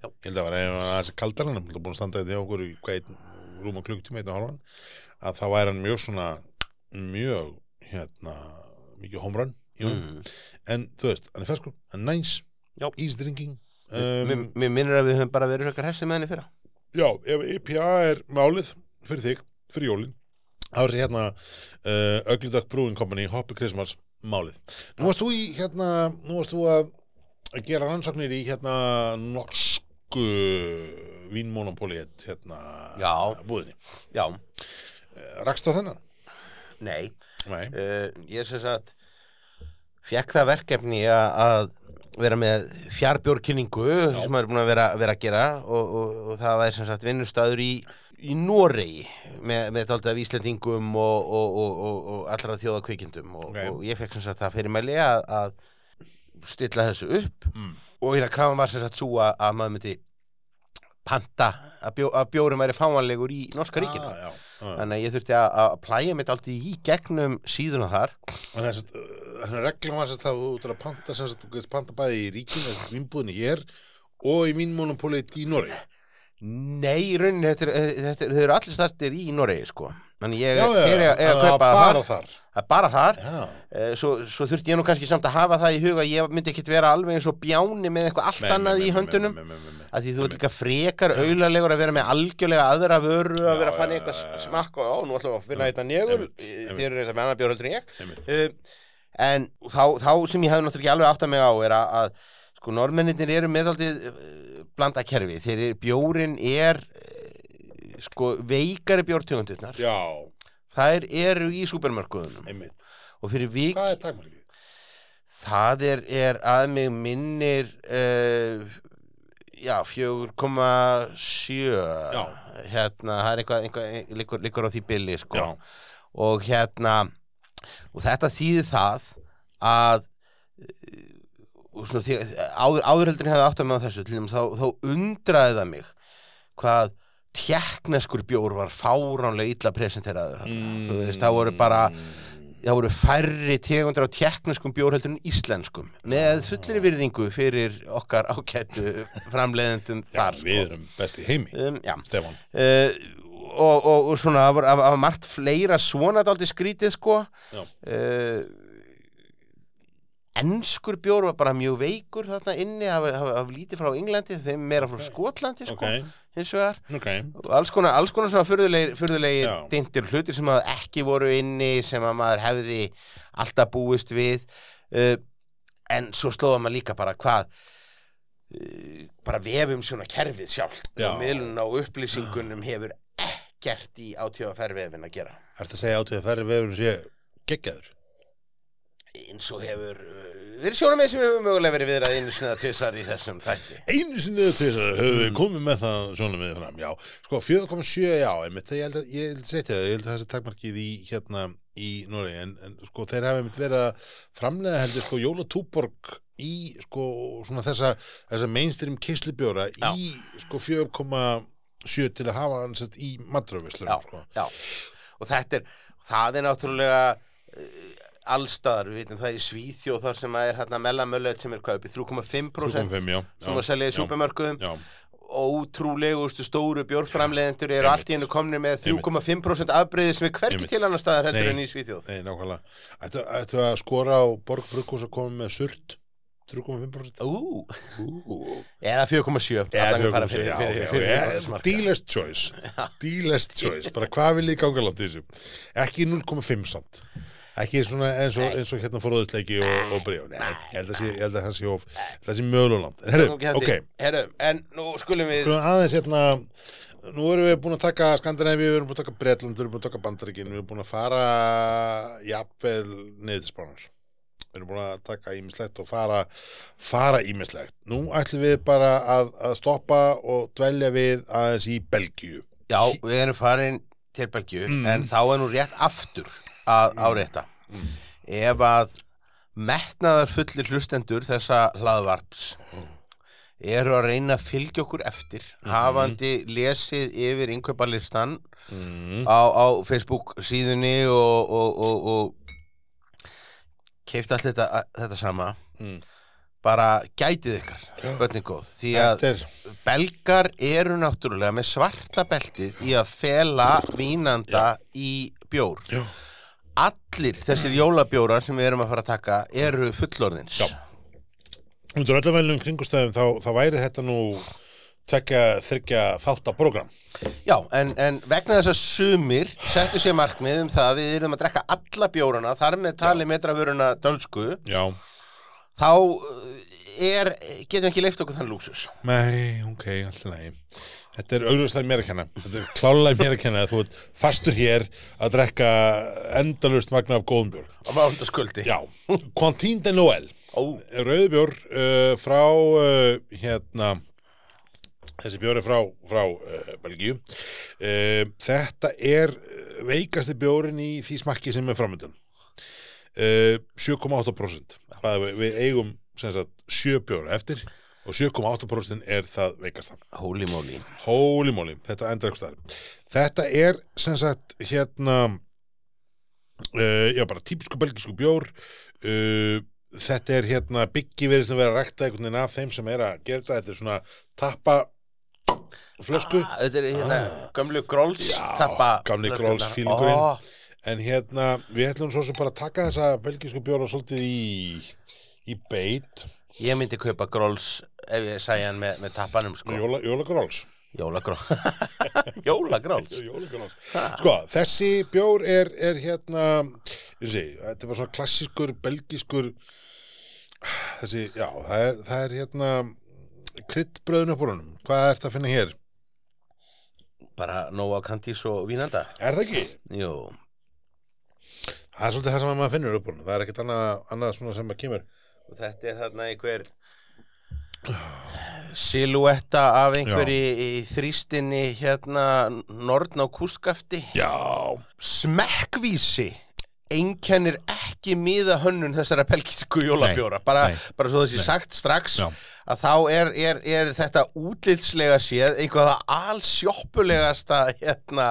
Speaker 2: Já.
Speaker 1: ég held að var einu aðeins kaldar hann hann er búin að standa því okkur í hvað einn rúma klukktíma, einn og halvan að þá væri hann mjög svona mjög hérna, mikið homrun mm.
Speaker 2: mm.
Speaker 1: en þú veist, hann er feskur, hann er nice
Speaker 2: Já.
Speaker 1: easy drinking
Speaker 2: mér,
Speaker 1: um,
Speaker 2: mér minnir að við höfum bara verið frekar hessi með henni fyrra
Speaker 1: já, ef IPA er málið fyrir þig, fyrir jólin þá er hérna uh, Ugly Duck Brewing Company, Hoppy Christmas málið. Nú varst þú í hérna, nú varst þú að að gera rannsóknir í hérna norsku vínmonopóli hérna
Speaker 2: Já.
Speaker 1: búðinni.
Speaker 2: Já,
Speaker 1: Rakst á þennan? Eh,
Speaker 2: nei
Speaker 1: Nei.
Speaker 2: uh, Ég sem sagt fekk það verkefni a- að vera með fjárbjórkynningu sem maður er búin að vera, vera að gera og, og, og það var sem sagt vinnustæður í, í Noregi með, með dálítið af Íslandingum og, og, og, og, og allra þjóða kvikindum og,
Speaker 1: Ok.
Speaker 2: og ég fekk sem sagt það fyrirmæli að, að stilla þessu upp
Speaker 1: Mm.
Speaker 2: og hérna krafan var sem sagt svo að, að maður myndi panta að, bjó, að bjórum væri fáanlegur í norska ríkina
Speaker 1: Ah, já. Ah.
Speaker 2: þannig að ég þurfti að, að plæja mitt alltaf í gegnum síðuna þar
Speaker 1: Þannig að sérst, uh, þannig að reglum var sérst að þú ert að panta sérst, þú getur panta bæði í ríkinu, þessast vínbúðinni hér og í vínmonopóli í Noregi.
Speaker 2: Nei, í rauninni, þetta, er- þetta, er- þau eru allir startir í Noregi, sko. Þannig ég
Speaker 1: Já, já, já,
Speaker 2: er að, að
Speaker 1: það var
Speaker 2: kaupa
Speaker 1: bara
Speaker 2: þar.
Speaker 1: þar.
Speaker 2: Það er bara þar.
Speaker 1: Já.
Speaker 2: Eh, Svo, svo þurfti ég nú kannski samt að hafa það í huga. Ég myndi ekkit vera alveg eins og bjáni með eitthvað allt annað í höndunum. Af því þú ert líka frekar auðlarlegur að vera með algjörlega aðra vöru, að
Speaker 1: Já,
Speaker 2: vera að fann
Speaker 1: já,
Speaker 2: eitthvað
Speaker 1: já, já.
Speaker 2: smakk og á, nú ætlum við að finna þetta njögur,
Speaker 1: einmitt, einmitt.
Speaker 2: þér eru þetta með annar bjór heldur en ég.
Speaker 1: Einmitt.
Speaker 2: Uh, en þá, þá sem ég hefði náttúrulega ekki alveg átt að mig á er að, að sko normenninir eru meðaldið uh, blanda kerfi þeir eru, bjórin er uh, sko veikari bjórtegundirnar
Speaker 1: Já,
Speaker 2: þær eru í supermarkuðunum
Speaker 1: einmitt.
Speaker 2: og fyrir vik
Speaker 1: Hvað er takmarkið?
Speaker 2: það er, er að mig minnir uh, já 4,7 hérna það er eitthvað, eitthvað liggur, liggur á því billi sko
Speaker 1: Já.
Speaker 2: og hérna og þetta þýðir það að eh, og svona, því, áður, áðurheldurinn hefði átt að með þessu til þeim þá, þá undraði það mig hvað tjekkneskur bjór var fáránlega illa presenteraður mm. veist, það voru bara það voru færri tegundar á tjekkneskum bjórheldur en íslenskum með fullri virðingu fyrir okkar ágættu framleiðendum þar
Speaker 1: Við erum best í heimi,
Speaker 2: um, já,
Speaker 1: Stefán.
Speaker 2: uh, og, og, og svona það var- það var margt fleira svona dálítið skrítið sko
Speaker 1: Já.
Speaker 2: uh, enskur bjór var bara mjög veikur þarna inni það var- það var það var lítið frá Englandi þeim meira frá Skotlandi sko
Speaker 1: Ok,
Speaker 2: hins vegar
Speaker 1: ok.
Speaker 2: og alls konar, alls konar svona furðulegir, furðulegir
Speaker 1: Já.
Speaker 2: dindir hlutir sem að ekki voru inni sem að maður hefði alltaf búist við uh, en svo slóða maður líka bara hvað uh, bara vefum svona kerfið sjálft
Speaker 1: Já.
Speaker 2: og miðlun á upplýsingunum hefur ekkert í átjóðaferð vefin að gera
Speaker 1: Ertu að segja átöðu að ferri vefurinn sé geggjaður?
Speaker 2: eins og hefur uh, verið sjónum með sem hefur mögulega verið viðrað einu sinna tvisar í þessum þætti
Speaker 1: Einu sinni eða til þess að höfum
Speaker 2: Mm.
Speaker 1: við komið með það svona með fram, já. Sko, 4,7, já, einmitt, ég held að, ég held að segja það, ég held að þessi takmarkið í, hérna, í Noregi, en, en sko, þeir hafa einmitt verið að framlega heldur, sko, Jóla Túborg í sko svona þessa, þessa mainstream keislubjóra
Speaker 2: Já.
Speaker 1: í sko 4,7 til að hafa hann sérst í
Speaker 2: já,
Speaker 1: matravislunum sko.
Speaker 2: já. og þetta er, það er náttúrulega eh, allstaðar, við veitum það í Svíþjóð þar sem að er hérna mellamöllöð sem er hvað uppi 3,5%
Speaker 1: 3,5 já, já,
Speaker 2: sem að selja í
Speaker 1: já,
Speaker 2: súpermörkuðum
Speaker 1: já,
Speaker 2: ótrúlegustu stóru bjórframleðendur eru allt í hennu komni með
Speaker 1: Einmitt.
Speaker 2: 3,5% afbreyði sem er hvergi
Speaker 1: Einmitt.
Speaker 2: til annar staðar heldur
Speaker 1: Nei.
Speaker 2: en í Svíþjóð
Speaker 1: nei, nákvæmlega Ættu, ættu að skora á Borg Brukkús að koma með surt 3,5%
Speaker 2: Ú,
Speaker 1: Ú,
Speaker 2: eða 4,7
Speaker 1: Eða
Speaker 2: allan
Speaker 1: þau
Speaker 2: bara
Speaker 1: okkur segja,
Speaker 2: fyrir-
Speaker 1: já,
Speaker 2: fyrir-
Speaker 1: ok,
Speaker 2: fyrir- fyrir-
Speaker 1: ok,
Speaker 2: smarka.
Speaker 1: Dealers choice Dealers choice, bara hvað vil ég ganga langt í þessu Ekki 0,5 samt Ekki svona eins og, eins og hérna forðusleiki og, og bregð Nei, ég held að sé- ég held að það sé of Það sé mögulega langt En
Speaker 2: Nú
Speaker 1: herru,
Speaker 2: kemst
Speaker 1: ok,
Speaker 2: ég. Herru, en nú skulum við
Speaker 1: skulum aðeins hérna Nú erum við búin að taka Skandinavíu, við erum búin að taka Bretland, við erum búin að taka Bandaríkin Við erum búin að fara Jafnvel niður til spánar Við erum búin að taka ímislegt og fara fara ímislegt. Nú ætlum við bara að, að stoppa og dvelja við aðeins í Belgíu.
Speaker 2: Já, við erum farin til Belgju en þá er nú rétt aftur að áreita ef að metnaðar fullir hlustendur þessa hlaðvarps eru að reyna að fylgja okkur eftir hafandi lesið yfir innkaupalistan
Speaker 1: Mm. Ah,
Speaker 2: á, á Facebook síðunni og, og, og, og keift allt þetta, þetta sama
Speaker 1: Mm.
Speaker 2: bara gætið ykkar, börnin góð því að
Speaker 1: Þetta er,
Speaker 2: Belgar eru náttúrulega með svarta beltið í að fela vínanda í bjór.
Speaker 1: Já.
Speaker 2: Allir þessir jólabjórar sem við erum að fara að taka eru fullorðins.
Speaker 1: Já. undir öllum velnum kringustæðum þá, þá væri þetta nú tekja, þryggja þáttaprogram.
Speaker 2: Já, en, en vegna þess að sumir settu sér markmið um það að við erum að drekka alla bjórana, þar með tali metravöruna dölsku,
Speaker 1: Já.
Speaker 2: þá eh, er, getum ekki leift okkur þann lúksus.
Speaker 1: Nei, ok, alltaf nægi. Þetta er augljóslega mér að kenna. Þetta er klálega mér að kenna að þú ert fastur hér að drekka endalust magna af góðum björn.
Speaker 2: Á mándaskvöldi.
Speaker 1: Já, Quentin de Noël
Speaker 2: Ó.
Speaker 1: Rauðbjór uh, frá uh, hérna þessi bjóri frá, frá uh, Belgíu uh, þetta er eh, veikasti bjórin í því smakki sem er framöndan uh, 7,8% Bæði við, við eigum sem sagt 7 bjóra eftir og 7,8% er það veikasta
Speaker 2: Holy moly.
Speaker 1: Holy moly, þetta endar ekki staðar. Þetta er sem sagt hérna uh, já bara típisku belgisku bjór uh, þetta er hérna byggi verið sem vera að rækta einhvern veginn af þeim sem er að gera þetta, þetta er svona tappa flösku
Speaker 2: Ah, þetta er hérna, gömlu gróls
Speaker 1: Já,
Speaker 2: tappa.
Speaker 1: gamli
Speaker 2: flöskurnar.
Speaker 1: Grolls-fílingurinn.
Speaker 2: Ó,
Speaker 1: en hérna við ætlum svo sem bara að taka þessa belgisku bjóra svolítið í, í beit
Speaker 2: Ég myndi kaupa gróls ef ég sæði hann með, með tappanum sko.
Speaker 1: jóla, jóla gróls
Speaker 2: Jólagróls Jólagróls
Speaker 1: Jólagráls. Sko, þessi bjór er, er hérna, ég sé, þetta er bara svona klassískur, belgískur, þessi, já, það er, það er hérna, kryddbröðun upp úr honum. Hvað er þetta að finna hér?
Speaker 2: Bara nóa kandís og vínanda
Speaker 1: Er það ekki?
Speaker 2: Jú,
Speaker 1: Það er svolítið það sem maður finnur upp úr honum. Það er ekkert annað, annað svona sem maður kemur.
Speaker 2: og þetta er þarna einhver Silúetta af einhverju í, í þrýstinni hérna Nortn á kúskafti
Speaker 1: Já.
Speaker 2: Smekkvísi einkennir ekki miða hönnun þessara pelkísku jólabjóra bara,
Speaker 1: nei,
Speaker 2: bara svo þessi sagt strax
Speaker 1: Já.
Speaker 2: að þá er, er, er þetta útlitslega séð einhverða alsjoppulegasta hérna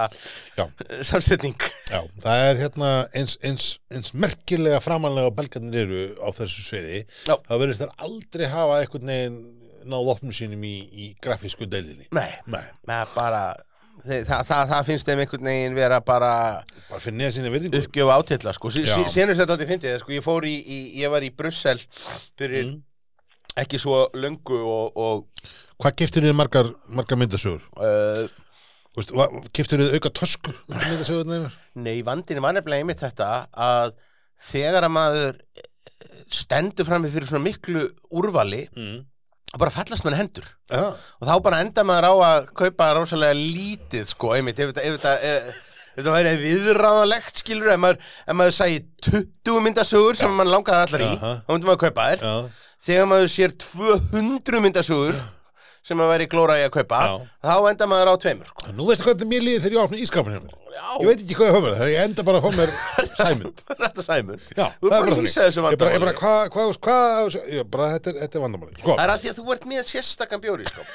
Speaker 1: Já,
Speaker 2: samsetning
Speaker 1: já, það er hérna eins, eins, eins merkilega framanlega og belgarnir eru á þessu sviði
Speaker 2: Já.
Speaker 1: þá verðist þær aldrei hafa einhvern veginn náð opnum sínum í, í grafísku deildinni.
Speaker 2: Nei,
Speaker 1: Nei.
Speaker 2: með bara þe- það, það, það finnst þeim einhvern veginn vera bara
Speaker 1: bara fyrir neða sína virðingu
Speaker 2: uppgjöf átilla sko, sí,
Speaker 1: Já.
Speaker 2: sí, sérnum þetta aldrei fyndið það, sko, ég fór í, í, ég var í Brussel fyrir
Speaker 1: Mm.
Speaker 2: ekki svo löngu og, og
Speaker 1: hvað giftir þið margar, margar myndasögur?
Speaker 2: uh,
Speaker 1: Vist, va, giftir þið auka tösku myndasögurnar?
Speaker 2: Nei, vandinn var nefnilega einmitt þetta að þegar að maður eh, stendur frammi fyrir svona miklu úrvali
Speaker 1: Mm.
Speaker 2: þá bara fallast mann hendur
Speaker 1: Ja.
Speaker 2: og þá bara enda maður á að kaupa rosalega lítið sko, einmitt ef þetta, ef þetta, ef, ef þetta væri viðráðanlegt skilur ef maður, ef maður sæi 20 myndasögur sem mann langaði allar í
Speaker 1: Aha.
Speaker 2: þá myndi maður kaupa þær
Speaker 1: Ja.
Speaker 2: þegar maður sér 200 myndasögur sem maður væri glóra í að kaupa
Speaker 1: Já.
Speaker 2: þá enda maður á tveimur sko.
Speaker 1: Nú veistu hvað þetta mér líði þegar ég opna ískapin hjá mér
Speaker 2: já,
Speaker 1: Ég veit ekki hvað ég fá mér, þannig að ég enda bara að fá mér sæmynd.
Speaker 2: þetta sæmund
Speaker 1: Já,
Speaker 2: þú er bara að
Speaker 1: þannig.
Speaker 2: lýsa þessu
Speaker 1: Ég bara, ég
Speaker 2: vandamáli
Speaker 1: bara, hvað, hvað, hvað, ég bara, þetta er, þetta er vandamáli. Sko,
Speaker 2: það er að því að þú ert með sérstakann bjóri sko.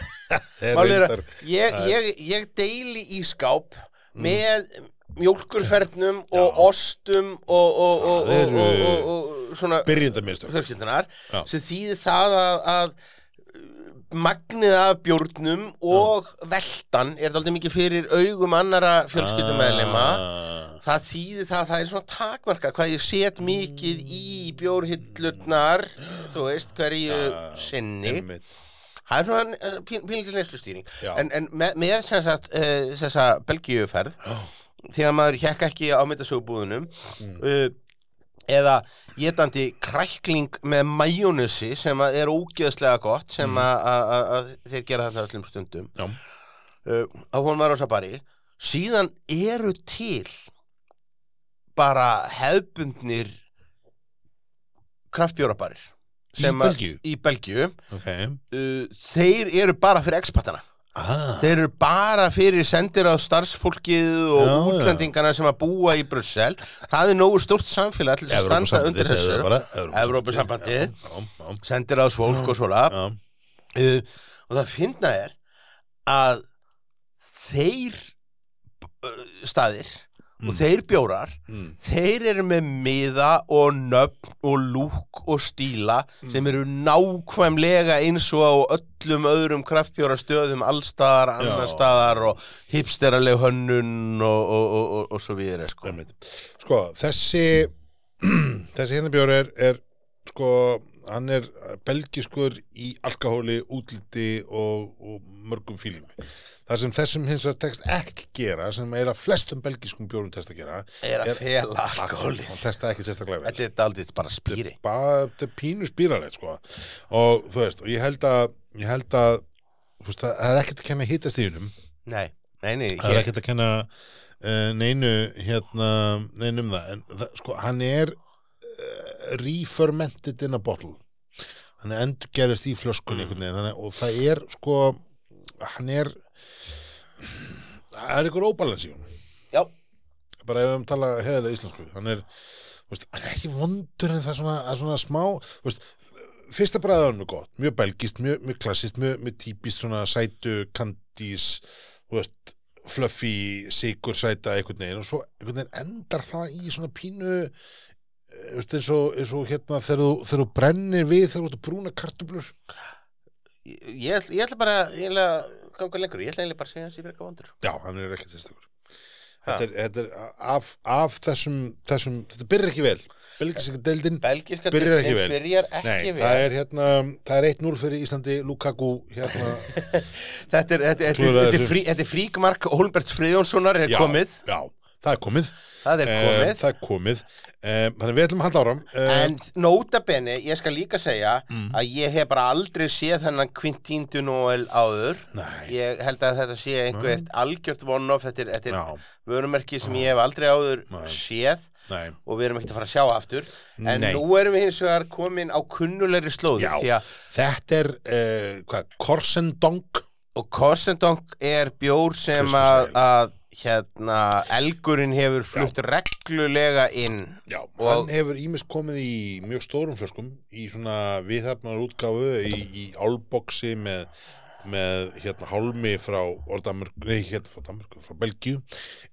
Speaker 1: þeir
Speaker 2: Málið er að
Speaker 1: reyndar- Mm.
Speaker 2: ég, ég, ég deili í skáp með mjólkurfernum og ostum og, og, og,
Speaker 1: Það
Speaker 2: og,
Speaker 1: eru-
Speaker 2: og, og, og, svona
Speaker 1: Byrjendamistök.
Speaker 2: fjölskyldunar
Speaker 1: Já.
Speaker 2: sem þýðir það að, að magnið af bjórnum og veltan er þetta aldrei mikið fyrir augum annara fjölskyldumeðlema
Speaker 1: Ah.
Speaker 2: það þýðir það að það er svona takmarka hvað ég set mikið í bjórhyllurnar þú veist hverju sinni
Speaker 1: Einmitt.
Speaker 2: Það er svona pínlítið neyslustýring
Speaker 1: Já.
Speaker 2: En, en með, með sem sagt, uh, þessa belgíuferð því að maður hjekk ekki á myndasögubúðunum
Speaker 1: Mm.
Speaker 2: uh, eða getandi krækling með majónusi sem að er ógeðslega gott sem
Speaker 1: Mm.
Speaker 2: að að- að þeir gera þetta öllum stundum
Speaker 1: Já.
Speaker 2: uh, á hún var á sabari síðan eru til bara hefbundnir kraftbjórabarir
Speaker 1: Í
Speaker 2: sem að-
Speaker 1: Belgíu.
Speaker 2: í Belgíu
Speaker 1: Ok.
Speaker 2: uh, þeir eru bara fyrir expatana
Speaker 1: Ah.
Speaker 2: þeir eru bara fyrir sendir á starfsfólkið og
Speaker 1: Já, já.
Speaker 2: útlendingana sem að búa í Brussel það er nógu stórt samfélag til þess að standa
Speaker 1: Evrópusambandið,
Speaker 2: undir
Speaker 1: segðu
Speaker 2: þessu
Speaker 1: það bara,
Speaker 2: Evrópusambandið.
Speaker 1: Já, já,
Speaker 2: sendir á fólk og svona
Speaker 1: já, já.
Speaker 2: uh, og það finna er að þeir uh, staðir og þeir bjórar
Speaker 1: Mm.
Speaker 2: þeir eru með miða og nöfn og lúk og stíla
Speaker 1: Mm.
Speaker 2: sem eru nákvæmlega eins og á öllum öðrum kraftbjóra stöðum allstaðar, annar
Speaker 1: Já.
Speaker 2: staðar og hipsteraleg hönnun og, og, og, og, og svo við er sko.
Speaker 1: Einmitt. Sko, þessi þessi hérna bjór er, er sko, hann er belgiskur í alkohóli, útliti og, og mörgum fílingu það sem þessum hins vegar tekst ekki gera sem er að flestum belgiskum bjórum tekst að gera
Speaker 2: er að fela alkohólið
Speaker 1: hann testa ekki sérstaklega vel
Speaker 2: þetta er aldrei bara spýri
Speaker 1: bara, þetta er pínu spýralegt sko. og þú veist, og ég held að ég held að, þú veist, það það er ekkert að kenna hitastíðunum,
Speaker 2: nei, nei, nei,
Speaker 1: það er
Speaker 2: hér,
Speaker 1: ekkert að kenna uh, neinu hérna, neinu um það en það, sko, hann er uh, refermented in a bottle hann er endurgerist í flöskunni einhvern veginn, þannig, og það er sko hann er það er einhver óbalans í hún
Speaker 2: já,
Speaker 1: bara ef við um tala heðilega íslensku hann er, þú veist, hann er ekki vondur en það er svona, það er svona smá þú veist, fyrsta bræðið hann er gott mjög belgist, mjög, mjög klassist, mjög, mjög típist svona sætu, kandís þú veist, fluffy sigur sæta einhvern veginn og svo einhvern veginn endar það í svona pínu eh, þú veist, eins og, eins og hérna þegar þú, þegar þú brennir við þegar þú ert að brúna kartublur
Speaker 2: ég, ég, ætla- ég ætla bara ég ætla að ganga lengur, ég ætla eiginlega bara að segja hans í verka vondur
Speaker 1: já, hann er ekki sérstakur Þetta er, þetta er af, af þessum, þessum, þetta byrjar ekki vel Belgiska deildin
Speaker 2: belgíska
Speaker 1: Byrjar ekki
Speaker 2: deildin
Speaker 1: vel.
Speaker 2: byrjar ekki
Speaker 1: Nei,
Speaker 2: vel
Speaker 1: það er hérna það er 1-0 fyrir Íslandi, Lukaku hérna,
Speaker 2: Þetta er, þetta, er- þetta, er-
Speaker 1: Klúðraði
Speaker 2: þetta, er
Speaker 1: þessu.
Speaker 2: frí, þetta er fríkmark Holmberts Friðjónssonar er
Speaker 1: já,
Speaker 2: komið
Speaker 1: já, það er komið,
Speaker 2: Það er
Speaker 1: Eh,
Speaker 2: komið
Speaker 1: það er komið. Eh, þannig við ætlum að halda áram Eh, Mm.
Speaker 2: En nota bene, ég skal líka segja að ég hef bara aldrei séð þennan Quintín Dunóel áður
Speaker 1: nei,
Speaker 2: Ég held að þetta sé einhvert algjört one-off Þetta er, þetta
Speaker 1: Já.
Speaker 2: er vörumerki sem ég hef aldrei áður
Speaker 1: Nei.
Speaker 2: séð
Speaker 1: nei
Speaker 2: og við erum ekkert að fara að sjá aftur En
Speaker 1: Nei.
Speaker 2: nú erum við hins vegar komin á kunnulegri slóður
Speaker 1: Já.
Speaker 2: Því að
Speaker 1: þetta er, eh, hvað, Korsendong
Speaker 2: og Kossendonk er bjór sem að,
Speaker 1: Christmas
Speaker 2: að hérna, elgurinn hefur flutt reglulega inn
Speaker 1: já,
Speaker 2: Og-
Speaker 1: hann hefur ímest komið í mjög stórum flöskum í svona viðhafnar útgáfu í, í álboksi með með hérna hálmi frá Ordamörku, nei hérna frá Danmarku, frá Belgíu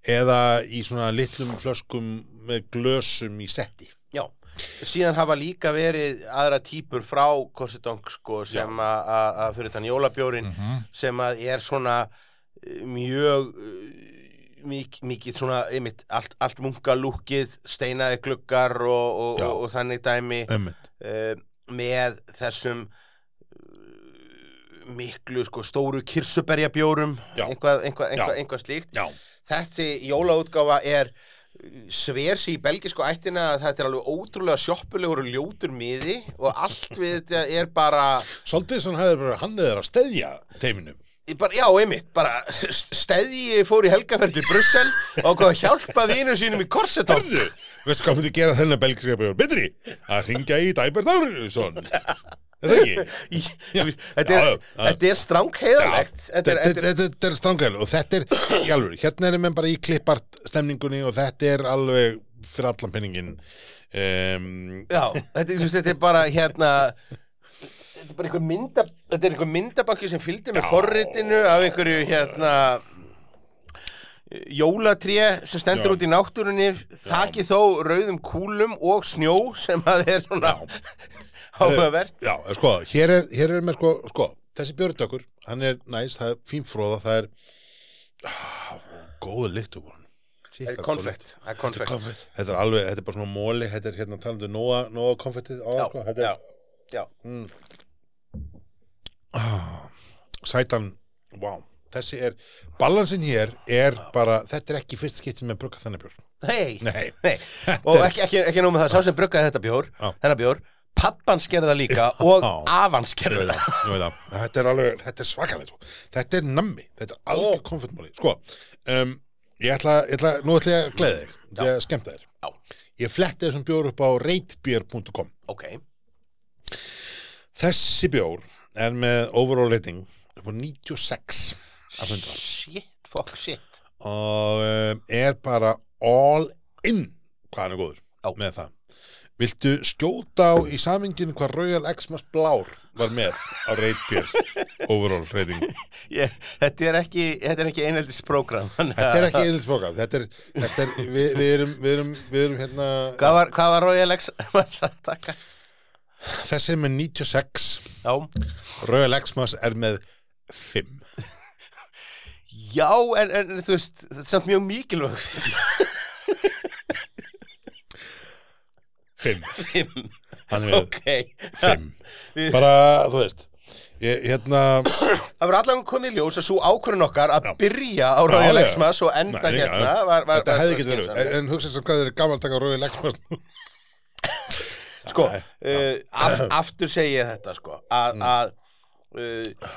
Speaker 1: eða í svona litlum flöskum með glösum í setti
Speaker 2: Já. síðan hafa líka verið aðra típur frá Kossendonk sko, sem að að- að fyrir þann
Speaker 1: Mm.
Speaker 2: jólabjórin sem að er svona eh, mjög eh, mik mikið svona einmitt, allt, allt munkalúkið, steinaði gluggar og, og,
Speaker 1: Já.
Speaker 2: og, og þannig dæmi
Speaker 1: Ömmit.
Speaker 2: eh, með þessum eh, miklu sko stóru kirsuberjabjórum
Speaker 1: Já.
Speaker 2: einhvað, einhvað, einhvað,
Speaker 1: Já.
Speaker 2: einhvað slíkt
Speaker 1: Já,
Speaker 2: þessi jólaútgáfa er eh, sver sig í belgisku ættina að þetta er alveg ótrúlega sjoppulegur og ljótur miði og allt við þetta er bara,
Speaker 1: Svolítið sem hefur bara hann eða að steðja teiminu.
Speaker 2: bara já, einmitt, bara stæði fór í helgaferð til Brussel og hvað hjálpa vinur sínum í korsetón
Speaker 1: Hörðu, veistu hvað myndi gera þennan belgriska bjór betri? Að ringja í Dæbert Áriðsson. Er það ekki?
Speaker 2: Í-
Speaker 1: Já,
Speaker 2: Þetta er,
Speaker 1: já, já.
Speaker 2: þetta er strángheðalegt
Speaker 1: þetta,
Speaker 2: þetta er, þetta er,
Speaker 1: þetta, þetta er strangaðilega og þetta er, í alveg, hérna erum við bara í klippart stemningunni og þetta er alveg fyrir allan penningin um,
Speaker 2: já, þetta, er- þú veist, þetta er bara hérna þetta er bara einhver mynda þetta er einhver myndabanki sem fylgdi með
Speaker 1: Já.
Speaker 2: forritinu af einhverju hérna jólatré sem
Speaker 1: Já.
Speaker 2: stendur út í náttúrunni þakið þó rauðum kúlum og snjó sem að er svona áhugavert
Speaker 1: Já, sko, hér er, hér er með sko, sko þessi björndökkur, hann er næs það er fín fróða, það er ah, góðu lykt úr hann
Speaker 2: Þetta er konfekt, það er konfekt
Speaker 1: Þetta er alveg, þetta er bara svona móli þetta er hérna talandi nóa, nóa konfektið á,
Speaker 2: já,
Speaker 1: sko, þetta er
Speaker 2: já, já,
Speaker 1: sætan, wow þessi er, balansin hér er bara, þetta er ekki fyrst skipti með brugga þannig björn
Speaker 2: hei
Speaker 1: Nei,
Speaker 2: Nei, og ekki, ekki, ekki nú með það, sá sem bruggaði þetta bjór,
Speaker 1: Já.
Speaker 2: þennan bjór, pappan skerði það líka og
Speaker 1: Já.
Speaker 2: afan
Speaker 1: ég
Speaker 2: skerði
Speaker 1: veit
Speaker 2: það.
Speaker 1: það, ég veit það. Þetta er alveg, þetta er svakalegt sko. Þetta er nammi, þetta er algjör konfettmáli Sko, um, ég ætla, ég ætla Nú ætla ég að gleði þig, ég ætla að skemmta þér
Speaker 2: Já,
Speaker 1: Ég fletti þessum bjór upp á reitbjör.com
Speaker 2: ok,
Speaker 1: Þessi bjór er með overall rating upp á 96 af 100
Speaker 2: shit, fuck, shit,
Speaker 1: og um, er bara all in hvað hann er góður
Speaker 2: Já.
Speaker 1: með það Viltu skjóta á í saminginu hvað Royal Xmas Blár var með á reitbjör overall rating
Speaker 2: ég, þetta er ekki, þetta er ekki einheldisprogram,
Speaker 1: Þetta er ekki einhaldsbóka þetta er, þetta er, við, við, erum, við, erum, við erum hérna
Speaker 2: hvað var, hvað var Royal X, maður sagði takka,
Speaker 1: Þessi er með 96
Speaker 2: já,
Speaker 1: Royal Xmas er með 5
Speaker 2: já, en, en þú veist, þetta er samt mjög mikilvægt,
Speaker 1: 5
Speaker 2: fimm,
Speaker 1: Hann er með
Speaker 2: ok,
Speaker 1: 5
Speaker 2: Við-
Speaker 1: Bara, þú veist ég, Hérna,
Speaker 2: það var allan komið í ljós að svo ákvörðun okkar að
Speaker 1: Já.
Speaker 2: byrja á Royal
Speaker 1: Já, já.
Speaker 2: X maður svo enda
Speaker 1: Nei, já.
Speaker 2: hérna, var, var,
Speaker 1: þetta
Speaker 2: var,
Speaker 1: hefði getur verið En hugsa sem hvað þeir eru gaman að taka Royal Xmas
Speaker 2: sko, uh, af, aftur segi ég þetta sko, að, að uh,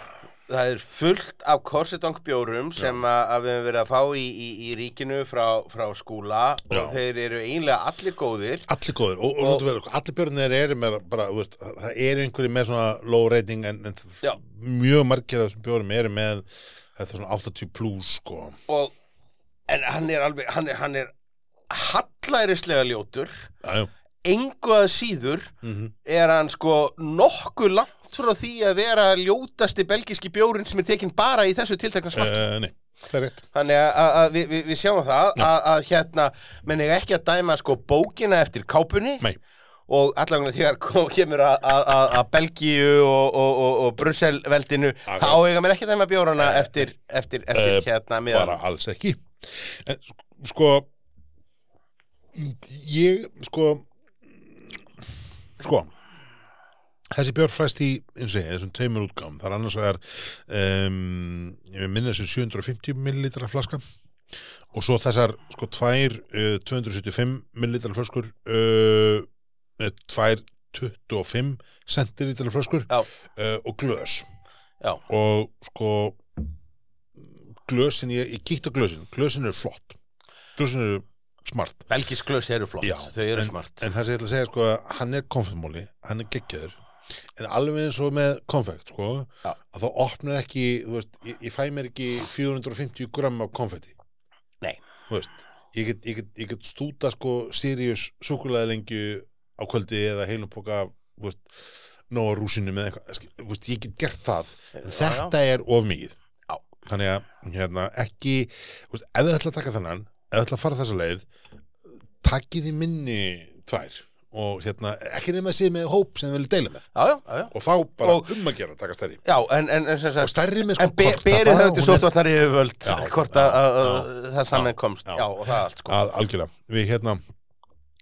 Speaker 2: það er fullt af korsetangbjórum sem að, að við höfum verið að fá í, í, í ríkinu frá, frá skúla
Speaker 1: Já.
Speaker 2: og þeir eru eiginlega allir góðir
Speaker 1: Allir góður, og, og, og vera, allir björnir eru með bara, þú veist, það eru einhverju með svona low rating en, en
Speaker 2: Já.
Speaker 1: mjög margir af þessum björnum eru með þetta svona 80 plus sko.
Speaker 2: og, en hann er alveg hann er, hann er hallærislega ljótur
Speaker 1: Já, já.
Speaker 2: engu að síður er hann sko nokkuð langt frá því að vera ljótasti belgíski bjórin sem er tekinn bara í þessu tiltakna smakki
Speaker 1: Uh, nei, það er rétt
Speaker 2: Þannig að- að að við, við, við sjáum það að, að hérna, menn ég ekki að dæma sko bókina eftir kápunni
Speaker 1: Nei,
Speaker 2: og allavega þegar kom, kemur að, að, að- að Belgíu og, og, og, og Brusselveldinu
Speaker 1: Akkurat.
Speaker 2: þá eiga mér ekki að dæma bjórana eftir, eftir, eftir
Speaker 1: Eh,
Speaker 2: hérna
Speaker 1: bara
Speaker 2: miðan.
Speaker 1: alls ekki en, sk- Sko Ég, sko Sko Þessi björn fræst í, eins og ég, þessum tveimur útgáfum Það er annars vegar um, Ég minna þessi 750 millilitra flaska Og svo þessar, sko, tvær uh, 275 millilitra flöskur uh, eh, Tvær 25 centilitra flöskur
Speaker 2: Já.
Speaker 1: uh, Og glös
Speaker 2: Já,
Speaker 1: og sko glösin, ég, ég kíkti á glösin glösin eru flott glösin eru smart
Speaker 2: belgísk glöss eru flott,
Speaker 1: Já,
Speaker 2: þau eru
Speaker 1: en-
Speaker 2: smart.
Speaker 1: en það sem ég ætla að segja sko að hann er konfektmáli, hann er geggjöður en alveg eins og með konfekt sko
Speaker 2: Já.
Speaker 1: að þá opnar ekki þú veist, ég, ég fæ mér ekki 450 gram af konfetti
Speaker 2: Nei.
Speaker 1: Þú veist, ég, get, ég, get, ég get stúta sko Sirius súkulæðilengju á kvöldi eða heilum póka af, þú veist, nóa rúsinu með eitthvað skil- þú veist, ég get gert það en
Speaker 2: Já, já.
Speaker 1: þetta er of mikið
Speaker 2: Já.
Speaker 1: þannig að hérna, ekki þú veist, ef þið ætla að taka þennan ef þið ætla að fara þessa leið takkið í minni tvær og hérna, ekki nema að séð með hóp sem þið vilja deila með
Speaker 2: Já, já, já, já.
Speaker 1: og þá bara
Speaker 2: Og-
Speaker 1: um að gera að taka stærri
Speaker 2: Já, en, en, en sem
Speaker 1: og
Speaker 2: sagt,
Speaker 1: stærri með sko
Speaker 2: en be,
Speaker 1: kort, það
Speaker 2: berið
Speaker 1: bara-
Speaker 2: höfðu
Speaker 1: hún er-
Speaker 2: sóttvarnar yfirvöld
Speaker 1: Já,
Speaker 2: hvort
Speaker 1: já,
Speaker 2: að, að, að
Speaker 1: já,
Speaker 2: það saman komst.
Speaker 1: já.
Speaker 2: Já, og það allt sko.
Speaker 1: Al, algjörlega, við hérna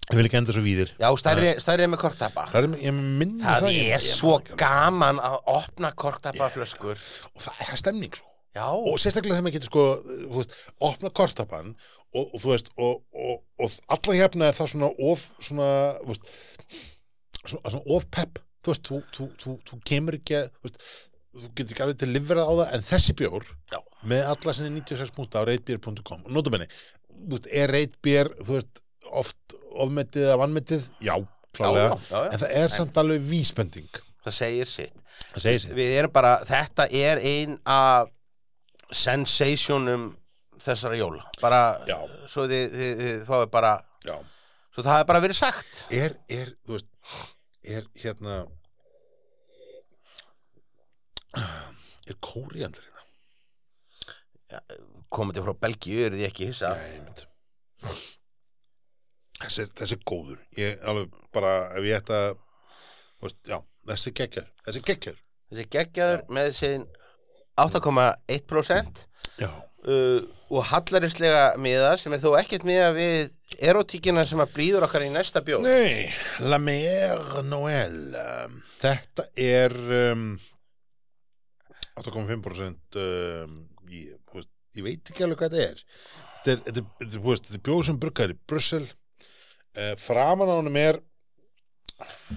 Speaker 1: ég vil ekki enda svo víðir
Speaker 2: Já, stærri,
Speaker 1: Eh.
Speaker 2: stærri með kortapa.
Speaker 1: stærri, ég minni
Speaker 2: Það,
Speaker 1: það, ég-
Speaker 2: er
Speaker 1: ég-
Speaker 2: svo gaman að opna kortabaflöskur.
Speaker 1: og það er stemning sko. svo
Speaker 2: Já,
Speaker 1: og sérstaklega þegar maður getur sko þú veist, opna kortapan og, og þú veist og, og, og alla hefna er það svona of svona, þú veist, svona, svona of pep þú veist, þú, þú, þú, þú kemur ekki að, þú, veist, þú getur ekki alveg til livrað á það en þessi bjór
Speaker 2: Já.
Speaker 1: með alla sinni 96 púnta á reitbjör.com og notabenni, þú veist, er reitbjör þú veist, oft ofmetið eða vannmetið já,
Speaker 2: já,
Speaker 1: klálega
Speaker 2: já, já.
Speaker 1: en það er samt alveg vísbending
Speaker 2: það segir sitt
Speaker 1: það segir sér
Speaker 2: við erum bara, þetta er ein af sensationum þessara jóla bara,
Speaker 1: Já.
Speaker 2: svo þið, þið, þið fáið bara
Speaker 1: já.
Speaker 2: svo það hefur bara verið sagt
Speaker 1: er, er, þú veist er hérna er kóriandur hérna
Speaker 2: komandi frá Belgíu er því ekki hissa
Speaker 1: Nei, einmitt. þessi, er- þessi er góður ég alveg bara, ef ég ætta þú veist, já, þessi er geggjör þessi er geggjör
Speaker 2: þessi geggjaður með sinn 8,1%
Speaker 1: já,
Speaker 2: uh, og hallarislega miða sem er þó ekkert miða við erotíkina sem að blíður okkar í næsta bjóð
Speaker 1: Nei, La Mer Noël um, Þetta er um, 8,5% um, ég, þú veist, ég veit ekki alveg hvað þetta er Þetta er, þetta er, þetta er, þú veist, þetta er bjóð sem bruggar í Brussel uh, Framan á honum er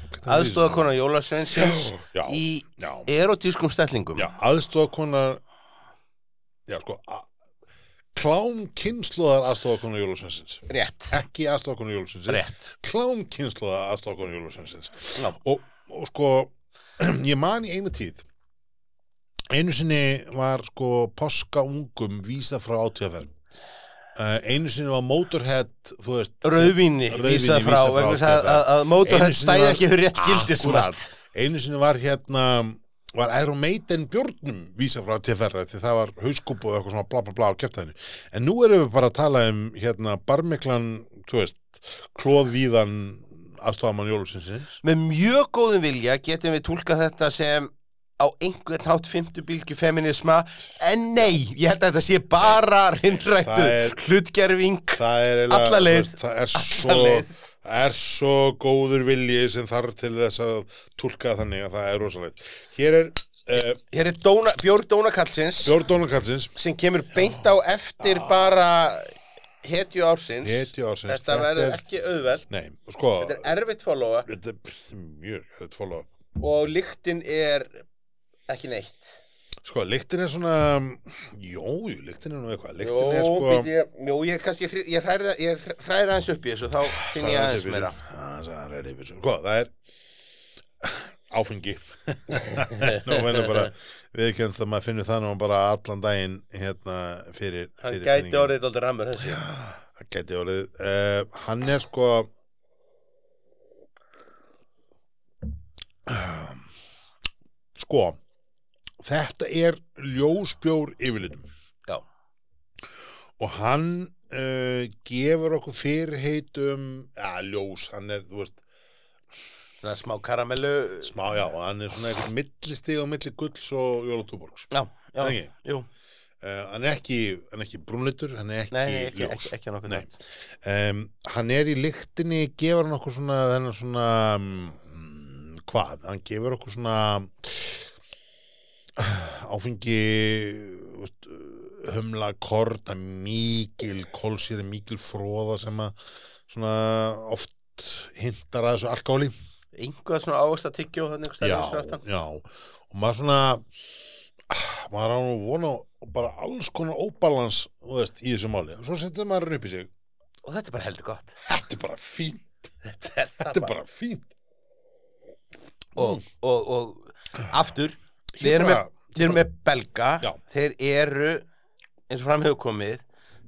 Speaker 2: aðstofakona Jólasveinsins
Speaker 1: Já,
Speaker 2: í
Speaker 1: já,
Speaker 2: erotískum stellingum
Speaker 1: já aðstofakona Já, sko a- Klám kynnslóðar aðstofakona Jólasvensins
Speaker 2: rétt,
Speaker 1: Ekki aðstofakona Jólasvensins
Speaker 2: rétt
Speaker 1: klám kynnslóða aðstofakona Jólasvensins
Speaker 2: Já.
Speaker 1: og, og sko ég man í einu tíð einu sinni var sko poska ungum vísa frá átíðaferð uh, einu sinni var Motorhead þú veist
Speaker 2: Rauðvíni,
Speaker 1: Rauðvíni
Speaker 2: vísa frá,
Speaker 1: vísað frá,
Speaker 2: vegna þess að, að, að
Speaker 1: Einu
Speaker 2: mótorhætt
Speaker 1: sinni
Speaker 2: stæði
Speaker 1: var-
Speaker 2: ekki fyrir rétt
Speaker 1: Akkúrat.
Speaker 2: gildismat
Speaker 1: einu sinni var hérna var Iron Maiden björnum vísa frá TFR því það var hauskúpu og eitthvað svona bla bla bla á keftaðinu en nú erum við bara að tala um hérna barmiklan, þú veist klóðvíðan aðstofamann Jólusinsins
Speaker 2: Með mjög góðum vilja getum við túlkað þetta sem á einhvern hátt fymtu bylgju feminisma en nei, ég held að þetta sé bara hinnrættu,
Speaker 1: það er-
Speaker 2: hlutgerfing
Speaker 1: það er eiginlega-
Speaker 2: Alla leið.
Speaker 1: þú veist, það er
Speaker 2: leið.
Speaker 1: svo, er svo góður vilji sem þarf til þess að tólka þannig að það er rosalegt hér er uh,
Speaker 2: Hér er Dóna, Björg Dónakallsins
Speaker 1: Björn Donald Kallsins
Speaker 2: sem kemur beint á eftir bara hetju ársins
Speaker 1: Hetju ársins.
Speaker 2: Þetta
Speaker 1: Þetta
Speaker 2: verður
Speaker 1: er-
Speaker 2: ekki auðveld
Speaker 1: nei, sko
Speaker 2: Þetta er erfitt followa
Speaker 1: þetta er mjög þetta er tvolega
Speaker 2: og lyktin er ekki neitt
Speaker 1: sko, lyktin er svona jú, jú, lyktin er nú eitthvað
Speaker 2: Jó,
Speaker 1: lyktin er sko
Speaker 2: býtu, ég, jó, ég kannski hr- ég hræra, ég hræra aðeins upp í þessu þá finn ég aðeins meira
Speaker 1: Það er aðeins meira Sko, það er áfengi Nú finnum bara viðkennst að maður finnur það nú bara allan daginn hérna fyrir,
Speaker 2: Hann
Speaker 1: fyrir
Speaker 2: gæti
Speaker 1: peninginn.
Speaker 2: orðið aldrei rammur þessu
Speaker 1: Það gæti orðið uh, Hann er sko Sko Þetta er ljósbjór yfirlitum
Speaker 2: Já,
Speaker 1: og hann uh, gefur okkur fyrirheit um ja, ljós, hann er, þú veist
Speaker 2: svona smá karamellu
Speaker 1: smá, já, hann er svona eitthvað millistig og milli gulls og jólatúborgs
Speaker 2: Já, já,
Speaker 1: Nei, ekki.
Speaker 2: jú
Speaker 1: uh, hann er ekki, hann er ekki brúnlitur hann er ekki
Speaker 2: Nei, nei, ekki,
Speaker 1: ljós
Speaker 2: ekki, ekki á nokkuð
Speaker 1: Nei. um, hann er í lyktinni gefur hann okkur svona, þennan svona um, hvað, hann gefur okkur svona áfengi þú veist, humla kort það er mikil kolsýri, mikil fróða sem að svona oft hintar að þessu alkáli
Speaker 2: Einhvað svona ávöxta tyggjó þannig einhvers staðar fyrir
Speaker 1: já,
Speaker 2: aftan.
Speaker 1: já, og maður svona ah, maður á nú vona á bara alls konar óbalans þú veist, í þessu máli, og svo setur maður hann upp í sig
Speaker 2: Og þetta er bara heldur gott
Speaker 1: þetta er bara fínt,
Speaker 2: Þetta er, það
Speaker 1: þetta er bara fínt
Speaker 2: og, og, og aftur við erum, með,
Speaker 1: bara-
Speaker 2: við erum með belga
Speaker 1: Já.
Speaker 2: þeir eru eins og fram hefur komið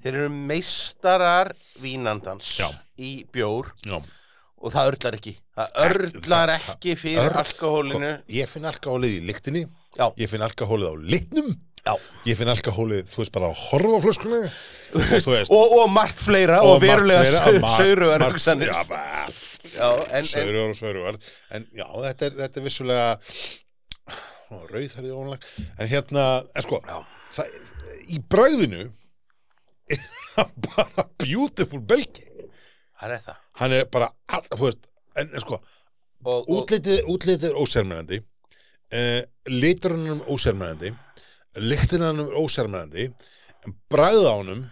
Speaker 2: þeir eru meistarar vínandans
Speaker 1: Já.
Speaker 2: í bjór
Speaker 1: já,
Speaker 2: og það örlar ekki það örlar ekki fyrir
Speaker 1: Örl-
Speaker 2: alkohólinu
Speaker 1: ég finn alkohólið í lyktinni
Speaker 2: Já.
Speaker 1: ég finn alkohólið á litnum
Speaker 2: Já.
Speaker 1: ég finn alkohólið, þú veist, bara að horfa á flöskuna og þú veist
Speaker 2: og, og margt fleira og, verulega sauruðar hugsanir
Speaker 1: hugsanir já, bara
Speaker 2: Já, en, en,
Speaker 1: saurugar og saurugar en já, þetta er, þetta er vissulega rauð það er óanlega en hérna, en sko
Speaker 2: Já.
Speaker 1: það, í bragðinu er hann bara beautiful belgi
Speaker 2: það er það
Speaker 1: hann er bara, all, þú veist en, en sko,
Speaker 2: og, og,
Speaker 1: útlitið, útlitið er ósérmennandi uh, liturinn er ósérmennandi lyktin hann er ósérmennandi en bragð á honum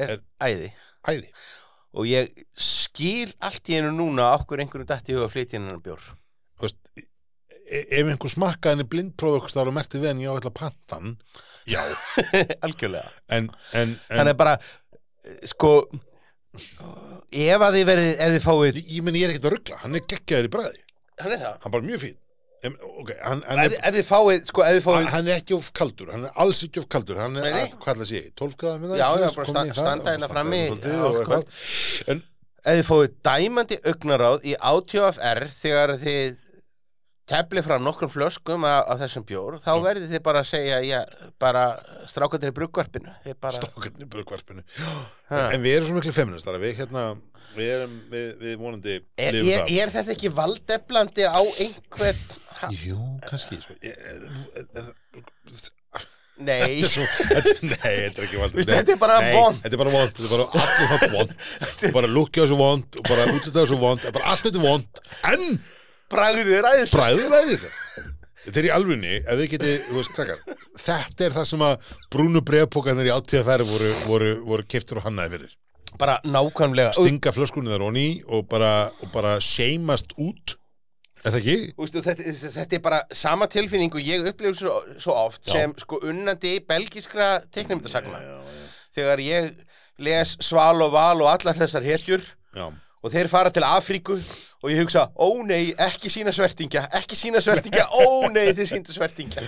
Speaker 2: er æði
Speaker 1: æði
Speaker 2: og ég skil allt í einu núna okkur einhverjum dætti í huga flytjinan bjór
Speaker 1: Þú veist, e- ef einhver smakkaðin er blindprófi okkur þar og merti við en ég á ætla pantan já,
Speaker 2: algjörlega
Speaker 1: en, en, en
Speaker 2: þannig að bara eh, sko ef að þið verðið ef þið fáið
Speaker 1: Ég, ég meni, ég er ekkert að ruggla, hann er geggjaður í bræði
Speaker 2: hann er það
Speaker 1: Hann bara mjög fín em, ok, hann, hann,
Speaker 2: ef,
Speaker 1: er,
Speaker 2: ef þið fáið, sko, ef þið
Speaker 1: hann,
Speaker 2: fáið
Speaker 1: hann er ekki of kaldur hann er alls ekki of kaldur hann er,
Speaker 2: Nei, nei.
Speaker 1: að, hvað ætla að sé, 12 gráðar með það
Speaker 2: Já,
Speaker 1: ekki,
Speaker 2: já,
Speaker 1: þú veist,
Speaker 2: bara
Speaker 1: komin í
Speaker 2: sta-
Speaker 1: það,
Speaker 2: standa
Speaker 1: og
Speaker 2: hérna frammi
Speaker 1: hérna svolítið
Speaker 2: allt
Speaker 1: og eitthvað.
Speaker 2: kvöld.
Speaker 1: en,
Speaker 2: ef þið fáið dæmandi augnaráð í átjófr þegar þið tefli fram nokkrum flöskum af, af þessum bjór, þá verðið þið bara að segja já, bara strákandir í bruggvarpinu þið bara,
Speaker 1: strákarnir í brugvarpinu
Speaker 2: Ha.
Speaker 1: en við erum svo miklu feministar að við hérna við erum, við, við vonandi
Speaker 2: er,
Speaker 1: lifum
Speaker 2: er,
Speaker 1: það.
Speaker 2: er þetta ekki valdeflandi á einhvern ha,
Speaker 1: jú, kannski sko. Ég- eh, eh,
Speaker 2: nei,
Speaker 1: Svo, þetta, nei, þetta er ekki vant
Speaker 2: Veistu, þetta er bara
Speaker 1: nei,
Speaker 2: vont.
Speaker 1: Þetta er bara vond, þetta er bara allir hótt vond Bara lukkja þessu vond og bara útlita þessu vond bara allt þetta vond, en
Speaker 2: bragðið er æðislega
Speaker 1: bræður ræðist Þetta er í alvunni, ef þið getið, þú veist, krakkar Þetta er það sem að brúnu brefpókarnir í áttíðafæri voru, voru, voru keftur og hannaði fyrir
Speaker 2: bara nákvæmlega Ú,
Speaker 1: Stinga flöskunni þar onni og bara, og bara seimast út Er það ekki?
Speaker 2: Ústu, þetta, þetta er bara sama tilfinning og ég upplifur svo, svo oft
Speaker 1: Já.
Speaker 2: sem sko unnandi belgiskra teiknumdasagna þegar ég les Sval og Val og allar þessar hetjur
Speaker 1: Já,
Speaker 2: og þeir fara til Afríku og ég hugsa, ó nei, ekki sína svertingja, ekki sína svertingja, ó nei, þeir síndu svertingja.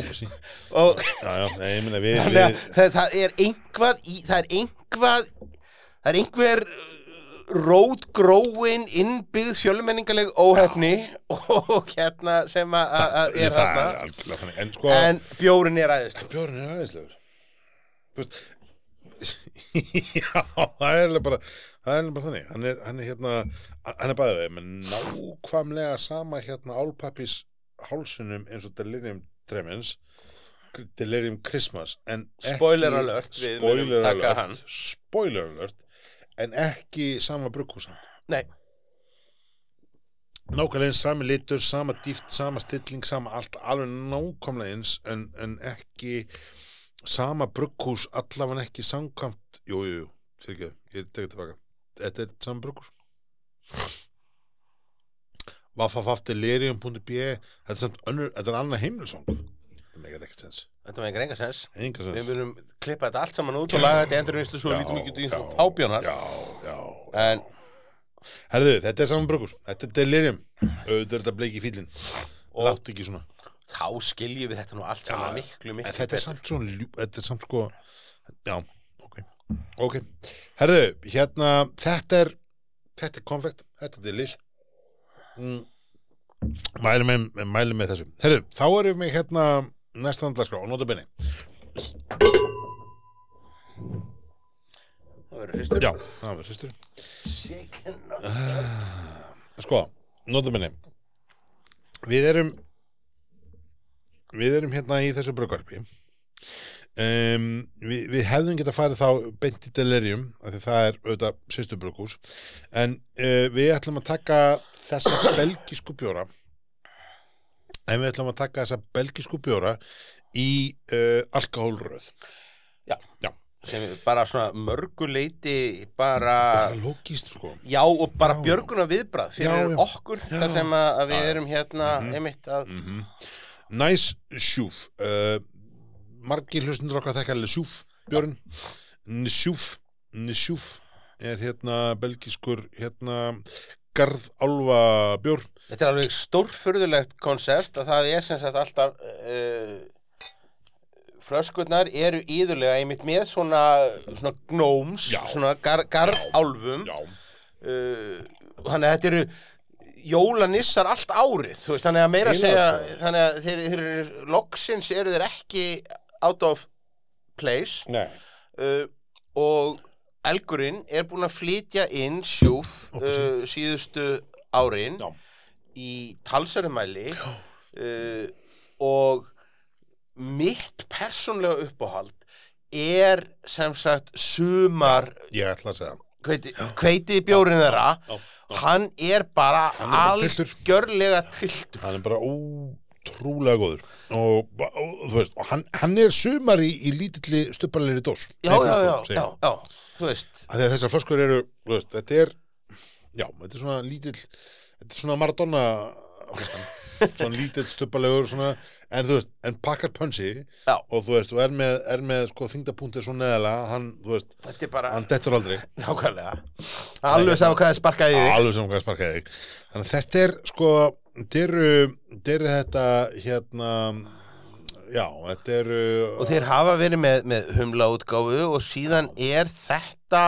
Speaker 1: ópassi
Speaker 2: Og
Speaker 1: Já, já, nei, ég meina við,
Speaker 2: þannig að
Speaker 1: við
Speaker 2: það, það er einhvað, í, það er einhvað, það er einhver uh, rótgróin innbyggð fjölmenningaleg óhefni og hérna sem að- að að er
Speaker 1: Það
Speaker 2: þarna.
Speaker 1: er algjörlega þannig En sko
Speaker 2: En bjórin er aðeins.
Speaker 1: Björn er aðeinslegur Þú veist Já, það er alveg bara það er alveg bara þannig, hann er, hann er hérna hann er bæðið við með nákvæmlega sama hérna álpappis hálsunum eins og Delirium Tremens Delirium Christmas en ekki-
Speaker 2: Spoiler alert, við munum
Speaker 1: spoiler
Speaker 2: taka
Speaker 1: alert,
Speaker 2: hann.
Speaker 1: spoiler alert en ekki sama brugghúsan
Speaker 2: Nei,
Speaker 1: nákvæmlega eins, sami litur, sama dýft sama stilling, sama allt, alveg nákvæmlega eins en, en ekki sama brugghús, allavega ekki samkvæmt, jú, jú, jú fyrir ekki, ég tek þetta baka þetta er sama brugghús www.delirium.b þetta er samt önnur, þetta er annað heimilsong þetta megar ekkert sens
Speaker 2: þetta var einhver enga sens.
Speaker 1: enga
Speaker 2: Við
Speaker 1: sens
Speaker 2: munum klippa þetta allt saman út og laga þetta í endurvinnslu svo
Speaker 1: Já,
Speaker 2: lítum ekki út í
Speaker 1: já,
Speaker 2: fábjónar.
Speaker 1: já, já
Speaker 2: En
Speaker 1: herðu, þetta er saman brugghús, þetta er delirium auðvitað er þetta bleiki fílin látt ekki svona
Speaker 2: þá skiljum við þetta nú allt saman
Speaker 1: Já,
Speaker 2: miklu, miklu
Speaker 1: En þetta er
Speaker 2: betur.
Speaker 1: samt svona ljú, þetta er samt sko já, ok, ok herðu, hérna, þetta er þetta er konfekt, þetta er delis mm. mælum með, mælum með þessu, herðu, þá erum við hérna næsta andlagskrá, nota benni
Speaker 2: Það verður hristur.
Speaker 1: já, það var hristur sko, nota benni við erum við erum hérna í þessu brugvarpi um, við, við hefðum geta farið þá beint í delirium af því það er auðvitað sýstu brughús en uh, við ætlum að taka þessa belgísku bjóra en við ætlum að taka þessa belgísku bjóra í uh, alkohólröð
Speaker 2: Já.
Speaker 1: já,
Speaker 2: Sem er bara svona mörgu leiti bara,
Speaker 1: það er lókist sko
Speaker 2: já og bara
Speaker 1: Já.
Speaker 2: björguna viðbrað fyrir
Speaker 1: Já, já.
Speaker 2: okkur
Speaker 1: Já.
Speaker 2: þar sem að að við erum hérna einmitt að,
Speaker 1: mm Nice Sjúf uh, Margir hlustundur okkar þekka alveg Sjúf Björn Nsjúf Nsjúf er hérna belgiskur hérna Garð Álfa Björn
Speaker 2: þetta er alveg stórfurðulegt konsept að það er sem sagt alltaf uh, flöskurnar eru íðurlega einmitt með svona, svona gnóms,
Speaker 1: Já.
Speaker 2: svona gar, garðálfum
Speaker 1: Já,
Speaker 2: uh, þannig að þetta eru jólanissar allt árið þú veist, þannig að meira að segja
Speaker 1: Eiginlega, sko.
Speaker 2: þannig að þeir, þeir eru, loksins eru þeir ekki out of place
Speaker 1: nei
Speaker 2: uh, og Elgurinn er búinn að flytja inn sjúf uh, síðustu árin
Speaker 1: Já,
Speaker 2: í talsverðumæli uh, og mitt persónlega uppáhald er sem sagt sumar
Speaker 1: ég ætla að segja
Speaker 2: hveiti, hveiti bjórin þeirra
Speaker 1: já,
Speaker 2: hann er bara
Speaker 1: Hann er bara trylltur.
Speaker 2: algjörlega trilltur
Speaker 1: Hann er bara ótrúlega góður og, og, og þú veist og hann, hann er sumar í, í lítilli stupparleiri dós
Speaker 2: já, já, já, já, já, þú veist
Speaker 1: að því að þessar flöskur eru þú veist, þetta er já, þetta er svona lítill þetta er svona Maradona flöskan. svona lítill stuppalegur svona, en þú veist, en pakkar pönsi
Speaker 2: Já.
Speaker 1: og þú veist, og er með, er með sko, þingdapunktið svo neðalega, hann, þú veist
Speaker 2: þetta er bara
Speaker 1: hann dettur aldrei,
Speaker 2: nákvæmlega alveg sá hvað það sparkaði í þig
Speaker 1: alveg sem hvað sparkaði þig þannig að þetta er sko þeir eru, þeir eru þetta hérna já, þetta eru
Speaker 2: og þeir hafa verið með, með humla útgáfu og síðan er þetta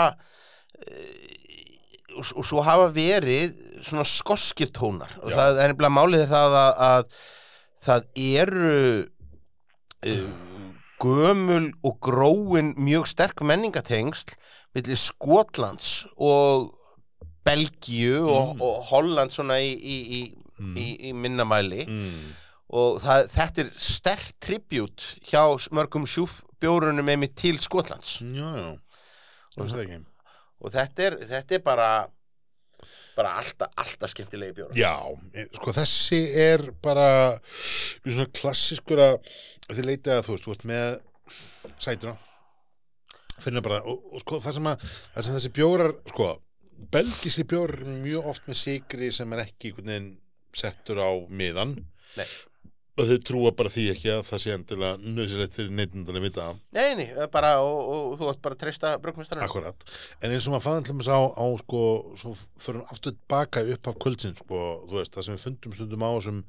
Speaker 2: eh, og, og svo hafa verið svona skoskir tónar og
Speaker 1: Já.
Speaker 2: það er nefnilega málið er það að, að það eru uh, gömul og gróin mjög sterk menningatengsl millir Skotlands og Belgíu og, og Holland svona í, í, í, í, í minnamæli
Speaker 1: mm,
Speaker 2: og það, þetta er stert tribut hjá mörgum sjúfbjórunum einmitt til Skotlands
Speaker 1: já, já, það er það ekki
Speaker 2: og þetta er, þetta er bara bara alltaf, alltaf skemmtilegi bjóra
Speaker 1: Já, e, sko þessi er bara mjög svona klassískur að ef þið leitið að þú veist, þú veist með sætuna finnur bara, og, og sko það sem, að, það sem þessi bjórar, sko belgíski bjórar eru mjög oft með sigri sem er ekki einhvern veginn settur á miðan
Speaker 2: Nei.
Speaker 1: og þau trúa bara því ekki að það sé endilega nöðsilegt fyrir neittundalegi vita það
Speaker 2: Nei, nei, það er bara, og, og þú átt bara að treysta brugmestarinn
Speaker 1: Akkurat, en eins og maður fann allmest á, á sko, svo förum aftur baka upp af kvöldsins, sko, þú veist, það sem við fundum stundum á þessum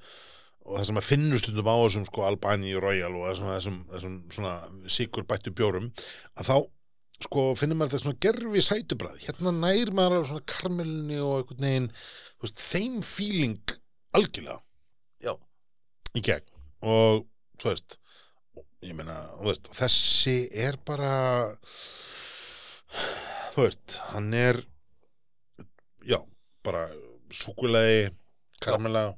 Speaker 1: og það sem að finnum stundum á þessum sko Albani Royal og þessum, þessum, þessum svona sigur bættu bjórum að þá sko finnum maður þetta svona gerfi sætubræð, hérna nær maður af svona karmelinni og einhvern veginn þú veist, þeim feeling algjörlega
Speaker 2: Já,
Speaker 1: í gegn og þú veist ég meina, þú veist, þessi er bara þú veist, hann er já, bara súkulegi, karamella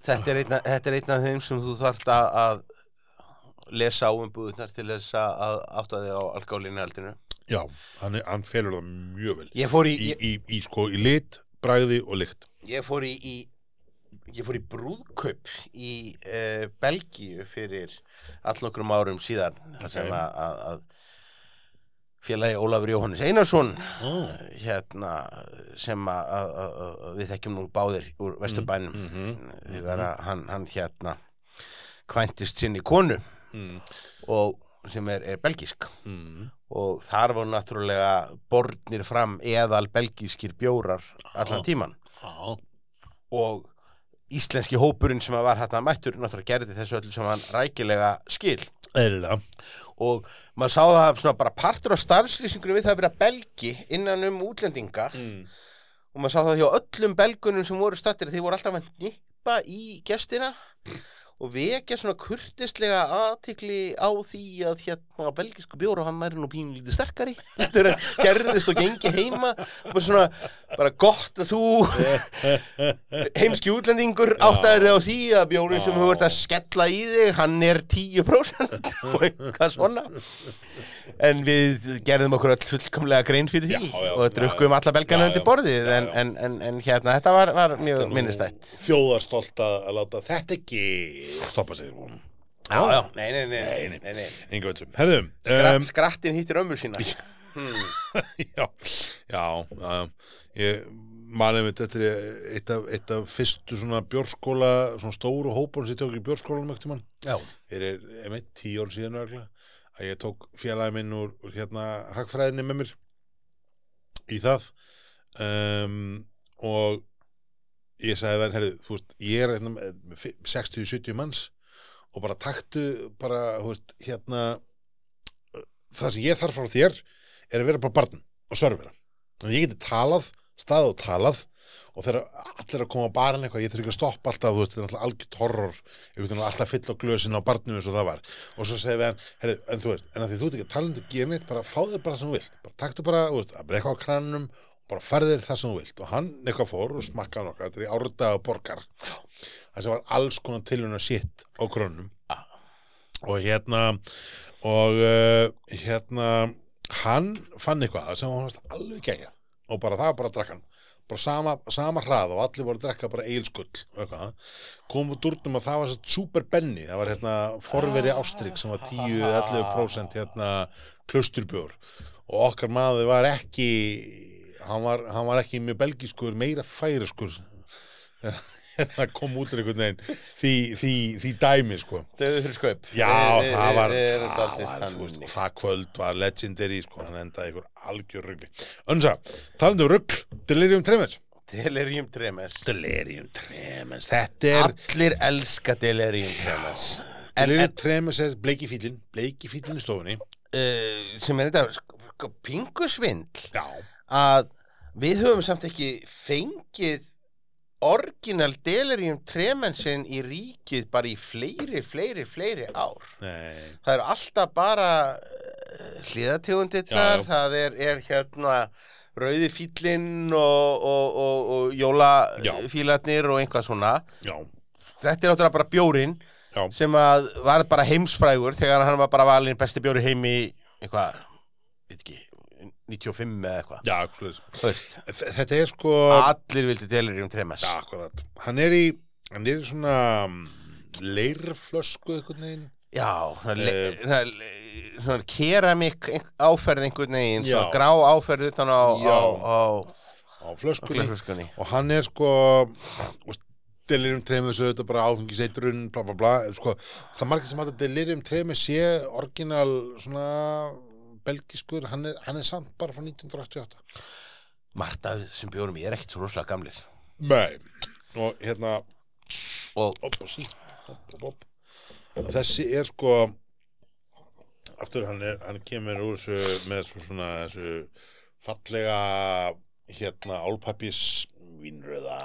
Speaker 2: þetta er einna, þetta er einna af þeim sem þú þarft að, að lesa á um búðunar til þess að- að átta þig á alkálinu aldinu
Speaker 1: já, hann, er, hann felur það mjög vel í,
Speaker 2: Ég fór í,
Speaker 1: í,
Speaker 2: ég,
Speaker 1: í, sko, í lit, bragði og lykt
Speaker 2: ég fór í, í ég fór í brúðkaup í uh, Belgíu fyrir allnokkrum árum síðan þar sem
Speaker 1: Ok.
Speaker 2: að, að, að félagi Ólafur Jóhannes Einarsson
Speaker 1: oh.
Speaker 2: hérna sem að, að, að, að við þekkjum nú báðir úr Vesturbænum
Speaker 1: mm
Speaker 2: mm. hann, hann hérna kvæntist sinni konu
Speaker 1: mm,
Speaker 2: og sem er, er belgísk
Speaker 1: mm.
Speaker 2: og þar voru náttúrulega borðnir fram eðal belgískir bjórar allan
Speaker 1: Já.
Speaker 2: tíman
Speaker 1: Já,
Speaker 2: og íslenski hópurinn sem að var hérna mættur náttúrulega gerði þessu öllu sem hann rækilega skil
Speaker 1: eðlilega
Speaker 2: og maður sá það svona bara partur á starfslýsingur við það að vera belgi innan um útlendinga
Speaker 1: mm.
Speaker 2: og maður sá það hjá öllum belgunum sem voru stattir þeir voru alltaf að nýppa í gestina og vekja svona kurtislega aðtikli á því að hérna belgisku bjóra hann væri nú pínlítið sterkari þetta er gerðist og gengi heima bara svona, bara gott að þú heimski útlendingur áttaður þig á því að bjórin sem þú ert að skella í þig hann er 10% og eitthvað svona en við gerðum okkur all fullkomlega grein fyrir því
Speaker 1: Já, já,
Speaker 2: og drukkum
Speaker 1: já,
Speaker 2: alla belgana
Speaker 1: já,
Speaker 2: undir
Speaker 1: já.
Speaker 2: borðið
Speaker 1: Já,
Speaker 2: en,
Speaker 1: já.
Speaker 2: en, en, en hérna, þetta var, var mjög minnistætt
Speaker 1: Þjóðarstolt að að láta þetta ekki stoppa sig
Speaker 2: Já, já, nei, nei,
Speaker 1: Nei,
Speaker 2: nei,
Speaker 1: nei. Um,
Speaker 2: nei, nei,
Speaker 1: Enga veitum, herðu
Speaker 2: Skra,
Speaker 1: em,
Speaker 2: Skrattin hittir ömmu sína hmm.
Speaker 1: já, já, já, ég manið mitt, þetta er eitt af, eitt af fyrstu svona björskóla, svona stóru hópun sem ég tók í björskólanum ekkert mann,
Speaker 2: Já,
Speaker 1: fyrir einmitt tíu orð síðan örgla, að ég tók félagi minn úr, úr hérna hagfræðinni með mér í það um, og ég sagði það, herrið, þú veist, ég er hérna, með- með fi- 60-70 manns og bara taktu, bara, þú veist, hérna, það sem ég þarf frá þér er að vera bara barn og sörfira. Þannig að ég geti talað, stað og talað og þegar allir að koma á barinn eitthvað, ég þurfi ekki að stoppa alltaf, þú veist, þetta er alltaf algjört horror, einhvern veginn alltaf fyll á glösin á barnum eins og það var. Og svo segir við hann, herri, en þú veist, en að því þú ert ekki að tala um þetta genið, bara fáðu þér bara það sem þú vilt, bara taktu bara, þú veist, að bara eitthvað á krannum, bara færðu þér það sem þú vilt. Og hann eitthvað fór og smakkaði nokkað, þetta er í árdaga borgar, það sem var alls konar tilhuna sitt á krönnum. Og hérna, og uh, hérna hann fann eitthvað sem hann fannst alveg gegja og bara það var bara að drakka hann bara sama, sama hrað og allir voru að drekka bara eilskull og eitthvað kom út úr durnum að það var satt super benni það var hérna forveri ástrík sem var 10-11% hérna klusturbjór og okkar maður var ekki hann var, hann var ekki mjög belgiskur meira færiskur hérna kom út úr einhvern veginn því, því, því dæmi sko
Speaker 2: döðu fyrir sköp
Speaker 1: Já,
Speaker 2: Við- við-
Speaker 1: það var,
Speaker 2: við- við erum
Speaker 1: það
Speaker 2: dálítið
Speaker 1: var, þú veist,
Speaker 2: þannig.
Speaker 1: og það kvöld var legendary, sko, hann endaði ykkur algjör rugli. Önsa, talandi um rugl, delirium tremens,
Speaker 2: Delirium Tremens
Speaker 1: Delirium Tremens Þetta er
Speaker 2: Allir elska Delirium Tremens en, en
Speaker 1: Delirium Tremens er bleiki fíllinn bleiki fíllinn í stofunni
Speaker 2: uh, sem er þetta sko, sko, pingusvindl
Speaker 1: Já,
Speaker 2: að við höfum samt ekki fengið orginal Delirium Tremensin í ríkið bara í fleiri, fleiri, fleiri ár.
Speaker 1: nei,
Speaker 2: Það eru alltaf bara
Speaker 1: Já,
Speaker 2: hliðategundirnar,
Speaker 1: já.
Speaker 2: það er, er hérna rauði fýllinn og, og, og, og
Speaker 1: Já.
Speaker 2: jólafílarnir og einhvað svona.
Speaker 1: já,
Speaker 2: Þetta er náttúrulega bara bjórin
Speaker 1: já
Speaker 2: sem að var bara heimsfrægur þegar hann var bara valinn besti bjóri heimi eitthvað, veit ekki, 95 eða eitthvað.
Speaker 1: Já, svoleiðis.
Speaker 2: Þú veist,
Speaker 1: Þ- þetta er sko
Speaker 2: allir vildi Delirium Tremens.
Speaker 1: Já, akkurat Hann er í, hann er í svona mm, leirflösku eitthvað neginn
Speaker 2: Já, svona, le,
Speaker 1: Eh.
Speaker 2: svona, le- svona keramik ein- áferð einhvern veginn, svona
Speaker 1: Já.
Speaker 2: grá áferð utan á,
Speaker 1: Já.
Speaker 2: á, á
Speaker 1: á flöskunni
Speaker 2: glöfuskunni.
Speaker 1: og hann er sko og delirium tremis auðvitað bara áfengiseitrun bla bla bla en sko, það er margir sem að delirium tremis sé orginal svona belgiskur, hann er, hann er samt bara frá 1988
Speaker 2: Marta sem bjórum ég er ekkert svo rosalega gamlir.
Speaker 1: Nei, og hérna
Speaker 2: Og
Speaker 1: op, og sí, op, op, op. og þessi er sko aftur hann, er, hann kemur úr þessu með svo svona þessu fallega hérna álpapis vinnröða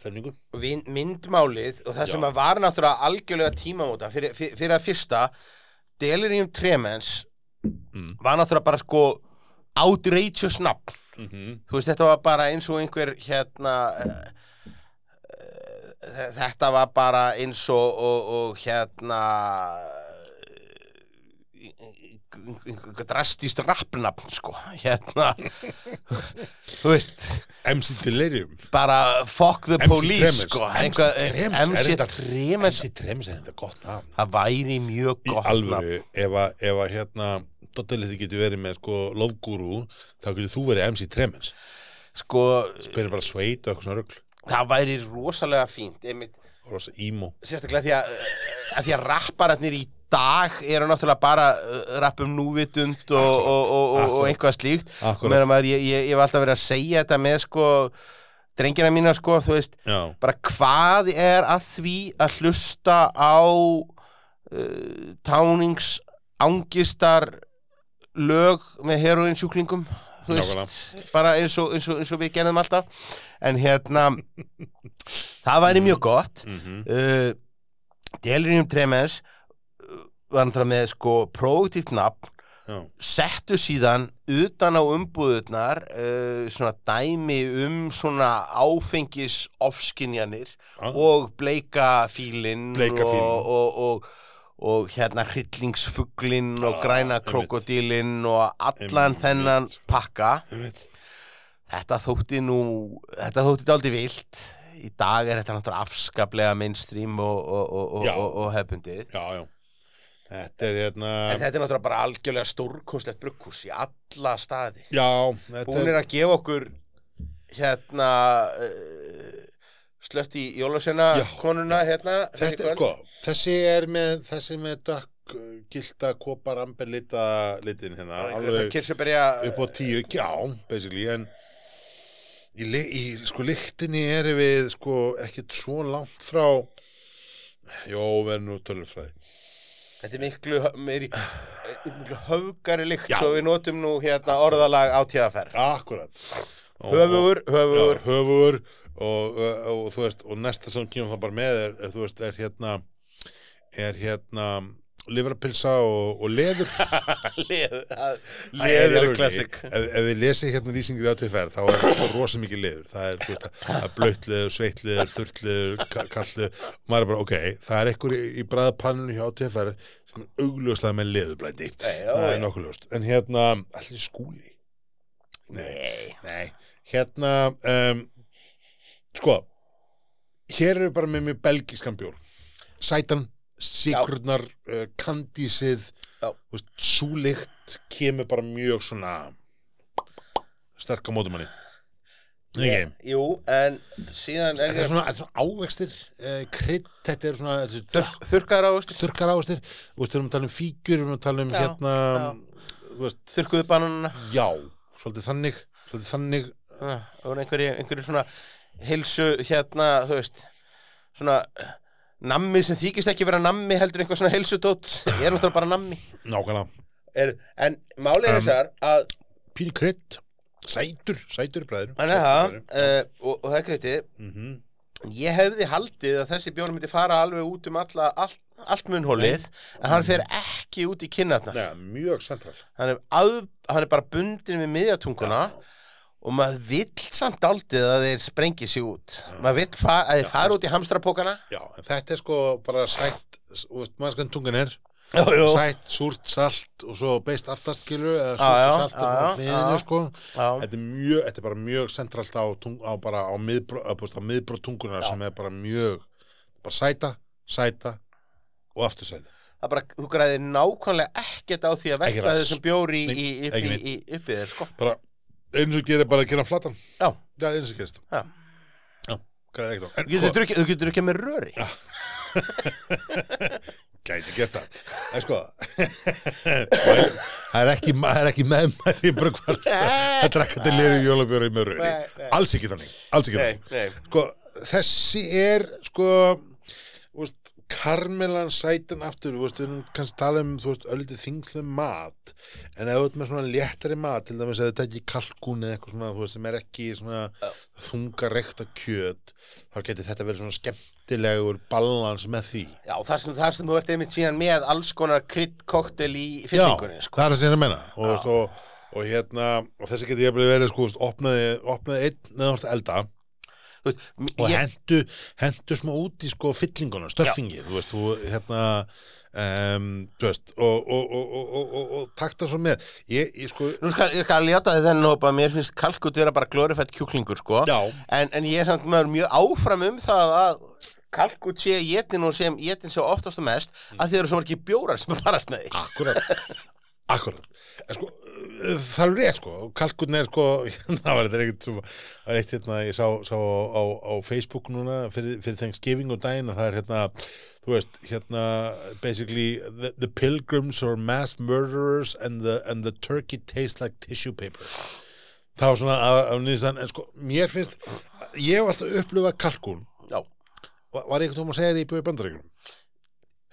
Speaker 1: stefningu
Speaker 2: vin, myndmálið og það
Speaker 1: Já.
Speaker 2: sem að var náttúrulega algjörlega tímamóta fyrir, fyrir, fyrir að fyrsta, Delirium Tremens
Speaker 1: Mm.
Speaker 2: var náttúrulega bara sko outrageous nafn.
Speaker 1: mm
Speaker 2: Þú veist, þetta var bara eins og einhver hérna uh, uh, þetta var bara eins og, og, og hérna einhver drastist rappnafn sko, hérna þú veist,
Speaker 1: MC Delirium
Speaker 2: bara fuck the
Speaker 1: MC
Speaker 2: police
Speaker 1: Tremors.
Speaker 2: sko,
Speaker 1: MC
Speaker 2: einhver-
Speaker 1: Tremors, er
Speaker 2: MC
Speaker 1: þetta-
Speaker 2: Tremens
Speaker 1: MC Tremis er þetta gott nafn
Speaker 2: það væri mjög
Speaker 1: í
Speaker 2: gott nafn.
Speaker 1: alvöru, ef að, ef að hérna Dotteliti getur verið með sko lofgúrú, þá getur þú verið MC Tremens
Speaker 2: sko,
Speaker 1: byrja bara sveit og eitthvað svona rugl
Speaker 2: það væri rosalega fínt, einmitt
Speaker 1: og rosa ímó
Speaker 2: sérstaklega því að, að því að rappararnir í dag eru náttúrulega bara uh, rapp um núvitund og, og, og, og, og
Speaker 1: akkurat.
Speaker 2: einhvað slíkt
Speaker 1: Akkurat.
Speaker 2: Meðan maður, ég, ég, ég hef alltaf verið að segja þetta með sko drengina mína sko, þú veist
Speaker 1: Já,
Speaker 2: bara hvað er að því að hlusta á uh, tánings angistar lög með heroinsjúklingum þú veist, bara eins og, eins, og, eins og við genum alltaf en hérna það væri mjög gott
Speaker 1: mm -hmm.
Speaker 2: uh, Delirium Tremens uh, var náttúrulega með sko prófittíft nafn
Speaker 1: já,
Speaker 2: settu síðan utan á umbúðurnar uh, svona dæmi um svona áfengis ofskinjanir
Speaker 1: Ah.
Speaker 2: og bleika fílinn
Speaker 1: Bleika fílinn.
Speaker 2: og, og, og, og hérna hryllingsfuglinn og
Speaker 1: Ah,
Speaker 2: græna
Speaker 1: einmitt.
Speaker 2: krokodilinn og allan
Speaker 1: Einmitt.
Speaker 2: þennan pakka
Speaker 1: einmitt.
Speaker 2: Þetta þótti nú, þetta þótti dálítið vilt. Í dag er þetta náttúrulega afskaplega mainstream og, og, og, og,
Speaker 1: Já.
Speaker 2: og, og hefbundið.
Speaker 1: já, já Þetta er hérna
Speaker 2: En þetta er náttúrulega bara algjörlega stórkostlegt brugghús í alla staði.
Speaker 1: Já, þetta
Speaker 2: Hún
Speaker 1: er
Speaker 2: er að gefa okkur hérna uh, slött í jólasena
Speaker 1: Já.
Speaker 2: konuna hérna.
Speaker 1: Þetta er sko, þessi er með þessi með dökk uh, gilda kopar amber lita litin hérna alveg-
Speaker 2: Kirsuberja
Speaker 1: upp á tíu, já, basically en í, ly- í sko lyktinni erum við sko ekkert svo langt frá jó, við erum nú tölufræði
Speaker 2: Þetta er miklu, hö- meiri, eh, miklu höfgari lykt
Speaker 1: Já.
Speaker 2: svo við notum nú hérna orðalag á tíðaferð.
Speaker 1: akkurat Og-
Speaker 2: Höfugur,
Speaker 1: og- já,
Speaker 2: höfugur.
Speaker 1: höfugur og, og, og þú veist, og næsta sem kemur það bara með er, er þú veist, er hérna er hérna livrapilsa og, og leður
Speaker 2: Leður, það-
Speaker 1: Það er í
Speaker 2: leður
Speaker 1: alvörunni.
Speaker 2: er klassik
Speaker 1: ef, ef þið lesið hérna lýsingir á TFR þá er það rosa mikið liður það er, þú veist, það er blöytliður, sveitliður, þurrtliður kallliður, og maður er bara ok það er einhver í, í bræðapanninu hjá TFR sem er augljóslega með liðublæti
Speaker 2: Nei, já,
Speaker 1: það
Speaker 2: já.
Speaker 1: er nokkuð ljóst, en hérna allir skúli nei, nei, hérna um, sko hér eru við bara með mjög belgískan bjór sætan, sikurnar uh, kandísið
Speaker 2: Já.
Speaker 1: þú veist, súlikt kemur bara mjög svona sterk á mótum manni okay.
Speaker 2: Jú, en síðan er
Speaker 1: þetta er svona, þetta er svona ávextir uh, krydd, þetta er svona þetta er dökk-
Speaker 2: þurrkaður ávextir,
Speaker 1: þurrkar ávextir þú veist, við erum að tala um fíkur, við erum að tala um
Speaker 2: Já,
Speaker 1: hérna
Speaker 2: já.
Speaker 1: þú veist,
Speaker 2: þurrkuðu bananuna
Speaker 1: já, svolítið þannig svolítið þannig
Speaker 2: svona, og einhverju, einhverju svona heilsu hérna, þú veist svona eh, nammi sem þykist ekki vera nammi heldur einhver svona heilsutótt ég er náttúrulega bara nammi
Speaker 1: nákvæmlega
Speaker 2: er, en málið er
Speaker 1: Um,
Speaker 2: þessar að
Speaker 1: pínu krydd, sætur, sætur bræður
Speaker 2: hann er það uh, og, og það er kreitið
Speaker 1: mm -hmm.
Speaker 2: Ég hefði haldið að þessi bjór myndi fara alveg út um alla, all, allt munhólið en hann fer ekki út í kinnarnar
Speaker 1: Nei, mjög sentral
Speaker 2: hann er, að, hann er bara bundin við miðjatunguna og maður vill samt aldrei að þeir sprengi sig út maður vill fa að þeir fara út í hamstrapókana
Speaker 1: Já, en þetta er sko bara sætt þú veist, maður skan tungan er
Speaker 2: Jú, jú.
Speaker 1: sætt, súrt, salt og svo beist aftast skilu eða súrt
Speaker 2: Já, já,
Speaker 1: og salt
Speaker 2: já, já,
Speaker 1: og hliðinu
Speaker 2: já.
Speaker 1: sko
Speaker 2: Já.
Speaker 1: þetta er, mjög, þetta er bara mjög sentralt á, tung, á, bara á miðbró, á, búst, á miðbró tungunar sem er bara mjög bara sæta, sæta og aftur sæta
Speaker 2: Það er bara, þú græðir nákvæmlega ekkert á því að
Speaker 1: Ekki
Speaker 2: velta
Speaker 1: rass.
Speaker 2: þessum bjór í,
Speaker 1: Nei,
Speaker 2: í, upp,
Speaker 1: ekki
Speaker 2: í,
Speaker 1: neitt.
Speaker 2: í uppið þér sko.
Speaker 1: bara eins og gerir bara að gera flatan
Speaker 2: Já,
Speaker 1: það er eins og gerist
Speaker 2: já.
Speaker 1: Já, hvað er ekkert á
Speaker 2: Þú
Speaker 1: en,
Speaker 2: getur drukkið- Þú getur drukkið með röri
Speaker 1: gæti gert það en sko það er ekki, það er ekki meðmæli bara hvað að drakka til liru jólabjóra í mörgur
Speaker 2: Nei, nei.
Speaker 1: alls ekki þannig alls ekki þannig
Speaker 2: nei
Speaker 1: sko, þessi er sko þú veist, karmelan sætan aftur þú veist, við erum kannski að tala um þú veist, öllítið þingslum mat en ef þú ert með svona léttari mat til dæmis að þetta ekki kalkún eða eitthvað svona þú veist, sem er ekki svona þungarekta kjöt þá geti þetta verið svona skemmtilegur balans með því
Speaker 2: Já, þar sem, þar sem þú ert einmitt síðan með alls konar kryddkoktel í fyllingunni, sko.
Speaker 1: það er það sem ég er að menna og, veist, og, og hérna, og þessi geti ég verið sko, veist, opnaði, opnaði einn neðan hvort elda
Speaker 2: Þú veist, m-
Speaker 1: og
Speaker 2: ég,
Speaker 1: hentu, hentu smá út í sko fyllinguna, stöffingi þú veist, þú hérna um, þú veist, og, og, og, og, og, og, og takta svo með ég, ég sko,
Speaker 2: nú skal ég skal ljáta þið þennan hópa, mér finnst kalkut vera bara glorifætt kjúklingur, sko.
Speaker 1: já,
Speaker 2: En, en ég er samt maður mjög áfram um það að kalkut sé jétin og sem jétin sé oftast og mest
Speaker 1: Mm.
Speaker 2: að þið eru svo margir bjórar sem er farast með því.
Speaker 1: akkurat akkurat, en sko uh, það er rétt sko, kalkunni er sko það var þetta ekkert sem það var eitt hérna, ég sá, sá á, á, á Facebook núna fyrir, fyrir Thanksgiving og daginn að það er hérna, þú veist, hérna basically, the, the pilgrims are mass murderers and the, and the turkey tastes like tissue paper það var svona af, af nýðistan en sko, mér finnst, ég hef alltaf upplifað kalkun,
Speaker 2: Já,
Speaker 1: var, var eitthvað tóma að segja þér í bjóði bandaríkjum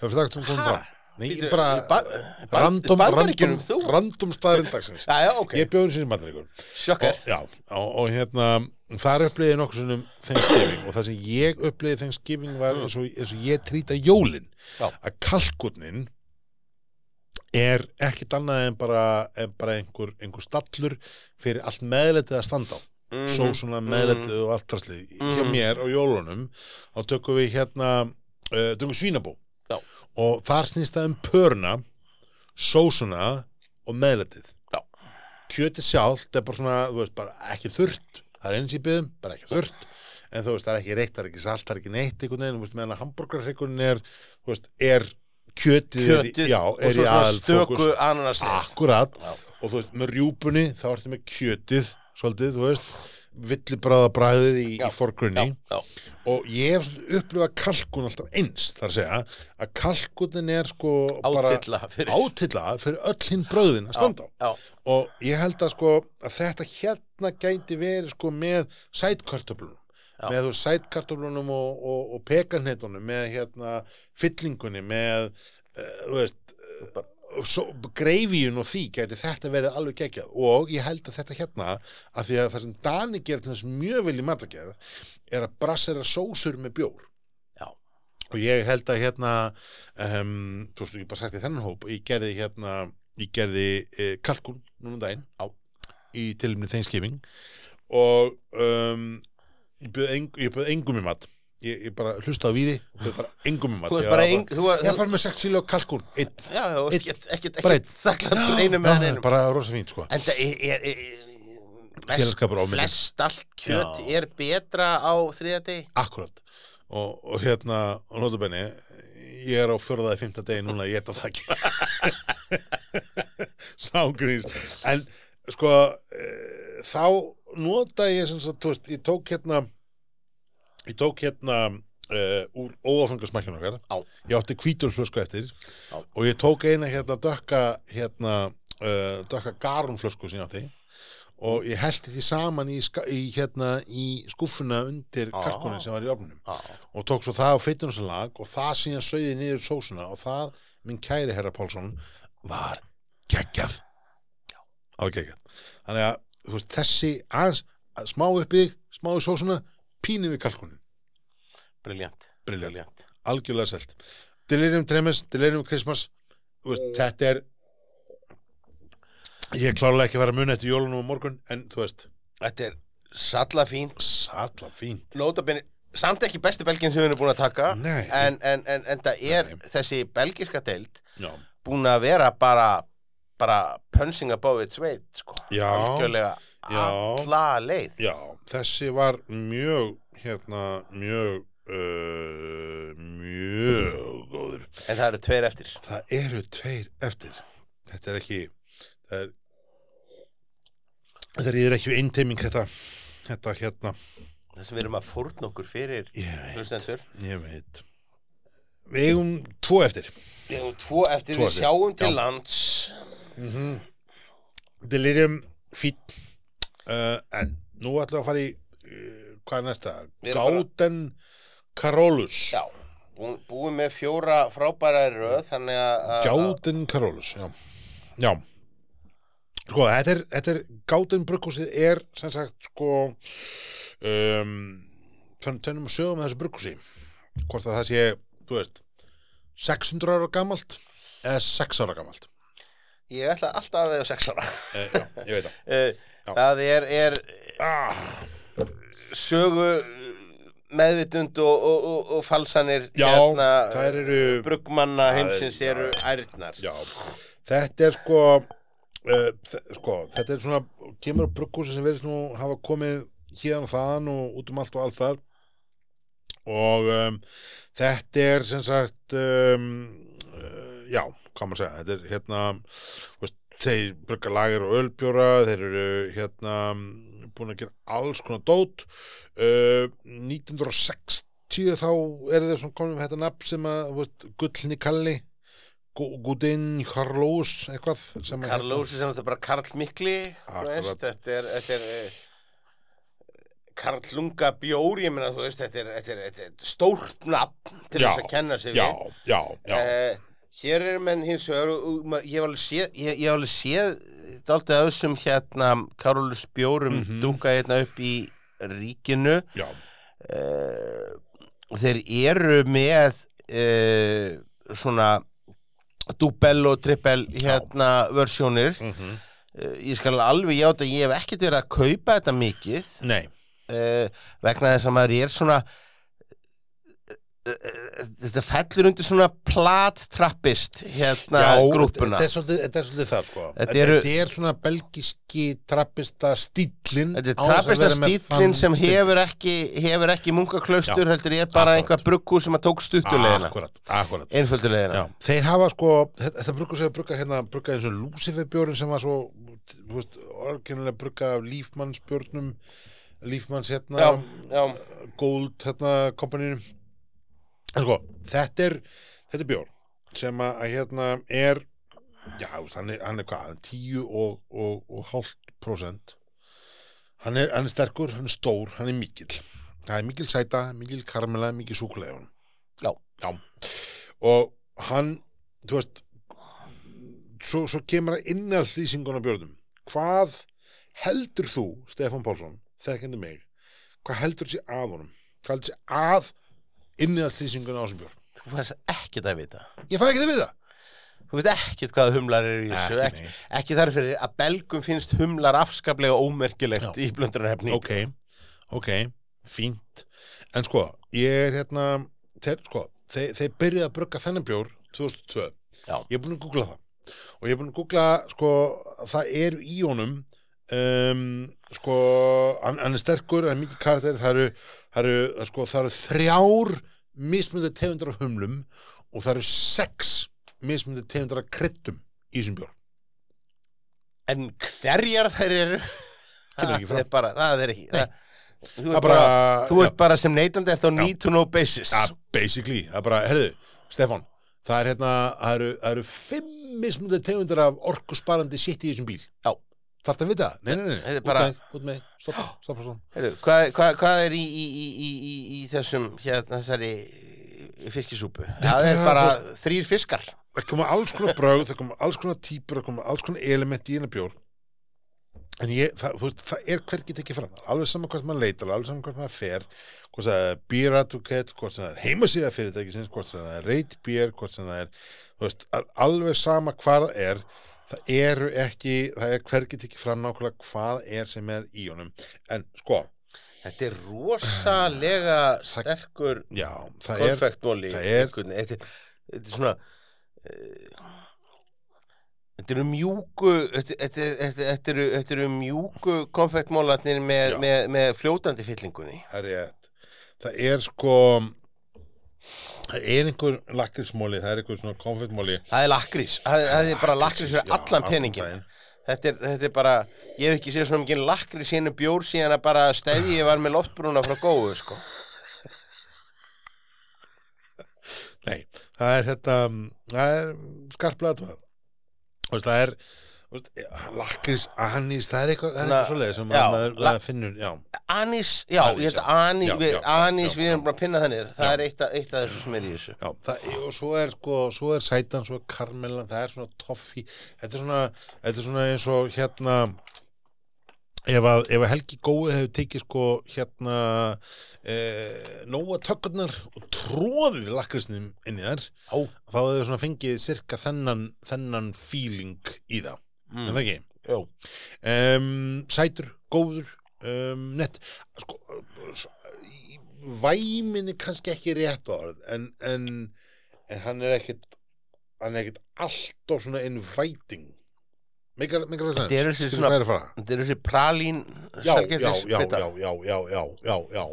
Speaker 1: hefur það eitthvað tóma
Speaker 2: Ha?
Speaker 1: fram Nei, ég
Speaker 2: Bíddu,
Speaker 1: bara,
Speaker 2: í ba-
Speaker 1: random, random,
Speaker 2: Bandaríkjunum, þú?
Speaker 1: random staðarindagsins
Speaker 2: já, já, ok.
Speaker 1: Ég bjóðin sinni bandaríkur
Speaker 2: Sjokkar.
Speaker 1: og, Já, og, og hérna þar upplýði ég nokkuð sinnum Thanksgiving og það sem ég upplýði Thanksgiving var eins og, eins og ég trýta jólin
Speaker 2: Já.
Speaker 1: að kalkunnin er ekkit annað en bara, en bara einhver, einhver stallur fyrir allt meðletið að standa á
Speaker 2: Mm
Speaker 1: sósuna, meðletið og allt traslið hjá
Speaker 2: Mhm.
Speaker 1: mér á jólunum þá tökum við hérna uh, tökum við svínabú
Speaker 2: Já.
Speaker 1: og þar snýst það um pörna sósuna og meðletið
Speaker 2: Já.
Speaker 1: kjötið sjálft er bara svona, þú veist, bara ekki þurrt það er eins í byggðum, bara ekki þurrt en þú veist, það er ekki reykt, það er ekki salt, það er ekki neitt einhvern veginn, þú veist, meðan að hamburgarreikunin er þú veist, er kjötið, er í-
Speaker 2: Kjötið
Speaker 1: já,
Speaker 2: og
Speaker 1: er
Speaker 2: svo
Speaker 1: í
Speaker 2: svona
Speaker 1: aðalfókus. Ah,
Speaker 2: stöku ananasneið.
Speaker 1: Akkurat
Speaker 2: Já.
Speaker 1: Og þú veist, með rjúpunni þá ertu með kjötið Svolítið, þú veist Villibráða bræðið í,
Speaker 2: Já.
Speaker 1: í forgrunni
Speaker 2: Já,
Speaker 1: Og ég hef svolítið upplifað kalkun alltaf eins Þar að segja að kalkunin er sko bara
Speaker 2: átilla fyrir.
Speaker 1: Átilla fyrir öll hinn bröðin að standa á
Speaker 2: Já,
Speaker 1: og ég held að sko að þetta hérna gæti verið sko með sætkartöflunum
Speaker 2: Já.
Speaker 1: með þú veist, sætkartöflunum og, og, og pekanheitunum með hérna fyllingunni með uh, þú veist uh, svo, greifíun og því gæti þetta verið alveg geggjað og ég held að þetta hérna að því að það sem Dani gerir til þess mjög vel í matagerð er að brassera sósur með bjór
Speaker 2: já.
Speaker 1: og ég held að hérna um, þú veist, ég bara sagt í þennan hóp ég gerði hérna, ég gerði e, kalkun núna um daginn
Speaker 2: Já.
Speaker 1: í tilumni Thanksgiving og um, ég bauð eng, ég bauð engum í mat ég, ég bara hlusta á víði og bauð bara engum í mat
Speaker 2: Þú
Speaker 1: Ég
Speaker 2: ert
Speaker 1: var
Speaker 2: bara ein... Þú,
Speaker 1: ég var bara með 6 kilo kalkun einn,
Speaker 2: já, já,
Speaker 1: Einn-
Speaker 2: ekkert, ekkert,
Speaker 1: bara einn.
Speaker 2: ekkert þakklandur einu með
Speaker 1: Já,
Speaker 2: einu.
Speaker 1: bara rosa fínt sko
Speaker 2: En það er, er, er flest,
Speaker 1: Félagsskapur á minni.
Speaker 2: flest allt kjöt
Speaker 1: Já.
Speaker 2: er betra á þriðadegi.
Speaker 1: akkurat og, og hérna, og notabenni ég er á fjörðaði fymta degi núna ég geta það ekki sángríns en sko eh, þá nota ég sem sagt, þú veist, ég tók hérna ég tók hérna uh, úr óáfangasmakkjun okkar
Speaker 2: Já.
Speaker 1: ég átti hvítulflösku eftir
Speaker 2: Já.
Speaker 1: og ég tók eina hérna dökka hérna uh, dökka garumflösku sem ég átti og ég held því saman í, ska- í, hérna, í skúfuna undir
Speaker 2: Ah.
Speaker 1: kalkunin sem var í ofnum
Speaker 2: á,
Speaker 1: og tók svo það á feitunarsalag og það síðan sögði niður sósuna og það, minn kæri herra Pálsson var geggjað það var geggjað þannig að þú veist, þessi aðeins að smá uppið, smá í sósuna pínu við kalkunin,
Speaker 2: briljant,
Speaker 1: briljant,
Speaker 2: briljant.
Speaker 1: algjörlega selt Delirium Tremens, Delirium Christmas þú veist, þetta er ég er klárlega ekki að vera að muna eftir jólunum á morgun, en þú veist
Speaker 2: Þetta er salla fín
Speaker 1: salla fín
Speaker 2: Nótabene, samt ekki besti belgin sem við erum búin að taka
Speaker 1: Nei.
Speaker 2: en, en, en, en það er
Speaker 1: Nei.
Speaker 2: þessi belgiska deild
Speaker 1: Já.
Speaker 2: búin að vera bara bara pönsinga bóðið sveit sko.
Speaker 1: Já.
Speaker 2: algjörlega
Speaker 1: Já.
Speaker 2: alla leið
Speaker 1: Já, þessi var mjög, hérna, mjög, uh, mjög góður.
Speaker 2: en það eru tveir eftir
Speaker 1: Það eru tveir eftir. Þetta er ekki, það er, þetta er ekki einteiming þetta, þetta hérna,
Speaker 2: þess að við erum að fórna okkur fyrir
Speaker 1: ég veit,
Speaker 2: hlustendur
Speaker 1: ég veit. Við eigum tvo eftir.
Speaker 2: við erum tvo eftir,
Speaker 1: Tvo
Speaker 2: við
Speaker 1: eftir.
Speaker 2: sjáum til lands
Speaker 1: Delirium fýtt, uh, en nú ætlum við að fara í, uh, hvað er næsta?
Speaker 2: Við erum bara-
Speaker 1: Gáten Karolus.
Speaker 2: já, búin, búin með fjóra frábæra í röð þannig að að-
Speaker 1: Gáten Karolus, já. Já. Sko, þetta er, þetta er Gáten brukkúsið er, sem sagt, sko, um, tönnum að sögum með þessu brukkúsi. Hvort að það sé, þú veist, 600 ára gamalt eða 6 ára gamalt.
Speaker 2: ég ætla alltaf að vega sex ára
Speaker 1: E, já, ég veit það.
Speaker 2: Eh,
Speaker 1: Já.
Speaker 2: það er, er
Speaker 1: Ah,
Speaker 2: sögu meðvitund og, og, og, og falsanir
Speaker 1: já,
Speaker 2: Hérna,
Speaker 1: þær eru,
Speaker 2: brugmanna
Speaker 1: er-
Speaker 2: heimsins
Speaker 1: já.
Speaker 2: eru ærnar
Speaker 1: já, þetta er sko, uh, sko, þetta er svona, kemur á brukkúsi sem verðist nú hafa komið héðan og þaðan og út um allt og allt þar og um, þetta er sem sagt um, uh, já, hvað maður segja þetta er hérna þú veist, þeir brugga lager og ölbjóra þeir eru hérna búin að gera alls konar dót uh, 1960 þá eru þeir svona komin með þetta nafn sem að, þú veist, gullni kalli Gu- Gudin Karlós eitthvað sem að- hérna-
Speaker 2: Karlósi sem þetta er bara Karl Mikli þú
Speaker 1: Akkurat.
Speaker 2: veist, þetta er, þetta er eh, Karl Lunga Bjór ég meina þú veist, þetta er, þetta er, þetta er stórt nafn til
Speaker 1: Já,
Speaker 2: þess að kenna sig
Speaker 1: já,
Speaker 2: við
Speaker 1: já, já,
Speaker 2: Eh, hér er menn hins vegar og, og, ma- ég hef alveg séð ég, ég hef alveg séð dálítið af þessum hérna Karolus Bjórum mm
Speaker 1: Mhm.
Speaker 2: dúka hérna upp í ríkinu
Speaker 1: já,
Speaker 2: uh, þeir eru með uh, svona dúbel og trippel hérna versjónir
Speaker 1: mm
Speaker 2: uh, ég skal alveg játa að ég hef ekkert verið að kaupa þetta mikið
Speaker 1: nei
Speaker 2: uh, vegna þess að maður er svona eh, eh, þetta fellur undir svona plattrappist hérna grúppuna
Speaker 1: þetta er svolítið, þetta er svolítið það sko
Speaker 2: Þetta
Speaker 1: þetta,
Speaker 2: eru-
Speaker 1: er svona belgiski trappista stíllin
Speaker 2: Þetta er trappista stílinn sem hefur ekki, hefur ekki munkaklaustur heldur ég er bara
Speaker 1: Akkúrat.
Speaker 2: einhver bruggu sem að tók stuttulegina
Speaker 1: akkurat, akkurat.
Speaker 2: einföldulegina
Speaker 1: Já, þeir hafa sko, þetta, þetta bruggur sér að brugga hérna, brugga eins og lúsifirbjórin sem var svo þú veist, orginlega brugga af lífmannsbjórnum lífmanns hérna
Speaker 2: já, já,
Speaker 1: Gold hérna kompaninu sko, þetta er þetta er bjór sem að að, hérna er já, þú veist, hann er, hann er hvað, hann er 10 og, og, og hálft prósent hann er, hann er sterkur, hann er stór hann er mikill, það er mikil sæta mikil karmela, mikil súkulegun
Speaker 2: Já.
Speaker 1: já og hann, þú veist svo, svo kemur að innalt lýsingun á björnum hvað heldur þú, Stefán Pálsson þekkandi mig, hvað heldur sé að honum hvað heldur sé að innalt lýsingun á þessum björn
Speaker 2: þú færst ekkert að vita
Speaker 1: ég fæ ekki það við það
Speaker 2: þú veist ekkert hvað humlar eru í þessu
Speaker 1: Ekki
Speaker 2: ekki,
Speaker 1: neitt.
Speaker 2: ekki þar fyrir að belgum finnst humlar afskaplega ómerkilegt í blöndunarhefni
Speaker 1: ok, ok, fínt en sko, ég er hérna þeir, sko, þeir, þeir byrjuðu að brugga þennan bjór 2002
Speaker 2: Já.
Speaker 1: ég er búin að googla það og ég er búin að googla, sko, það eru í honum um, sko, hann, hann er sterkur hann er mikið karakter, það eru, það eru, það sko, það eru þrjár mismöndi tegundar af humlum og það eru sex mismöndi tegundar af kryddum í þessum bjór
Speaker 2: en hverjar þær eru
Speaker 1: Kemur ekki
Speaker 2: það er bara, það er ekki það, þú,
Speaker 1: það
Speaker 2: ert bara,
Speaker 1: bara-
Speaker 2: þú
Speaker 1: já.
Speaker 2: ert bara sem neytandi eftir á need to know basis
Speaker 1: Ja, basically, það er bara, herðu, Stefan það er hérna, það eru, það eru fimm mismunandi tegundir af orkusparandi shit í þessum bíl
Speaker 2: Já.
Speaker 1: Þarf að vita? það? Nei, nei, nei,
Speaker 2: Þetta er
Speaker 1: nei.
Speaker 2: bara-
Speaker 1: út með, út með, stoppa, stoppa svona.
Speaker 2: Heru, hvað, hvað, hvað er í, í, í, í, í, í þessum, hér, þessari fiskisúpu? Það er bara þrýr fiskar.
Speaker 1: Það koma alls konar brögð, það koma alls konar típur, það koma alls konar element í einu bjór. En ég, það, þú veist, það er hvergi tekið fram. Alveg saman hvort maður leitar, alveg saman hvort maður fer, hvort sem það er beer advocate, hvort sem það er heimasíða fyrirtækisins, hvort sem það er rate beer, hvort sem það er, þú veist, al- alveg sama hvað það er, það eru ekki, það er hvergi tekið fram nákvæmlega hvað er sem er í honum. En sko,
Speaker 2: Þetta er rosalega sterkur
Speaker 1: já, það er,
Speaker 2: konfektmóli.
Speaker 1: það er-
Speaker 2: Þetta er, þetta er svona... eh, Þetta eru mjúku, þetta- þetta þetta- þetta eru þetta eru mjúku konfektmólarnir með,
Speaker 1: Já.
Speaker 2: með, með fljótandi fyllingunni.
Speaker 1: Það er rétt. Það er sko, það er einhver lakkrismóli, það er einhver svona konfektmóli.
Speaker 2: Það er lakrís, það, það er bara lakrís fyrir
Speaker 1: já,
Speaker 2: allan
Speaker 1: allan
Speaker 2: peningin
Speaker 1: daginn.
Speaker 2: þetta er, þetta er bara, ég hef ekki séð svona mikið lakrís í einu bjór síðan að bara stæði ég var með loftbrúna frá góðu sko
Speaker 1: Nei, það er þetta, mm, það er skarplega aðtöða. Þú veist, það er, þú veist, lakkris, anís, það er eitthvað, það er
Speaker 2: Svona-
Speaker 1: eitthvað svoleiðið sem
Speaker 2: já,
Speaker 1: maður, maður,
Speaker 2: la-
Speaker 1: maður finnur, já.
Speaker 2: Anís, já,
Speaker 1: Anís,
Speaker 2: ég held að
Speaker 1: já.
Speaker 2: anís,
Speaker 1: Já,
Speaker 2: við,
Speaker 1: já,
Speaker 2: anís
Speaker 1: já,
Speaker 2: við erum bara að pinna það niður það
Speaker 1: Já.
Speaker 2: er eitt, af- eitt af þessu sem er í þessu
Speaker 1: Já, það, og svo er sko, svo er sætan, svo er karmelan, það er svona toffi, þetta er svona, þetta er svona eins og hérna, ef að, ef að Helgi Góði hefur tekið sko hérna e, nóa tökurnar og tróðið lakkrisnum inn í þær,
Speaker 2: Ó,
Speaker 1: þá hefur svona fengið sirka þennan, þennan feeling í það,
Speaker 2: Mm.
Speaker 1: en það ekki?
Speaker 2: já,
Speaker 1: um, sætur, góður um, nett sko, uh, s- í- væmin er kannski ekki rétt orð en, en, en hann er ekkit hann er ekkit alltaf svona inviting mikil það sens
Speaker 2: Þetta eru þessi
Speaker 1: Skilur
Speaker 2: svona-
Speaker 1: hvað ég er að fara?
Speaker 2: þetta er þessi pralín
Speaker 1: já, já,
Speaker 2: sælgætis-
Speaker 1: já,
Speaker 2: bitar.
Speaker 1: já, já, já, já, já, já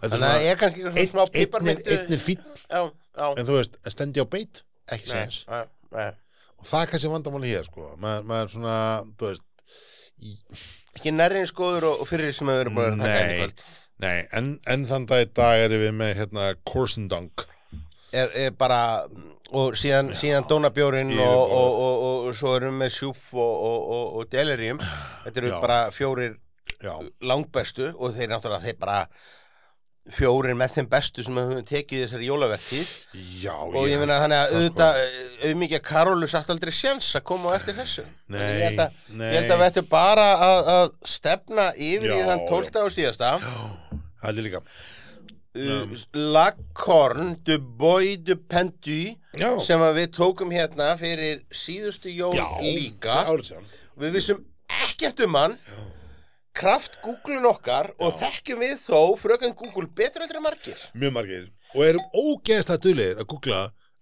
Speaker 1: þetta er
Speaker 2: þannig að það
Speaker 1: svona
Speaker 2: er kannski eitthvað
Speaker 1: einn-
Speaker 2: svona smá
Speaker 1: einn er-
Speaker 2: piparmyndu
Speaker 1: einn er fín
Speaker 2: Já, já,
Speaker 1: en þú veist, að stendi á beit ekki
Speaker 2: nei,
Speaker 1: sens
Speaker 2: já, já.
Speaker 1: og það er kannski vandamáli hér sko maður, maður svona, þú veist í,
Speaker 2: ekki nærri eins góður og, og fyrir sem við erum búin að taka enn í
Speaker 1: Nei,
Speaker 2: kvöld
Speaker 1: nei en, en þann dag í dag erum við með hérna Korsendang
Speaker 2: er, er bara og síðan, síðan dónabjórin og,
Speaker 1: Yfirborð.
Speaker 2: og, og, og, og svo erum við með sjúf og, og, og, og delirium þetta eru
Speaker 1: Já.
Speaker 2: bara fjórir
Speaker 1: Já,
Speaker 2: langbestu og þeir náttúrulega þeir bara fjórir með þeim bestu sem við höfum tekið í þessari jólavertíð
Speaker 1: já sko-
Speaker 2: og ég meina þannig að auðvitað eh, auðmikið að Karólu satt aldrei séns að koma á eftir þessu
Speaker 1: Nei,
Speaker 2: Þannig ég held að,
Speaker 1: nei.
Speaker 2: ég held að við ættum bara að, að stefna yfir í
Speaker 1: Já,
Speaker 2: þann 12. og síðasta
Speaker 1: Haldi líka
Speaker 2: uh, Lakorn de Boy de Pendu
Speaker 1: Já,
Speaker 2: sem að við tókum hérna fyrir síðustu jól
Speaker 1: já
Speaker 2: líka
Speaker 1: það er árið síðan.
Speaker 2: við vissum ekkert um hann kraft Google-un okkar og þekkjum við þó frökan Google betur heldur en margir
Speaker 1: Mjög margir Og erum ógeðslega duðlegir að googla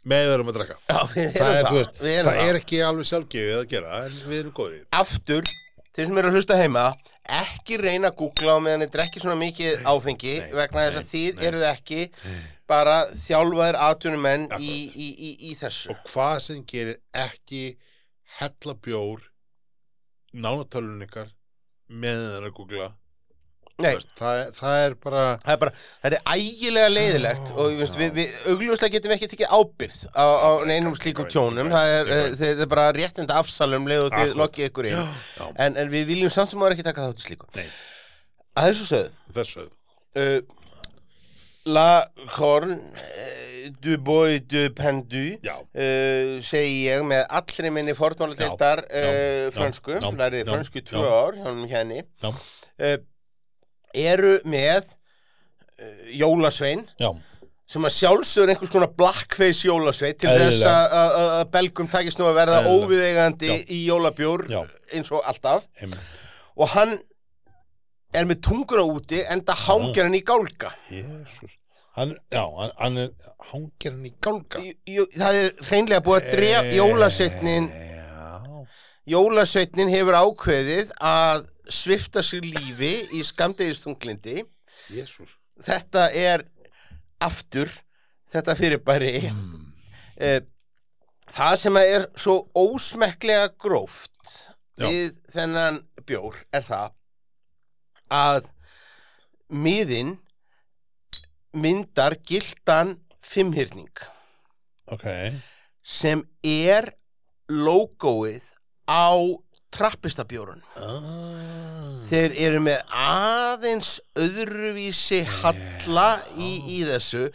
Speaker 1: með við erum að drakka
Speaker 2: já, við erum
Speaker 1: Það
Speaker 2: það,
Speaker 1: er, þú veist,
Speaker 2: við
Speaker 1: það,
Speaker 2: erum það.
Speaker 1: er ekki alveg sjálfgefið að gera En við erum góðir
Speaker 2: aftur þeir sem eru að hlusta heima ekki reyna að googla á meðan þið drekki svona mikið áfengi
Speaker 1: nei,
Speaker 2: vegna þess að þið eruð ekki bara þjálfaðir atvinnumenn í, í, í, í þessu
Speaker 1: Og hvað sem gerir ekki hella bjór nánatölun ykkar með þeir að googla
Speaker 2: Nei.
Speaker 1: Þú veist, það, er- það er bara
Speaker 2: Það er bara, þetta er ægilega leiðilegt
Speaker 1: Já,
Speaker 2: og ég veist,
Speaker 1: já.
Speaker 2: við, við augljóslega getum við ekki tekið ábyrð á, á neinum slíkum tjónum, það er, eh, þið- þetta er bara réttinda afsalum leið og þið
Speaker 1: Akkurat.
Speaker 2: lokkið ykkur inn,
Speaker 1: já,
Speaker 2: en, en við viljum samt sem ára ekki taka þátt í slíku.
Speaker 1: Nei.
Speaker 2: Að þessu sögðu,
Speaker 1: þessu
Speaker 2: uh, La Corne uh, du Bois de Pendu,
Speaker 1: Já,
Speaker 2: uh, segi ég með allri minni fornmáladeildar
Speaker 1: Já, já,
Speaker 2: uh, frönsku,
Speaker 1: já,
Speaker 2: læriði
Speaker 1: já,
Speaker 2: frönsku í tvö
Speaker 1: já.
Speaker 2: ár hjá henni,
Speaker 1: já,
Speaker 2: uh, eru með uh, Jólasvein
Speaker 1: já,
Speaker 2: sem að sjálfsögur einhvers konar blackface jólasveit til
Speaker 1: Eðlilega.
Speaker 2: þess að- að að belgum takist nú að verða
Speaker 1: Eðlilega.
Speaker 2: óviðeigandi
Speaker 1: Já.
Speaker 2: í jólabjór
Speaker 1: Já.
Speaker 2: eins og alltaf
Speaker 1: einmitt
Speaker 2: og hann er með tunguna úti enda hangir
Speaker 1: Mm.
Speaker 2: hann í gálga
Speaker 1: Jésús Hann, já, hann, hann er, hangir hann í gálga
Speaker 2: Jú- jú, það er hreinlega búið að
Speaker 1: Eh.
Speaker 2: drefa jólasveitnin
Speaker 1: Já,
Speaker 2: jólasveitnin hefur ákveðið að svifta sér lífi í skamdegistunglindi
Speaker 1: Jésús
Speaker 2: þetta er aftur þetta fyrirbæri mm.
Speaker 1: Hmm,
Speaker 2: það sem að er svo ósmekklega gróft
Speaker 1: Já.
Speaker 2: við þennan bjór er það að miðin myndar gildan fimmhyrning
Speaker 1: Ok,
Speaker 2: sem er logoið á trappistabjórun
Speaker 1: Ah,
Speaker 2: þeir eru með aðeins öðruvísi halla í, í þessu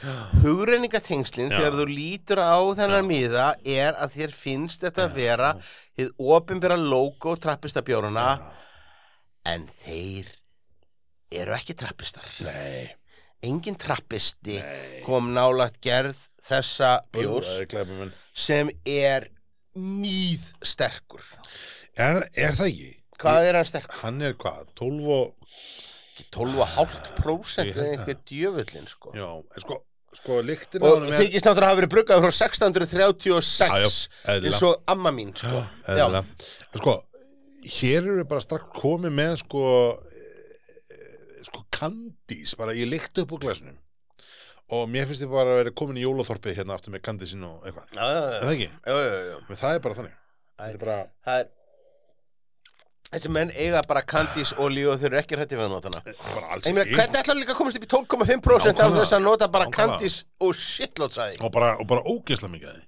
Speaker 2: hugreiningatengslin
Speaker 1: Já.
Speaker 2: þegar þú lítur á þennan miða er að þér finnst þetta vera hið opinbera logo trappistabjóruna en þeir eru ekki trappistar
Speaker 1: nei.
Speaker 2: engin trappisti kom nálægt gerð þessa bjórs
Speaker 1: Það er eh, glæpamenn.
Speaker 2: sem er mýð sterkur
Speaker 1: Er, er það ekki?
Speaker 2: hvað er hann sterkur?
Speaker 1: Hann er hvað? 12 og...
Speaker 2: 12,5%
Speaker 1: Ég
Speaker 2: eða
Speaker 1: held
Speaker 2: einhver djöfullin sko.
Speaker 1: Já, en sko, sko lyktin
Speaker 2: og þykist náttúrulega hafa verið bruggað frá 636
Speaker 1: Já, já, eðlilega.
Speaker 2: eins og amma mín sko. já,
Speaker 1: Eðlilega. En sko, hér eru við bara strax komið með sko eh, sko kandís, bara ég lykti upp úr glæsnum og mér finnst þið bara að vera komin í jólaþorpið hérna aftur með kandísinn og eitthvað
Speaker 2: já, já,
Speaker 1: Er
Speaker 2: já.
Speaker 1: það ekki?
Speaker 2: Já, já, já.
Speaker 1: Men það er bara þannig
Speaker 2: Það
Speaker 1: Það
Speaker 2: er
Speaker 1: er bara
Speaker 2: það er þessi menn eiga bara kandís olíu og þeir eru ekki hrætti við að nota hana
Speaker 1: bara alls
Speaker 2: ég meina,
Speaker 1: ekki.
Speaker 2: hvernig ætlar líka að komast upp í 12,5% án
Speaker 1: Nákvæmlega.
Speaker 2: þess að nota bara
Speaker 1: Nákvæmlega.
Speaker 2: kandís og shitlótsaði
Speaker 1: og bara, og bara ógeðslega mikið af því.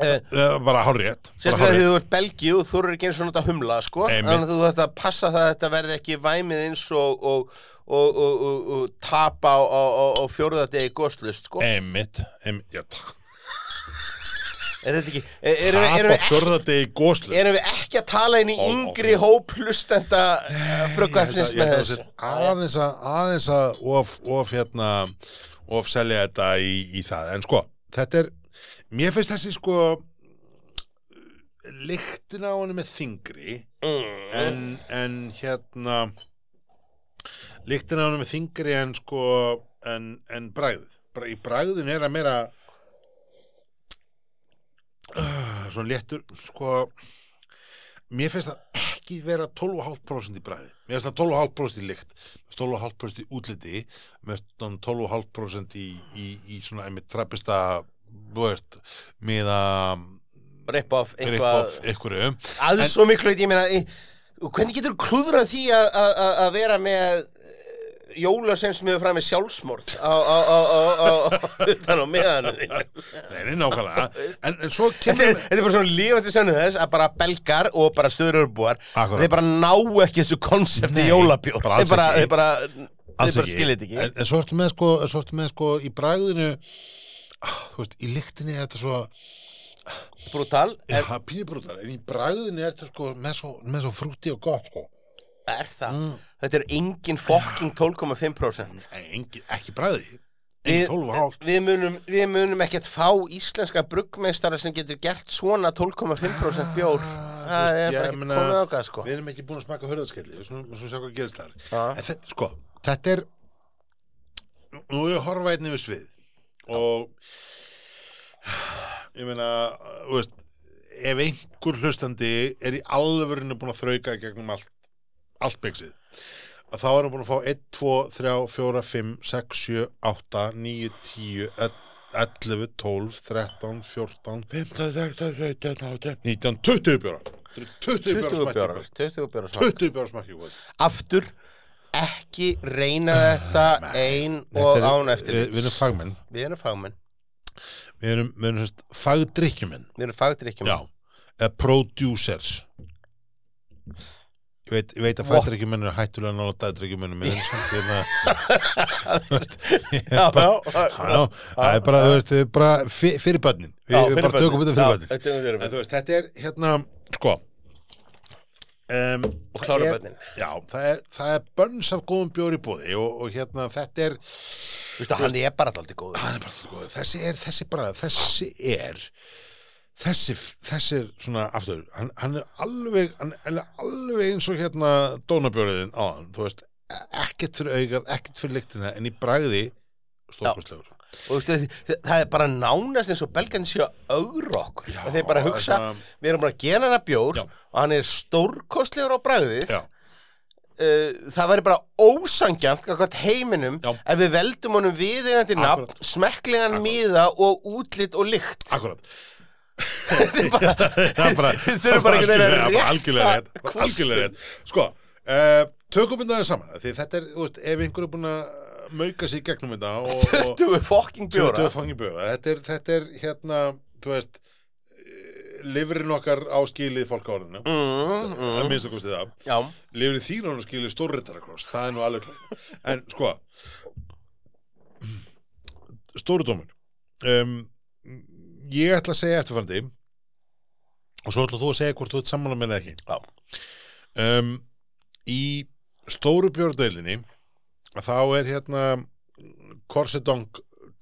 Speaker 2: Eh,
Speaker 1: Eh, bara hárétt
Speaker 2: sérstaklega þegar þú ert belgi og þú eru ekki eins og nota humla sko,
Speaker 1: Einmitt.
Speaker 2: þannig að þú þarft að passa það að þetta verði ekki væmið eins og og, og, og, og, og tapa á, á, á, á fjórðardegi goslust sko.
Speaker 1: Emmitt, emmitt, já, tap
Speaker 2: er þetta ekki er, erum við- erum
Speaker 1: á
Speaker 2: við ekki-
Speaker 1: fjörðardegi góslu
Speaker 2: erum við ekki að tala inn í
Speaker 1: Ó, ó,
Speaker 2: yngri
Speaker 1: ó.
Speaker 2: hóp hlustenda eh,
Speaker 1: Ég
Speaker 2: frugvarsins
Speaker 1: held
Speaker 2: með
Speaker 1: að- ég held að það
Speaker 2: þessu
Speaker 1: sé aðeins að, aðeins að of, of hérna of selja þetta í, í það en sko, þetta er mér finnst þessi sko lyktina á henni með þingri
Speaker 2: Mm.
Speaker 1: en, en hérna lyktina á henni með þingri en sko en, en bragð Bra, í bragðin er að meira uh, svona léttur sko mér finnst það ekki vera 12,5% í bræði mér finnst það 12,5% í lykt mér finnst 12,5% í útliti mér finnst það 12,5% í, í, í svona einmitt trappista þú veist, með að
Speaker 2: rip off eitthvað
Speaker 1: eitthvað einhverju
Speaker 2: að
Speaker 1: En-
Speaker 2: svo miklu leyti, ég meina í- og hvernig getur klúðrað því að- að að- að vera með eh, jólasens með fram með sjálfsmorð á, á, á, á, á, á utan á meðan þetta
Speaker 1: Nei, nei, nákvæmlega en, en svo
Speaker 2: er,
Speaker 1: kemur
Speaker 2: þetta er bara svona lífandi sönnu þess að bara belgar og bara stöðurörbúar
Speaker 1: Akkúrat.
Speaker 2: þeir bara ná ekki þessu konsepti
Speaker 1: Nei,
Speaker 2: jólabjór
Speaker 1: bara alls
Speaker 2: þeir bara,
Speaker 1: ekki.
Speaker 2: þeir bara, þeir bara skilja þetta ekki
Speaker 1: en, en svo ertu með sko, en svo ertu með sko í bræðinu þú veist, í lyktinni er þetta svo
Speaker 2: brútal,
Speaker 1: er, ja, pínubrútar, en í bræðinu er þetta sko með svo, með svo frúti og gott sko
Speaker 2: er það
Speaker 1: Mm.
Speaker 2: þetta er engin fucking 12,5%
Speaker 1: Nei, engi, ekki bræði
Speaker 2: Við-
Speaker 1: Engi 12,5
Speaker 2: Við munum, við munum ekkert fá íslenska bruggmeistara sem getur gert svona 12,5% bjór. Það er
Speaker 1: Ah, ég
Speaker 2: bara ekkert
Speaker 1: meina-
Speaker 2: komið ákað, sko.
Speaker 1: Við erum ekki búin að smaka hörðaskelli Við skulum við skulum sjá hvað gerist þar
Speaker 2: Já.
Speaker 1: En þetta, sko, þetta er Nú nú erum við að horfa einnig við svið Og Ég meina, þú veist Ef einhver hlustandi er í alvörinu búin að þrauka í gegnum allt Allt byggsið að þá erum við búin að fá 1, 2, 3, 4, 5, 6, 7, 8, 9, 10, 11, 12, 13, 14, 15, 16, 17, 18, 19, 20 bjóra. Þetta eru 20 bjóra
Speaker 2: 20
Speaker 1: smakki.
Speaker 2: bjórar, 20 bjórar svona.
Speaker 1: 20 bjóra smakki.
Speaker 2: Aftur, ekki reyna þetta ein og án eftir.
Speaker 1: Við erum fagmenn.
Speaker 2: Við erum fagmenn,
Speaker 1: Við erum, við erum sérst, fagdrykkjumenn.
Speaker 2: við erum fagdrykkjum.
Speaker 1: Já. Eða producers. Ég veit, ég veit að
Speaker 2: Vott.
Speaker 1: fagdrykkjumenn eru hættulega nála dagdrykkjumennum. Ég er samt hérna...
Speaker 2: já, já.
Speaker 1: Já, það er bara, þú veist, við bara fyr- fyrir börnin, við, við bara tökum þetta fyrir börnin
Speaker 2: Þetta er fyrir
Speaker 1: En
Speaker 2: börnin.
Speaker 1: þú veist, þetta er hérna, sko um,
Speaker 2: Og klára börnin.
Speaker 1: Já, það er, það er bönns af góðum bjóri búði og, og hérna, þetta er
Speaker 2: Þú veist að hann er bara alltaf góður.
Speaker 1: hann er bara alltaf góður, þessi er, þessi bara þessi er þessi, þessi er svona aftur, hann, hann er alveg hann er alveg eins og hérna dónabjóriðin á hann, þú veist e, ekkert fyrir augað, ekkert fyrir lyktina en í bragði stórkostlegur
Speaker 2: og þú veist, þið- það er bara nánast eins og belgan séu að augra okkur
Speaker 1: Já,
Speaker 2: og þeir bara hugsa,
Speaker 1: það-
Speaker 2: við erum bara að gera hana bjór
Speaker 1: Já.
Speaker 2: og hann er stórkostlegur á bragðið
Speaker 1: Já.
Speaker 2: Uh, það væri bara ósangjant hvort heiminum
Speaker 1: Já.
Speaker 2: ef við veldum honum viðeigandi nafn,
Speaker 1: Akkúrat.
Speaker 2: smekklegan miða og útlit og lykt
Speaker 1: Akkurat
Speaker 2: Þetta er bara-
Speaker 1: Það er bara,
Speaker 2: Þið
Speaker 1: það
Speaker 2: þurfum
Speaker 1: er
Speaker 2: bara
Speaker 1: bara
Speaker 2: ekki
Speaker 1: algjörlega, bara
Speaker 2: að
Speaker 1: algjörlega rétt
Speaker 2: rétta
Speaker 1: bara algjörlega rétt Sko, uh, tökum við það saman Því þetta er, þú veist, ef einhver er búin að mauka sig í gegnum þetta og, og
Speaker 2: 20 fokking bjóra
Speaker 1: fangi bjóra þetta er, þetta er hérna, þú veist eh, lifrin okkar á skilið fólk á orðinu
Speaker 2: mm,
Speaker 1: að
Speaker 2: mm,
Speaker 1: minnst að kosti það
Speaker 2: já,
Speaker 1: lifrin þín á hún skilið stórrittarakross það er nú alveg klart en sko stórdómur um, ég ætla að segja eftirfandi og svo ætla þú að segja hvort þú ert sammála með það ekki
Speaker 2: já,
Speaker 1: um, í stóru björndelinni þá er hérna Korsedong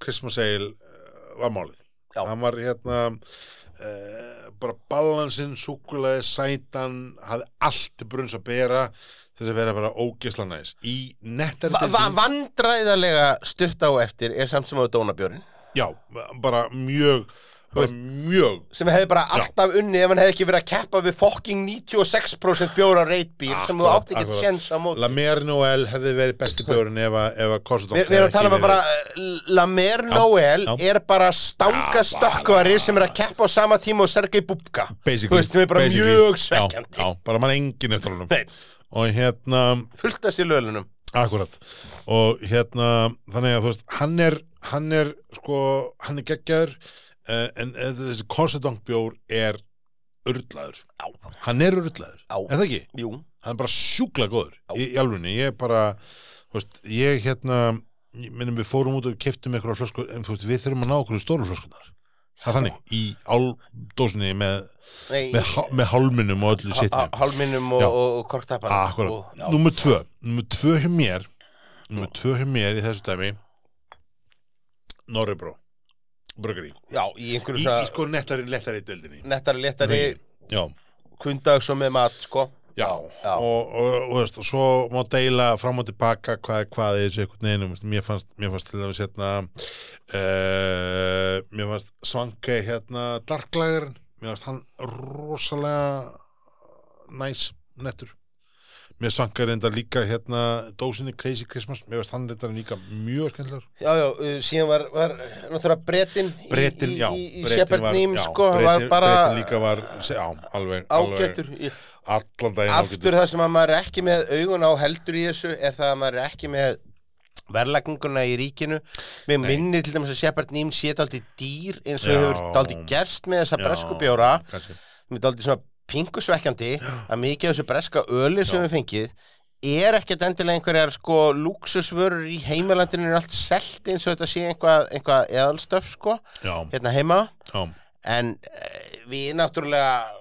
Speaker 1: Christmas Ale eh, var málið
Speaker 2: Já.
Speaker 1: hann var hérna uh, bara balansinn, súkulaði, sætan hafði allt til brunns að bera þess að vera bara ógisla næs í nettar
Speaker 2: Va va vandræðalega stutt á eftir er samt sem á Dónabjörn
Speaker 1: já, bara mjög bara mjög
Speaker 2: sem hefði bara alltaf unni ef hann hefði ekki verið að keppa við fokking 96% bjóra reitbíl sem þú
Speaker 1: Akkurat,
Speaker 2: átti ekki
Speaker 1: akkurat.
Speaker 2: sjens á móti
Speaker 1: La Mer Noel hefði verið besti björn ef að, ef að Korsedong
Speaker 2: Við við erum að tala um að bara eh, Lamer Noel
Speaker 1: já.
Speaker 2: er bara
Speaker 1: Já,
Speaker 2: stanga stökkvari sem er að keppa á sama tíma og Sergei Bubka
Speaker 1: basically,
Speaker 2: Þú veist, sem er bara
Speaker 1: basically.
Speaker 2: mjög svekkjandi
Speaker 1: já, já, bara mann engin eftir honum
Speaker 2: Nei.
Speaker 1: og hérna,
Speaker 2: Fullt að sér lölunum
Speaker 1: akkurat og hérna, þannig að þú veist hann er, hann er sko hann er geggjaður uh, en eh, þessi konsertangbjór er urlaður,
Speaker 2: Já,
Speaker 1: hann er urlaður
Speaker 2: Já.
Speaker 1: er það ekki?
Speaker 2: jú
Speaker 1: hann er bara sjúkla góður í, í alvunni, ég er bara þú veist, ég hérna ég minnum við fórum út og keftum eitthvað flösku en þú veist, við þurfum að ná okkur í stóru flöskunar það er þannig, í áldósinni með,
Speaker 2: Nei,
Speaker 1: með, há- með hálminum og öllu
Speaker 2: ha-
Speaker 1: sittum
Speaker 2: ha- hálminum og,
Speaker 1: Já.
Speaker 2: og, og korktapan
Speaker 1: Akkurat, nummer tvö Nummer tvö hjá mér Nummer tvö hjá mér í þessu dæmi Norrebró Bröggari Í,
Speaker 2: Já, í einhverju
Speaker 1: í
Speaker 2: svona
Speaker 1: sko nettari, lettari deildinni
Speaker 2: nettari léttari
Speaker 1: Já,
Speaker 2: kundag svo með mat, sko
Speaker 1: já,
Speaker 2: já.
Speaker 1: Og, og, og, veist, og svo má deila fram og tilbaka hvað, er hvað er þessu einhvern veginn veist, mér, fannst, mér fannst til dæmis hérna uh, Mér fannst svangi hérna darklagerinn Mér fannst hann rosalega næs nettur Mér svangar reynda líka hérna dósinni Crazy Christmas, mér veist hann reynda líka mjög skemmtilegur.
Speaker 2: Já, já, uh, síðan var, var náttúrulega Bretin
Speaker 1: Bretin, já,
Speaker 2: í, í, í
Speaker 1: Bretinn
Speaker 2: Shepard
Speaker 1: var-
Speaker 2: Neem,
Speaker 1: já,
Speaker 2: sko,
Speaker 1: Bretinn-
Speaker 2: var bara
Speaker 1: Bretinn líka var, se- já, alveg,
Speaker 2: ágættur Í-
Speaker 1: alveg Allan daginn
Speaker 2: aftur hérna. það sem að maður er ekki með augun á heldur í þessu er það að maður er ekki með verðlagninguna í ríkinu mér minni til dæmis að Shepard Neem sé daldi dýr eins og
Speaker 1: Já.
Speaker 2: hefur daldi gerst með þessa
Speaker 1: Já.
Speaker 2: breskubjóra
Speaker 1: Kannski.
Speaker 2: mér daldi svona pingusvekkjandi að mikið af þessu breska öli sem við fengið er ekkert endilega einhverjar sko lúksusvörur í heimalandinu er allt selt eins og þetta sé einhvað, einhvað eðalstöf sko
Speaker 1: Já,
Speaker 2: hérna heima
Speaker 1: já,
Speaker 2: en eh, við náttúrulega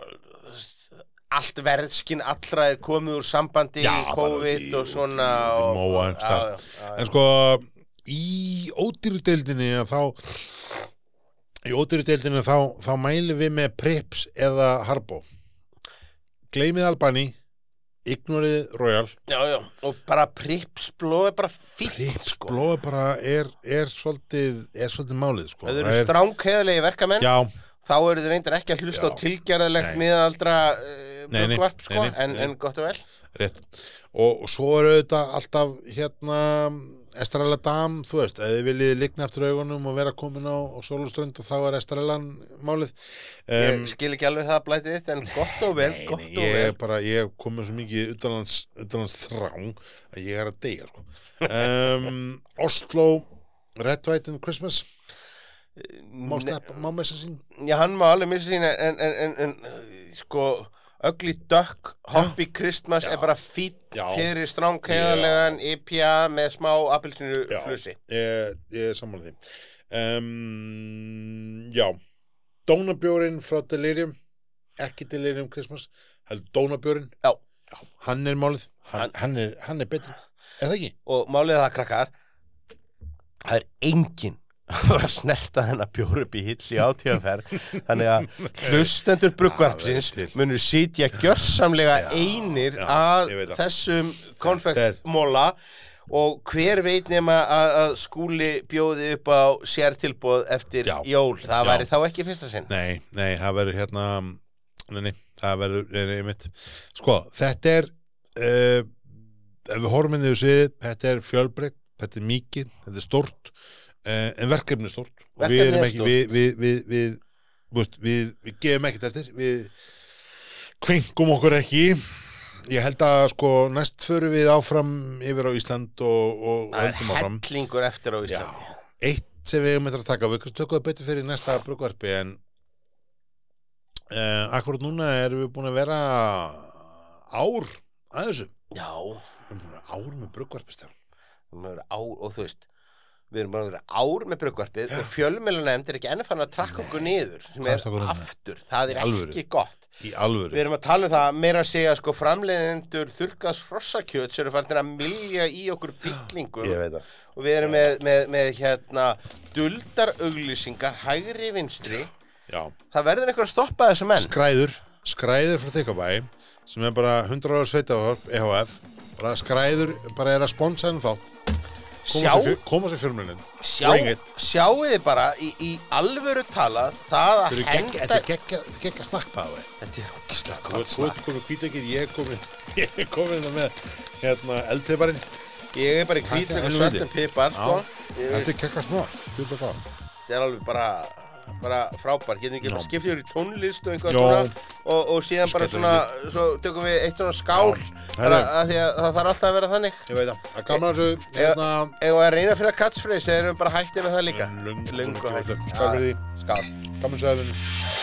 Speaker 2: eh, allt verðskinn allra er komið úr sambandi
Speaker 1: Já,
Speaker 2: í
Speaker 1: bara út
Speaker 2: COVID
Speaker 1: í-
Speaker 2: og svona
Speaker 1: út í
Speaker 2: og,
Speaker 1: móa einhvers staðar.
Speaker 2: Já, já, já,
Speaker 1: en sko í ódýru deildinni að þá í ódýru deildinni að þá, þá mælum við með Prips eða Harbo Gleimið Albani Ignorið Royal
Speaker 2: já, já, og bara pripsbló er bara fínt
Speaker 1: Prips sko.
Speaker 2: sko.
Speaker 1: blóða bara er, er svolítið er svolítið málið sko
Speaker 2: Ef
Speaker 1: Það
Speaker 2: þau eru
Speaker 1: er-
Speaker 2: stránkheðulegi verkamenn
Speaker 1: Já,
Speaker 2: þá eru þau reyndir ekki að
Speaker 1: Já.
Speaker 2: hlusta á tilgerðilegt
Speaker 1: Nei.
Speaker 2: miðaldra uh,
Speaker 1: Nei, nei.
Speaker 2: brugvarp sko,
Speaker 1: Nei, nei,
Speaker 2: en,
Speaker 1: nei.
Speaker 2: en gott og vel
Speaker 1: rétt og, og svo eru þetta alltaf hérna Estrella Dam, þú veist, ef þið viljið ligna eftir augunum og vera komin á, á sóluströnd og þá er Estrellan málið um,
Speaker 2: ég skil ekki alveg það að blæti þitt en gott og vel,
Speaker 1: Nei,
Speaker 2: gott
Speaker 1: nei,
Speaker 2: og
Speaker 1: ég
Speaker 2: vel
Speaker 1: er bara, ég hef komið svo mikið utanlands, utanlands þrán að ég er að deyja sko. um, Oslo Red, White and Christmas má steppa, má messa sín
Speaker 2: Já, hann má alveg missa sín en, en, en, en, en sko Ugly Duck, Hoppy Christmas er bara fýtt
Speaker 1: Já.
Speaker 2: fyrir stránkæðarlegan IPA með smá appeltinu
Speaker 1: Já.
Speaker 2: flussi.
Speaker 1: ég, ég er sammála því um, Já Dónabjórin frá Delirium ekki Delirium Christmas heldur Dónabjórin
Speaker 2: Já,
Speaker 1: Já, hann er málið, hann, hann, er, hann er betri eða ekki?
Speaker 2: og málið er það krakkar það er enginn að vera að snerta þennan bjór upp í hill í átíðanferð þannig að hlustendur bruggvarpsins
Speaker 1: það er til.
Speaker 2: munur sitja gjörsamlega
Speaker 1: Já,
Speaker 2: einir
Speaker 1: já,
Speaker 2: að
Speaker 1: ég veit það.
Speaker 2: þessum
Speaker 1: Þetta er-
Speaker 2: konfektmóla og hver veit nema að, að skúli bjóði upp á sértilbóð eftir
Speaker 1: Já,
Speaker 2: jól það
Speaker 1: já.
Speaker 2: væri þá ekki í fyrsta sinn
Speaker 1: Nei, nei, það verður hérna Nei, nei, það verður, nei, nei, mitt Sko, þetta er uh, Ef við horfum inn í þessu sviðið, Þetta er fjölbreytt, þetta er mikið Þetta er stórt, uh, en verkefni er stórt Og við
Speaker 2: Verkefnið
Speaker 1: erum
Speaker 2: er
Speaker 1: ekki, við Við, við, við, þú veist, við, við gefum ekkert eftir Við kvingum okkur ekki Ég held að sko næst förum við áfram yfir á Ísland og, og
Speaker 2: það er
Speaker 1: höldum áfram
Speaker 2: hellingur eftir á Íslandi
Speaker 1: Já, eitt sem við hefum eftir að taka við kannski tökum það betur fyrir í næsta brugvarpi en eh, akkurat núna erum við búin að vera ár að þessu
Speaker 2: Já,
Speaker 1: Við erum búin að vera ár með brugvarpistján
Speaker 2: við erum að vera ár og þú veist við erum bara að vera ár með brugvarpið og fjölmjölunemnd er ekki enn fann að trakka okkur niður sem
Speaker 1: Hvað
Speaker 2: er
Speaker 1: ertu að tala um?
Speaker 2: aftur, það
Speaker 1: Í
Speaker 2: er
Speaker 1: alvöru?
Speaker 2: ekki gott
Speaker 1: í
Speaker 2: Við
Speaker 1: alvöru
Speaker 2: erum að tala um það meira að segja sko framleiðendur þurkas hrossakjöt sem eru farin að milja í okkur byllingum
Speaker 1: ég veit það
Speaker 2: og við erum með, með, með hérna duldar auglýsingar hægri vinstri
Speaker 1: Já.
Speaker 2: það verður einhver að stoppa þessu menn
Speaker 1: skræður, skræður frá Þykabæ sem er bara 100 ára sveitavarp EHF, bara skræður bara er að sponsa henni þátt
Speaker 2: Sjá.
Speaker 1: koma sér fjör- koma sér fjörmjölin
Speaker 2: Sjá,
Speaker 1: bring it
Speaker 2: sjáu þið bara í, í alvöru tala það að
Speaker 1: Þetta eru gegg-
Speaker 2: henda
Speaker 1: þetta er geggja gegg snakkpaði
Speaker 2: Þetta er ógislega
Speaker 1: Þú
Speaker 2: gott
Speaker 1: ert- þú
Speaker 2: slag
Speaker 1: ert komin kvítakir, ég er komin ég er komin hérna með hérna eldpeiparinn
Speaker 2: Ég er bara í
Speaker 1: Þetta er
Speaker 2: kvítlegur
Speaker 1: helviti.
Speaker 2: svartum pipar sko. Ég-
Speaker 1: Þetta er kekka smá, hluta það
Speaker 2: Þetta er alveg bara bara frábært, getum við ekki bara
Speaker 1: Já.
Speaker 2: skipt yfir í tónlist og einhvað
Speaker 1: Já.
Speaker 2: svona og, og síðan bara
Speaker 1: Skellum
Speaker 2: svona, svo tökum við eitt svona skál bara
Speaker 1: Herðu.
Speaker 2: að því að það þarf alltaf að vera þannig
Speaker 1: Ég veit það, það er gaman að þessu hérna
Speaker 2: Ef við að reyna fyrir að catchphrase eða erum við bara hættið með það líka
Speaker 1: Löngu-
Speaker 2: Löngu
Speaker 1: löngu
Speaker 2: hættið
Speaker 1: hætt. Skál fyrir því.
Speaker 2: Skál
Speaker 1: gaman að þessu